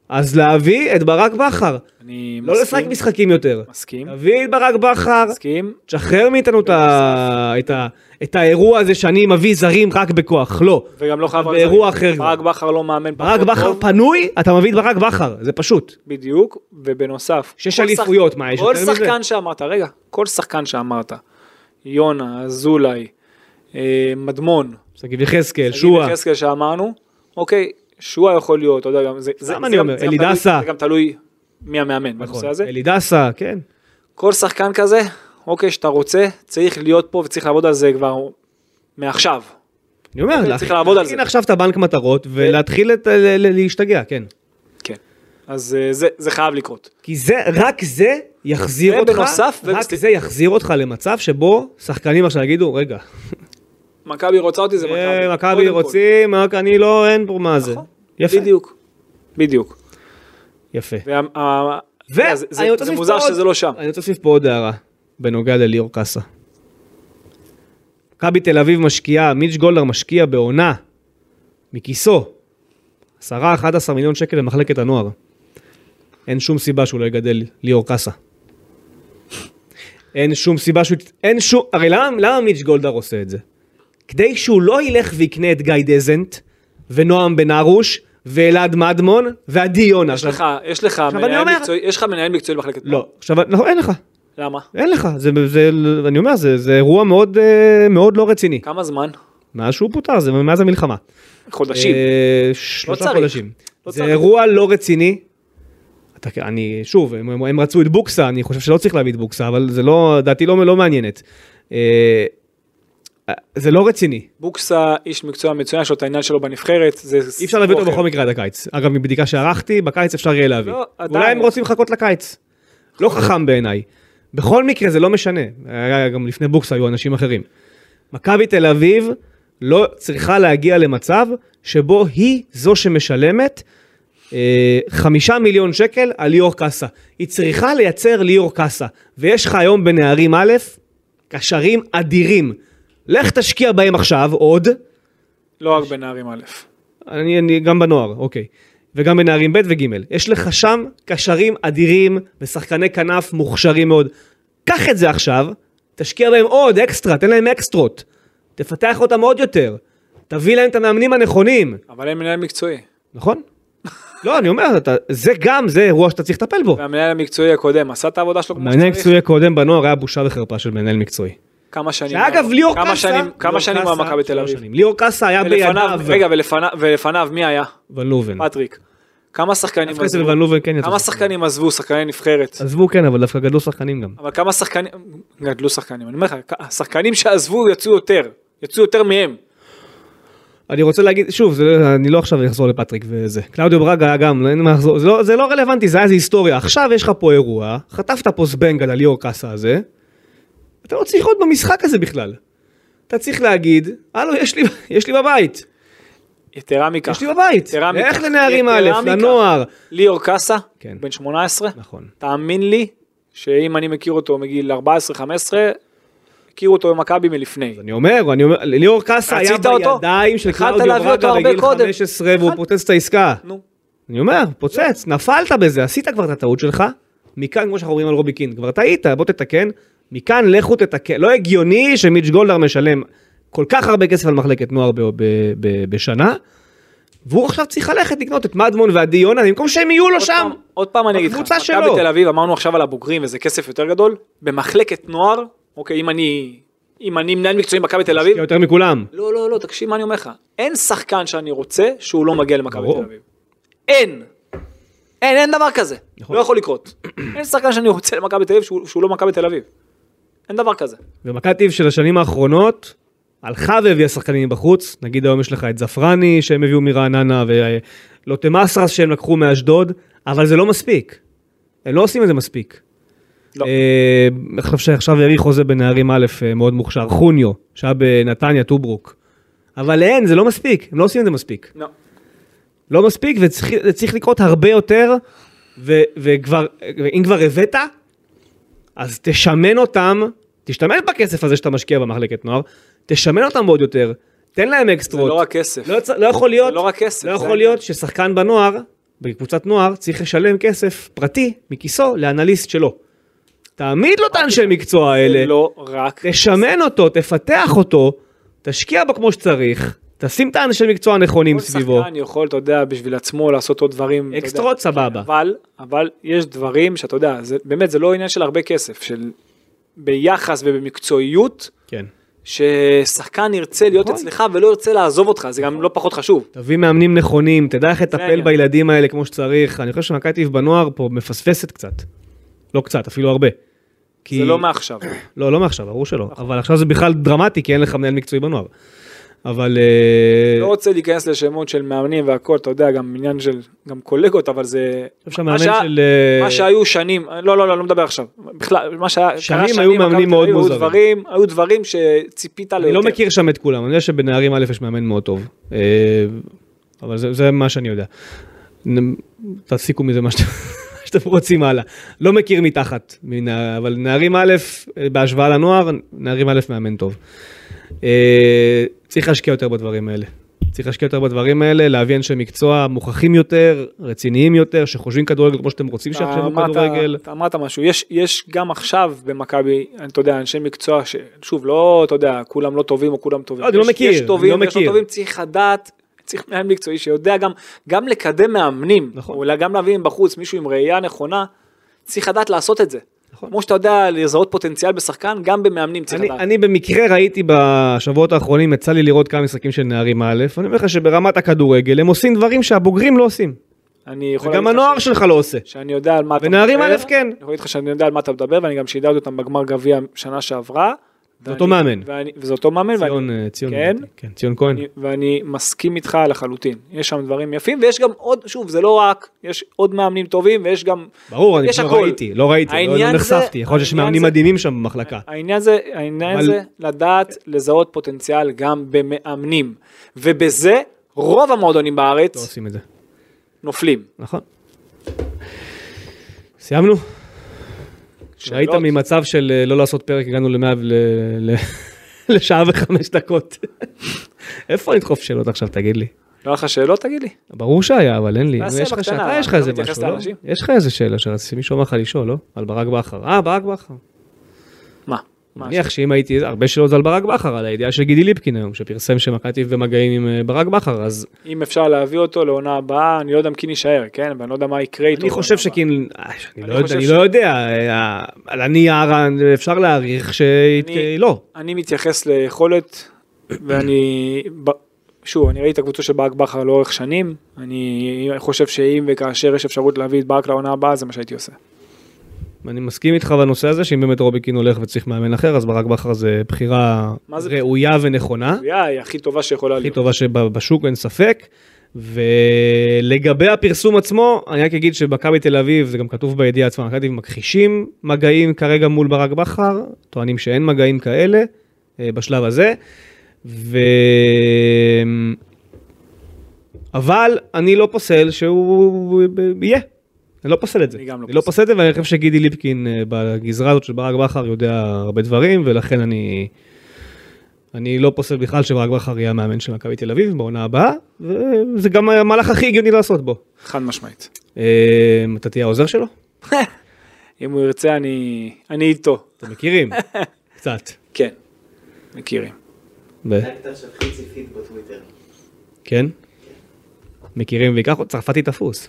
Speaker 2: אז להביא את ברק בכר.
Speaker 3: אני
Speaker 2: לא לשחק
Speaker 3: מסכים,
Speaker 2: משחקים יותר.
Speaker 3: מסכים,
Speaker 2: תביא את ברק בכר,
Speaker 3: מסכים,
Speaker 2: תשחרר מאיתנו את ה- את ה- את האירוע הזה שאני מביא זרים רק בכוח, לא.
Speaker 3: וגם לא חייב... רק
Speaker 2: באירוע
Speaker 3: זה.
Speaker 2: אחר כבר.
Speaker 3: ברק בכר לא מאמן
Speaker 2: ברק
Speaker 3: פחות
Speaker 2: בכר
Speaker 3: טוב,
Speaker 2: פנוי, אתה מביא את ברק בכר, זה פשוט.
Speaker 3: בדיוק, ובנוסף...
Speaker 2: שש
Speaker 3: כל
Speaker 2: אליפויות,
Speaker 3: שח-
Speaker 2: מה, יש
Speaker 3: כל
Speaker 2: יותר מזה?
Speaker 3: שחקן שאמרת, רגע, כל שחקן שאמרת, יונה, אזולאי, אה, מדמון,
Speaker 2: שגיב יחזקאל,
Speaker 3: שגיב
Speaker 2: שועה.
Speaker 3: יחזקאל שאמרנו, אוקיי, שועה יכול להיות, אתה יודע, גם זה... זה-
Speaker 2: סתם
Speaker 3: זה
Speaker 2: אני
Speaker 3: גם-
Speaker 2: אומר,
Speaker 3: זה גם
Speaker 2: אלי
Speaker 3: תלוי-
Speaker 2: דסה.
Speaker 3: זה גם תלוי מי המאמן
Speaker 2: נכון.
Speaker 3: בנושא הזה.
Speaker 2: אלי דסה, כן.
Speaker 3: כל שחקן כזה, אוקיי, שאתה רוצה, צריך להיות פה וצריך לעבוד על זה כבר מעכשיו.
Speaker 2: אני אומר,
Speaker 3: אוקיי, צריך
Speaker 2: להכין-
Speaker 3: לעבוד על
Speaker 2: להכין
Speaker 3: זה.
Speaker 2: עכשיו את הבנק מטרות ולהתחיל את- ל- ל- להשתגע, כן.
Speaker 3: כן. אז אה, זה, זה חייב לקרות.
Speaker 2: כי זה, רק זה יחזיר אותך,
Speaker 3: ובנוסף,
Speaker 2: רק
Speaker 3: ובסל-
Speaker 2: זה יחזיר אותך למצב שבו שחקנים עכשיו יגידו, רגע,
Speaker 3: מכבי רוצה אותי זה מכבי.
Speaker 2: אה,
Speaker 3: קודם
Speaker 2: מכבי
Speaker 3: כל. נכון.
Speaker 2: רוצים, רק אני לא, אין פה מה זה. יפה,
Speaker 3: בדיוק. בדיוק.
Speaker 2: יפה.
Speaker 3: וה, ה,
Speaker 2: ו-
Speaker 3: זה, זה,
Speaker 2: אני רוצה
Speaker 3: זה
Speaker 2: להוסיף
Speaker 3: מוזר
Speaker 2: פה עוד-
Speaker 3: שזה לא שם.
Speaker 2: אני רוצה להוסיף פה עוד הערה, בנוגע לליאור קאסה. מכבי תל אביב משקיעה, מיץ' גולדהר משקיע בעונה, מכיסו, 10-11 מיליון שקל למחלקת הנוער. אין שום סיבה שהוא לא יגדל ליאור קאסה. אין שום סיבה שהוא... אין שום... הרי למה, למה מיץ' גולדהר עושה את זה? כדי שהוא לא ילך ויקנה את גיא דזנט, ונועם בן ארוש, ואלעד מדמון, ועדי יונה.
Speaker 3: יש לך, יש לך
Speaker 2: אני
Speaker 3: מנהל
Speaker 2: אומר-
Speaker 3: מקצועי, יש לך מנהל מקצועי במחלקת נוער.
Speaker 2: לא, עכשיו, לא, אין לך,
Speaker 3: למה?
Speaker 2: אין לך, זה, זה, אני אומר, זה, זה אירוע מאוד, אה, מאוד לא רציני.
Speaker 3: כמה זמן?
Speaker 2: מאז שהוא פוטר, זה מאז המלחמה.
Speaker 3: חודשים.
Speaker 2: אה, שלושה
Speaker 3: לא צריך.
Speaker 2: חודשים.
Speaker 3: לא
Speaker 2: זה
Speaker 3: צריך.
Speaker 2: אירוע לא רציני. אתה, אני, שוב, הם, הם, הם רצו את בוקסה, אני חושב שלא צריך להביא את בוקסה, אבל זה לא, דעתי לא, לא מעניינת. אה, אה, זה לא רציני.
Speaker 3: בוקסה, איש מקצוע מצוין, יש לו את העניין שלו בנבחרת. זה
Speaker 2: אי אפשר להביא אותו
Speaker 3: סיפור
Speaker 2: בכל
Speaker 3: אחר.
Speaker 2: מקרה עד הקיץ. אגב, מבדיקה שערכתי, בקיץ אפשר יהיה להביא.
Speaker 3: אוקיי. לא, עדיין.
Speaker 2: אולי הם רוצים לחכות לקיץ. לא חכם בעיניי. בכל מקרה זה לא משנה. היה גם לפני בוקס היו אנשים אחרים. מכבי תל אביב לא צריכה להגיע למצב שבו היא זו שמשלמת אה, חמישה מיליון שקל על ליאור קאסה. היא צריכה לייצר ליאור קאסה. ויש לך היום בנערים א', קשרים אדירים. לך תשקיע בהם עכשיו עוד.
Speaker 3: לא רק בנערים א'.
Speaker 2: אני, אני גם בנוער, אוקיי. וגם בנערים ב' וג'. יש לך שם קשרים אדירים ושחקני כנף מוכשרים מאוד. קח את זה עכשיו, תשקיע בהם עוד אקסטרה, תן להם אקסטרות. תפתח אותם עוד יותר. תביא להם את המאמנים הנכונים,
Speaker 3: אבל אין מנהל מקצועי.
Speaker 2: נכון? לא, אני אומר, אתה, זה גם, זה אירוע שאתה צריך לטפל בו.
Speaker 3: והמנהל המקצועי הקודם עשה את העבודה שלו כמו
Speaker 2: המנהל
Speaker 3: שצריך.
Speaker 2: מקצועי הקודם בנוער היה בושה וחרפה של מנהל מקצועי.
Speaker 3: כמה שנים.
Speaker 2: שאגב,
Speaker 3: הוא-
Speaker 2: ליאור
Speaker 3: כמה
Speaker 2: קאסה...
Speaker 3: שנים- כמה
Speaker 2: ליאור
Speaker 3: שנים הוא
Speaker 2: קאסה,
Speaker 3: במכבי תל
Speaker 2: שלוש
Speaker 3: אביב.
Speaker 2: שנים. ליאור קאסה היה
Speaker 3: ולפניו,
Speaker 2: בידיו.
Speaker 3: רגע, ולפניו- ולפניו מי היה?
Speaker 2: ון לובן.
Speaker 3: פטריק. כמה שחקנים
Speaker 2: דווקא
Speaker 3: עזבו?
Speaker 2: אצל ון לובן כן יצא.
Speaker 3: כמה שחקנים עזבו? שחקני נבחרת.
Speaker 2: עזבו כן, אבל דווקא גדלו שחקנים גם.
Speaker 3: אבל כמה שחקנים, גדלו שחקנים, אני אומר לך, השחקנים שעזבו יצאו יותר, יצאו יותר מהם.
Speaker 2: אני רוצה להגיד, שוב, זה, לא- אני לא עכשיו אחזור לפטריק וזה. קלאודיו ברגה היה גם, אין מה לחזור, זה לא, זה לא רלוונטי, זה היה איזה היסטוריה. עכשיו יש לך פה אירוע, חטפת פה זבנג על הליאור קאסה הזה, אתה לא צריך להיות במשחק הזה בכלל. אתה צריך להגיד, הלו, יש לי, יש לי בבית,
Speaker 3: יתרה מכך,
Speaker 2: יש לי בבית.
Speaker 3: יתרה מכך.
Speaker 2: לך לנערים א',
Speaker 3: יתרה מכך.
Speaker 2: לנוער.
Speaker 3: ליאור קאסה,
Speaker 2: כן.
Speaker 3: בן 18,
Speaker 2: נכון.
Speaker 3: תאמין לי, שאם אני מכיר אותו מגיל 14-15, הכירו אותו במכבי מלפני.
Speaker 2: אני אומר, אני אומר, ליאור קאסה היה
Speaker 3: רצית אותו?
Speaker 2: בידיים של
Speaker 3: יכלת
Speaker 2: קלאודיו
Speaker 3: להביא אותו
Speaker 2: ברגה
Speaker 3: הרבה
Speaker 2: בגיל
Speaker 3: קודם.
Speaker 2: 15 והוא
Speaker 3: יכלת.
Speaker 2: פוצץ את העסקה.
Speaker 3: נו,
Speaker 2: אני אומר, פוצץ, נפלת בזה, עשית כבר את הטעות שלך, מכאן, כמו שאנחנו אומרים על רובי קין, כבר טעית, בוא תתקן, מכאן לכו תתקן, לא הגיוני שמיץ' גולדהר משלם כל כך הרבה כסף על מחלקת נוער ב- ב- ב- בשנה, והוא עכשיו צריך ללכת לקנות את מדמון ועדי יונה, במקום שהם יהיו לו
Speaker 3: עוד
Speaker 2: שם.
Speaker 3: פעם- עוד פעם אני אגיד לך,
Speaker 2: בקבוצה
Speaker 3: מכבי
Speaker 2: שלו.
Speaker 3: תל אביב אמרנו עכשיו על הבוגרים וזה כסף יותר גדול, במחלקת נוער, אוקיי, אם אני, אם אני מנהל מקצועי במכבי תל אביב,
Speaker 2: השקיע יותר מכולם.
Speaker 3: לא, לא, לא, תקשיב מה אני אומר לך. אין שחקן שאני רוצה שהוא לא מגיע למכבי
Speaker 2: ברור.
Speaker 3: תל אביב. אין. אין, אין דבר כזה.
Speaker 2: נכון.
Speaker 3: לא יכול לקרות. אין שחקן שאני רוצה למכבי תל אביב שהוא שהוא לא מכבי תל אביב. אין דבר כזה.
Speaker 2: ומכתיב של השנים האחרונות הלכה והביאה שחקנים מבחוץ, נגיד היום יש לך את זפרני שהם הביאו מרעננה ולוטה מסרס שהם לקחו מאשדוד, אבל זה לא מספיק. הם לא עושים את זה מספיק.
Speaker 3: לא.
Speaker 2: אה, אני חושב שעכשיו האריך חוזה בנערים א' אה, מאוד מוכשר, חוניו, שהיה בנתניה, טוברוק. אבל אין, זה לא מספיק, הם לא עושים את זה מספיק.
Speaker 3: לא.
Speaker 2: לא מספיק, וצריך זה צריך לקרות הרבה יותר, ו, וכבר, אם כבר הבאת, אז תשמן אותם, תשתמש בכסף הזה שאתה משקיע במחלקת נוער, תשמן אותם עוד יותר, תן להם
Speaker 3: זה
Speaker 2: אקסטרות.
Speaker 3: לא רק כסף.
Speaker 2: לא, צ- לא יכול להיות,
Speaker 3: זה לא רק כסף,
Speaker 2: לא
Speaker 3: זה
Speaker 2: יכול
Speaker 3: העניין.
Speaker 2: להיות ששחקן בנוער, בקבוצת נוער, צריך לשלם כסף פרטי מכיסו לאנליסט שלו. תעמיד לו את האנשי מקצוע
Speaker 3: זה
Speaker 2: האלה.
Speaker 3: אוקיי. לא רק...
Speaker 2: תשמן אותו, תפתח אותו, תשקיע בו כמו שצריך, תשים את האנשי מקצוע הנכונים
Speaker 3: כל
Speaker 2: סביבו.
Speaker 3: שחקן יכול, אתה יודע, בשביל עצמו לעשות עוד דברים. אתה יודע.
Speaker 2: אקסטרות סבבה.
Speaker 3: אבל, אבל יש דברים שאתה יודע, זה- באמת, זה לא עניין של הרבה כסף, של ביחס ובמקצועיות,
Speaker 2: כן.
Speaker 3: ששחקן ירצה להיות
Speaker 2: נכון.
Speaker 3: אצלך ולא ירצה לעזוב אותך, זה גם לא פחות חשוב.
Speaker 2: תביא מאמנים נכונים, תדע איך לטפל
Speaker 3: העניין.
Speaker 2: בילדים האלה כמו שצריך. אני חושב שמכבי תל אביב בנוער פה מפספסת קצת. לא קצת, אפילו הרבה. כי...
Speaker 3: זה לא נכון. מעכשיו.
Speaker 2: לא, לא מעכשיו, ברור שלא. אבל עכשיו זה בכלל דרמטי, כי אין לך מנהל מקצועי בנוער. אבל... אה,
Speaker 3: לא רוצה להיכנס לשמות של מאמנים והכל, אתה יודע, גם עניין של, גם קולגות, אבל זה...
Speaker 2: חושב שהמאמן
Speaker 3: מה שה-
Speaker 2: של, אה,
Speaker 3: מה שהיו שנים, לא, לא, לא, לא מדבר עכשיו. בכלל, מה שהיה... קרה
Speaker 2: שנים היו מאמנים
Speaker 3: מכבי תל
Speaker 2: מאוד
Speaker 3: אביב, היו
Speaker 2: מוזרים.
Speaker 3: דברים, היו דברים שציפית ליותר.
Speaker 2: אני לא מכיר שם את כולם, אני יודע שבנערים א' יש מאמן מאוד טוב. אה, אבל זה- זה מה שאני יודע. נ- תסיקו מזה מה שאתם- מה שאתם רוצים הלאה. לא מכיר מתחת, מן ה- אבל נערים א', אה, בהשוואה לנוער, נערים א' מאמן טוב. אה, צריך להשקיע יותר בדברים האלה. צריך להשקיע יותר בדברים האלה, להביא אנשי מקצוע מוכחים יותר, רציניים יותר, שחושבים כדורגל כמו שאתם רוצים
Speaker 3: אה, אתה
Speaker 2: שיחשבו
Speaker 3: אמרת-
Speaker 2: כדורגל.
Speaker 3: אתה אמרת משהו, יש, יש גם עכשיו במכבי, אני- אתה יודע, אנשי מקצוע, ש- שוב, לא, אתה יודע, כולם לא טובים או כולם טובים.
Speaker 2: לא, אני לא
Speaker 3: יש-
Speaker 2: מכיר,
Speaker 3: יש
Speaker 2: אני
Speaker 3: טובים,
Speaker 2: לא
Speaker 3: יש לא
Speaker 2: מכיר.
Speaker 3: טובים, צריך לדעת, צריך מנהל מקצועי שיודע גם, גם לקדם מאמנים,
Speaker 2: נכון.
Speaker 3: או גם להביא מבחוץ מישהו עם ראייה נכונה, צריך לדעת לעשות את זה.
Speaker 2: נכון.
Speaker 3: כמו שאתה יודע לזהות פוטנציאל בשחקן, גם במאמנים צריך
Speaker 2: אני,
Speaker 3: לדעת.
Speaker 2: אני במקרה ראיתי בשבועות האחרונים, יצא לי לראות כמה משחקים של נערים א', אני אומר לך שברמת הכדורגל הם עושים דברים שהבוגרים לא עושים.
Speaker 3: אני יכול
Speaker 2: וגם
Speaker 3: להגיד לך
Speaker 2: הנוער
Speaker 3: ש-
Speaker 2: שלך לא עושה.
Speaker 3: שאני יודע על מה אתה מדבר.
Speaker 2: ונערים א' כן.
Speaker 3: אני יכול להגיד לך שאני יודע על מה אתה מדבר, ואני גם שידרתי אותם בגמר גביע שנה שעברה.
Speaker 2: זה
Speaker 3: ואני-
Speaker 2: אותו מאמן.
Speaker 3: ואני- וזה אותו מאמן. ואני-
Speaker 2: ציון, אה, ציון,
Speaker 3: כן.
Speaker 2: לדעתי. כן, ציון כהן.
Speaker 3: אני- ואני מסכים איתך לחלוטין. יש שם דברים יפים, ויש גם עוד, שוב, זה לא רק, יש עוד מאמנים טובים, ויש גם...
Speaker 2: ברור, אני
Speaker 3: יש
Speaker 2: פשוט לא
Speaker 3: הכל.
Speaker 2: ראיתי, לא ראיתי, לא- לא
Speaker 3: העניין זה-
Speaker 2: נחשפתי, יכול להיות שיש
Speaker 3: העניין
Speaker 2: מאמנים
Speaker 3: זה- אה,
Speaker 2: מדהימים שם במחלקה.
Speaker 3: העניין זה, העניין
Speaker 2: אבל-
Speaker 3: זה לדעת לזהות פוטנציאל גם במאמנים. ובזה רוב המועדונים
Speaker 2: לא
Speaker 3: בארץ
Speaker 2: עושים את זה,
Speaker 3: נופלים.
Speaker 2: נכון. סיימנו? ראית
Speaker 3: שאלות?
Speaker 2: ממצב של אה, לא לעשות פרק, הגענו למאה ול... ל- לשעה וחמש דקות. איפה נדחוף שאלות עכשיו, תגיד לי?
Speaker 3: לא היה לך שאלות? תגיד לי.
Speaker 2: ברור שהיה, אבל אין לי.
Speaker 3: נעשה
Speaker 2: נו, יש לך
Speaker 3: בקטנה,
Speaker 2: שאלה, יש לך
Speaker 3: לא
Speaker 2: איזה
Speaker 3: מתייחס
Speaker 2: משהו, לא?
Speaker 3: לאנשים.
Speaker 2: יש לך איזה שאלה שרציתי, מישהו אמר לך לשאול, לא? על ברק בכר. אה, ברק בכר.
Speaker 3: מה? מה
Speaker 2: מניח שאם הייתי, הרבה שאלות זה על ברק בכר, על הידיעה של גידי ליפקין היום, שפרסם שמכבי במגעים עם אה, ברק בכר, אז
Speaker 3: אם אפשר להביא אותו לעונה הבאה, אני לא יודע אם קין יישאר, כן? ואני לא יודע מה יקרה איתו.
Speaker 2: אני חושב
Speaker 3: בעונה הבאה.
Speaker 2: שכאילו, אה, אני לא
Speaker 3: אני
Speaker 2: יודע,
Speaker 3: חושב
Speaker 2: אני
Speaker 3: ש-
Speaker 2: לא יודע, אה, על הנייר אה, אפשר להעריך ש...
Speaker 3: אני-
Speaker 2: לא.
Speaker 3: אני מתייחס ליכולת, ואני... ב- שוב, אני ראיתי את הקבוצה של ברק בכר לאורך שנים, אני חושב שאם וכאשר יש אפשרות להביא את ברק לעונה הבאה, זה מה שהייתי עושה.
Speaker 2: אני מסכים איתך בנושא הזה, שאם באמת רוביקין הולך וצריך מאמן אחר, אז ברק בכר זה בחירה
Speaker 3: מה זה-
Speaker 2: ראויה ונכונה,
Speaker 3: הקביעה היא הכי טובה שיכולה
Speaker 2: הכי
Speaker 3: להיות.
Speaker 2: טובה שבשוק, אין ספק. ולגבי הפרסום עצמו, אני רק אגיד שמכבי תל אביב, זה גם כתוב בידיעה עצמה, מכבי תל אביב מכחישים מגעים כרגע מול ברק בכר, טוענים שאין מגעים כאלה אה, בשלב הזה. ו... אבל אני לא פוסל שהוא יהיה. אני לא פוסל את זה.
Speaker 3: אני גם לא
Speaker 2: אני לא
Speaker 3: פוסל.
Speaker 2: פוסל את זה, ואני חושב שגידי ליפקין אה, בגזרה הזאת של ברק בכר יודע הרבה דברים, ולכן אני... אני לא פוסל בכלל שברק בכר יהיה המאמן של מכבי תל אביב בעונה הבאה, וזה גם המהלך הכי הגיוני לעשות בו.
Speaker 3: חד משמעית.
Speaker 2: אה, אתה תהיה העוזר שלו?
Speaker 3: אם הוא ירצה, אני... אני איתו.
Speaker 2: אתם מכירים? קצת.
Speaker 3: כן. מכירים.
Speaker 2: ב-
Speaker 4: טקטר של חיצי פיד בטוויטר.
Speaker 2: כן? מכירים ויקח עוד צרפתי תפוס.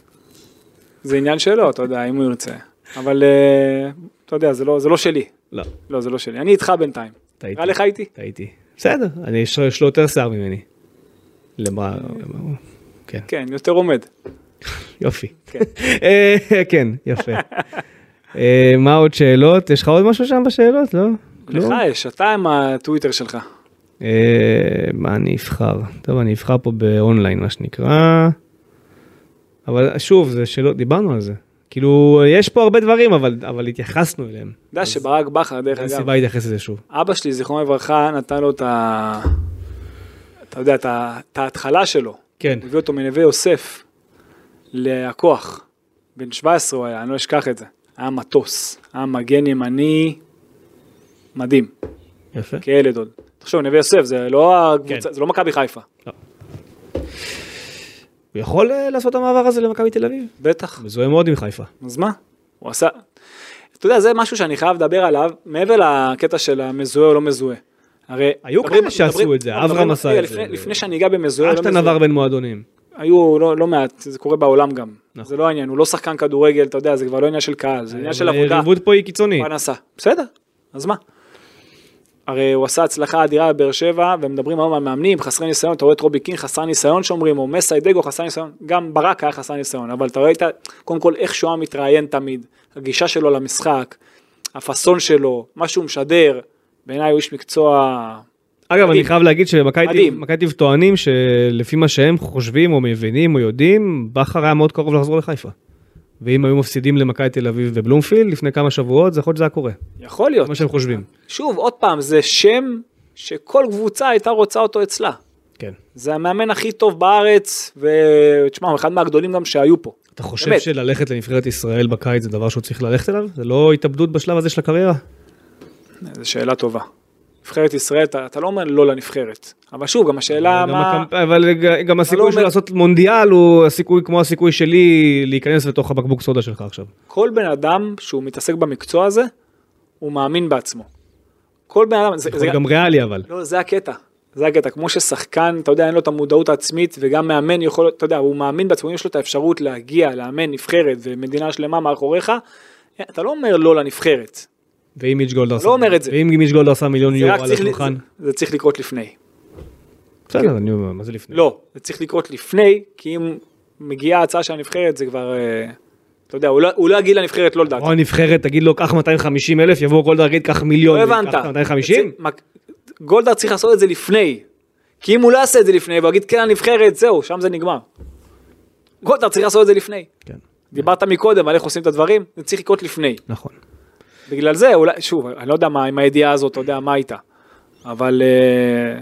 Speaker 3: זה עניין שלו, אתה יודע, אם הוא ירצה. אבל אה, אתה יודע, זה לא- זה לא שלי.
Speaker 2: לא,
Speaker 3: לא, זה לא שלי. אני איתך בינתיים.
Speaker 2: טעיתי.
Speaker 3: נראה לך איתי?
Speaker 2: טעיתי. בסדר, אני יש לו- יש לו יותר שיער ממני. למה? למה- כן,
Speaker 3: כן, יותר עומד.
Speaker 2: יופי.
Speaker 3: כן.
Speaker 2: אה, כן, יפה. אה, מה עוד שאלות? יש לך עוד משהו שם בשאלות? לא?
Speaker 3: לך יש, אתה עם הטוויטר שלך.
Speaker 2: אה, מה אני אבחר? טוב, אני אבחר פה באונליין, מה שנקרא. אבל שוב, זה שלא, דיברנו על זה. כאילו, יש פה הרבה דברים, אבל, אבל התייחסנו אליהם.
Speaker 3: אתה יודע שברק בכר, דרך
Speaker 2: אין
Speaker 3: אגב,
Speaker 2: סיבה להתייחס לזה שוב.
Speaker 3: אבא שלי, זיכרונו לברכה, נתן לו את ה... אתה יודע, את ה- את ההתחלה שלו.
Speaker 2: כן.
Speaker 3: הוא הביא אותו מנווה יוסף ללקוח. בן 17 הוא היה, אני לא אשכח את זה. היה מטוס, היה מגן ימני מדהים,
Speaker 2: יפה.
Speaker 3: כילד עוד. תחשוב, נווה יוסף, זה לא הקבוצה,
Speaker 2: כן.
Speaker 3: זה לא מכבי חיפה.
Speaker 2: הוא יכול אה, לעשות את המעבר הזה למכבי תל אביב?
Speaker 3: בטח.
Speaker 2: מזוהה מאוד עם חיפה.
Speaker 3: אז מה? הוא עשה... אתה יודע, זה משהו שאני חייב לדבר עליו, מעבר לקטע של המזוהה או לא מזוהה. הרי...
Speaker 2: היו
Speaker 3: מדברים-
Speaker 2: כמה שעשו
Speaker 3: מדברים-
Speaker 2: את זה,
Speaker 3: מדברים-
Speaker 2: אברהם עשה את
Speaker 3: לפני-
Speaker 2: זה.
Speaker 3: לפני שאני אגע במזוהה או לא
Speaker 2: אשטן
Speaker 3: מזוהה,
Speaker 2: עבר בין מועדונים.
Speaker 3: היו לא לא מעט, זה קורה בעולם גם.
Speaker 2: נכון. אה,
Speaker 3: זה לא העניין, הוא לא שחקן כדורגל, אתה יודע, זה כבר לא עניין של קהל, זה עניין של
Speaker 2: אבל
Speaker 3: עבודה.
Speaker 2: היריבות פה היא קיצונית.
Speaker 3: פרנסה. בסדר, אז מה? הרי הוא עשה הצלחה אדירה בבאר שבע, ומדברים היום על מאמנים חסרי ניסיון, אתה רואה את רובי קין חסר ניסיון שאומרים, או מסיידגו חסר ניסיון, גם ברק היה חסר ניסיון, אבל אתה רואה את, ה- קודם כל איך שואה מתראיין תמיד, הגישה שלו למשחק, הפאסון שלו, מה שהוא משדר, בעיניי הוא איש מקצוע
Speaker 2: אגב, אני
Speaker 3: מדהים.
Speaker 2: חייב להגיד שמכבי תל-
Speaker 3: מדהים.
Speaker 2: מכבי תל אביב טוענים שלפי מה שהם חושבים או מבינים או יודעים, בכר היה מאוד קרוב לחזור לחיפה. ואם היו מפסידים למכבי תל אביב בבלומפילד לפני כמה שבועות, זה יכול להיות שזה היה קורה.
Speaker 3: יכול להיות.
Speaker 2: מה שהם חושבים.
Speaker 3: שוב, עוד פעם, זה שם שכל קבוצה הייתה רוצה אותו אצלה.
Speaker 2: כן.
Speaker 3: זה המאמן הכי טוב בארץ, ותשמע, הוא אחד מהגדולים גם שהיו פה.
Speaker 2: אתה חושב
Speaker 3: באמת.
Speaker 2: שללכת לנבחרת ישראל בקיץ זה דבר שהוא צריך ללכת אליו? זה לא התאבדות בשלב הזה של הקריירה?
Speaker 3: זו שאלה טובה. נבחרת ישראל, אתה, אתה לא אומר לא לנבחרת. אבל שוב, גם השאלה
Speaker 2: גם
Speaker 3: מה...
Speaker 2: הקמפ- אבל ג- גם הסיכוי של
Speaker 3: לא אומר-
Speaker 2: לעשות מונדיאל הוא הסיכוי כמו הסיכוי שלי להיכנס לתוך הבקבוק סודה שלך עכשיו.
Speaker 3: כל בן אדם שהוא מתעסק במקצוע הזה, הוא מאמין בעצמו. כל בן אדם, זה,
Speaker 2: זה
Speaker 3: זה,
Speaker 2: נכון, גם ריאלי אבל.
Speaker 3: לא, זה הקטע. זה הקטע, כמו ששחקן, אתה יודע, אין לו את המודעות העצמית, וגם מאמן יכול, אתה יודע, הוא מאמין בעצמו, אם יש לו את האפשרות להגיע, לאמן נבחרת ומדינה שלמה מאחוריך, אתה לא אומר לא לנבחרת,
Speaker 2: ואם מיץ' גולדהר
Speaker 3: לא אומר את זה.
Speaker 2: ואם מיץ' גולדהר שם מיליון
Speaker 3: זה
Speaker 2: יורו
Speaker 3: רק
Speaker 2: על
Speaker 3: צריך, ל-
Speaker 2: השולחן.
Speaker 3: זה, זה צריך לקרות לפני.
Speaker 2: בסדר, אני אומר, מה זה לפני?
Speaker 3: לא, זה צריך לקרות לפני, כי אם מגיעה ההצעה של הנבחרת, זה כבר, אה, אתה יודע, הוא לא- הוא לא יגיד לנבחרת לא לדעתי.
Speaker 2: או הנבחרת תגיד לו קח 250 אלף יבוא גולדהר יגיד קח מיליון.
Speaker 3: לא הבנת.
Speaker 2: קח 250?
Speaker 3: זה- מה- גולדהר צריך לעשות את זה לפני. כי אם הוא לא יעשה את זה לפני, והוא יגיד כן הנבחרת, זהו, שם זה נגמר. גולדהר צריך לעשות את זה לפני.
Speaker 2: כן,
Speaker 3: דיברת מקודם על איך עושים את הדברים, זה צריך לקרות לפני.
Speaker 2: נכון.
Speaker 3: בגלל זה, אולי, שוב, אני לא יודע מה, עם הידיעה הזאת, אתה יודע, מה הייתה. אבל אה,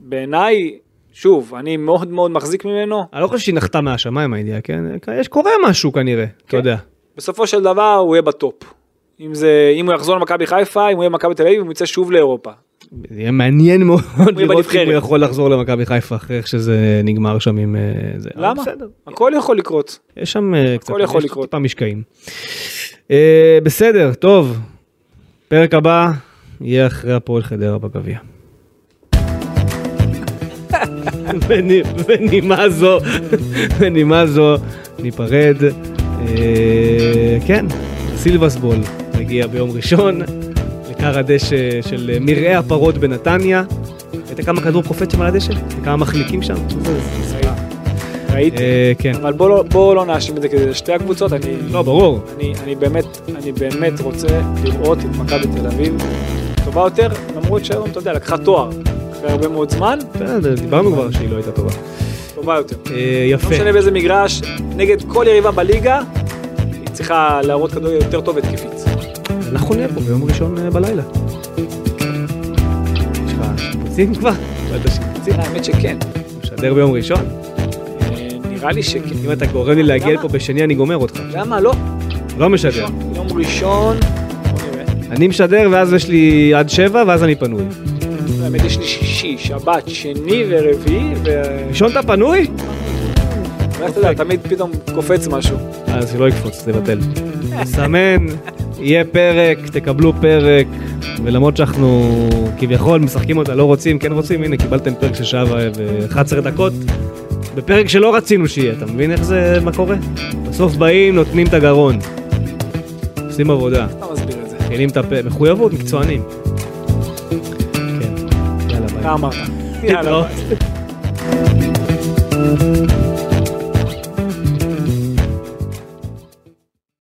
Speaker 3: בעיניי, שוב, אני מאוד מאוד מחזיק ממנו.
Speaker 2: אני לא חושב שהיא נחתה מהשמיים הידיעה, כן? יש קורה משהו כנראה,
Speaker 3: כן.
Speaker 2: אתה יודע.
Speaker 3: בסופו של דבר הוא יהיה בטופ. אם זה, אם הוא יחזור למכבי חיפה, אם הוא יהיה במכבי תל אביב, אם הוא יצא שוב
Speaker 2: אה,
Speaker 3: לאירופה.
Speaker 2: זה יהיה מעניין מאוד לראות אם
Speaker 3: בנבחרת.
Speaker 2: הוא יכול לחזור למכבי חיפה אחרי איך שזה נגמר שם עם אה, זה. אבל
Speaker 3: למה?
Speaker 2: בסדר.
Speaker 3: הכל יכול לקרות.
Speaker 2: יש שם אה, קצת,
Speaker 3: יכול
Speaker 2: יש
Speaker 3: לקרות.
Speaker 2: טיפה משקעים. אה, בסדר, טוב. פרק הבא יהיה אחרי הפועל חדרה בגביע. בני- בנימה זו, בנימה זו, ניפרד. אה, כן, סילבס בול מגיע ביום ראשון לכר הדשא של מרעה הפרות בנתניה. ראית כמה כדור קופץ שם על הדשא? כמה מחליקים שם?
Speaker 3: ראיתי.
Speaker 2: אה, כן.
Speaker 3: אבל בוא לא- בוא לא נאשים את זה כזה, שתי הקבוצות, אני,
Speaker 2: לא, ברור.
Speaker 3: אני, אני באמת, אני באמת רוצה לראות את מכבי תל אביב טובה יותר, למרות שהיום, אתה יודע, לקחה תואר. אחרי הרבה מאוד זמן,
Speaker 2: בסדר, דיברנו כבר שהיא לא הייתה טובה.
Speaker 3: טובה יותר.
Speaker 2: אה,
Speaker 3: לא
Speaker 2: יפה.
Speaker 3: משנה באיזה מגרש, נגד כל יריבה בליגה, היא צריכה להראות כדור יותר טוב התקפית.
Speaker 2: אנחנו נהיה פה ביום ראשון אה, בלילה. יש לך שיפוצים כבר? קיבלת שיפוצים?
Speaker 3: האמת שכן.
Speaker 2: משדר ביום ראשון?
Speaker 3: אה, נראה לי שכן.
Speaker 2: אם אתה גורם לי להגיע
Speaker 3: למה?
Speaker 2: לפה בשני אני גומר אותך.
Speaker 3: למה לא?
Speaker 2: לא משדר.
Speaker 3: יום ראשון, בוא נראה.
Speaker 2: אני משדר ואז יש לי עד שבע ואז אני פנוי.
Speaker 3: האמת יש לי שישי, שבת, שני ורביעי, ו...
Speaker 2: ראשון אתה פנוי?
Speaker 3: אתה יודע, תמיד פתאום קופץ משהו.
Speaker 2: אז שלא יקפוץ, תבטל. סמן, יהיה פרק, תקבלו פרק, ולמרות שאנחנו כביכול משחקים אותה, לא רוצים, כן רוצים, הנה קיבלתם פרק של שעה ו-11 דקות, בפרק שלא רצינו שיהיה, אתה מבין איך זה, מה קורה? בסוף באים, נותנים את הגרון. עושים עבודה,
Speaker 3: אתה מסביר את זה.
Speaker 2: מכינים את הפה, מחויבות, מקצוענים. כן, יאללה ביי. לא?
Speaker 3: אתה אמרת. יאללה,
Speaker 2: להתראות.
Speaker 3: ביי.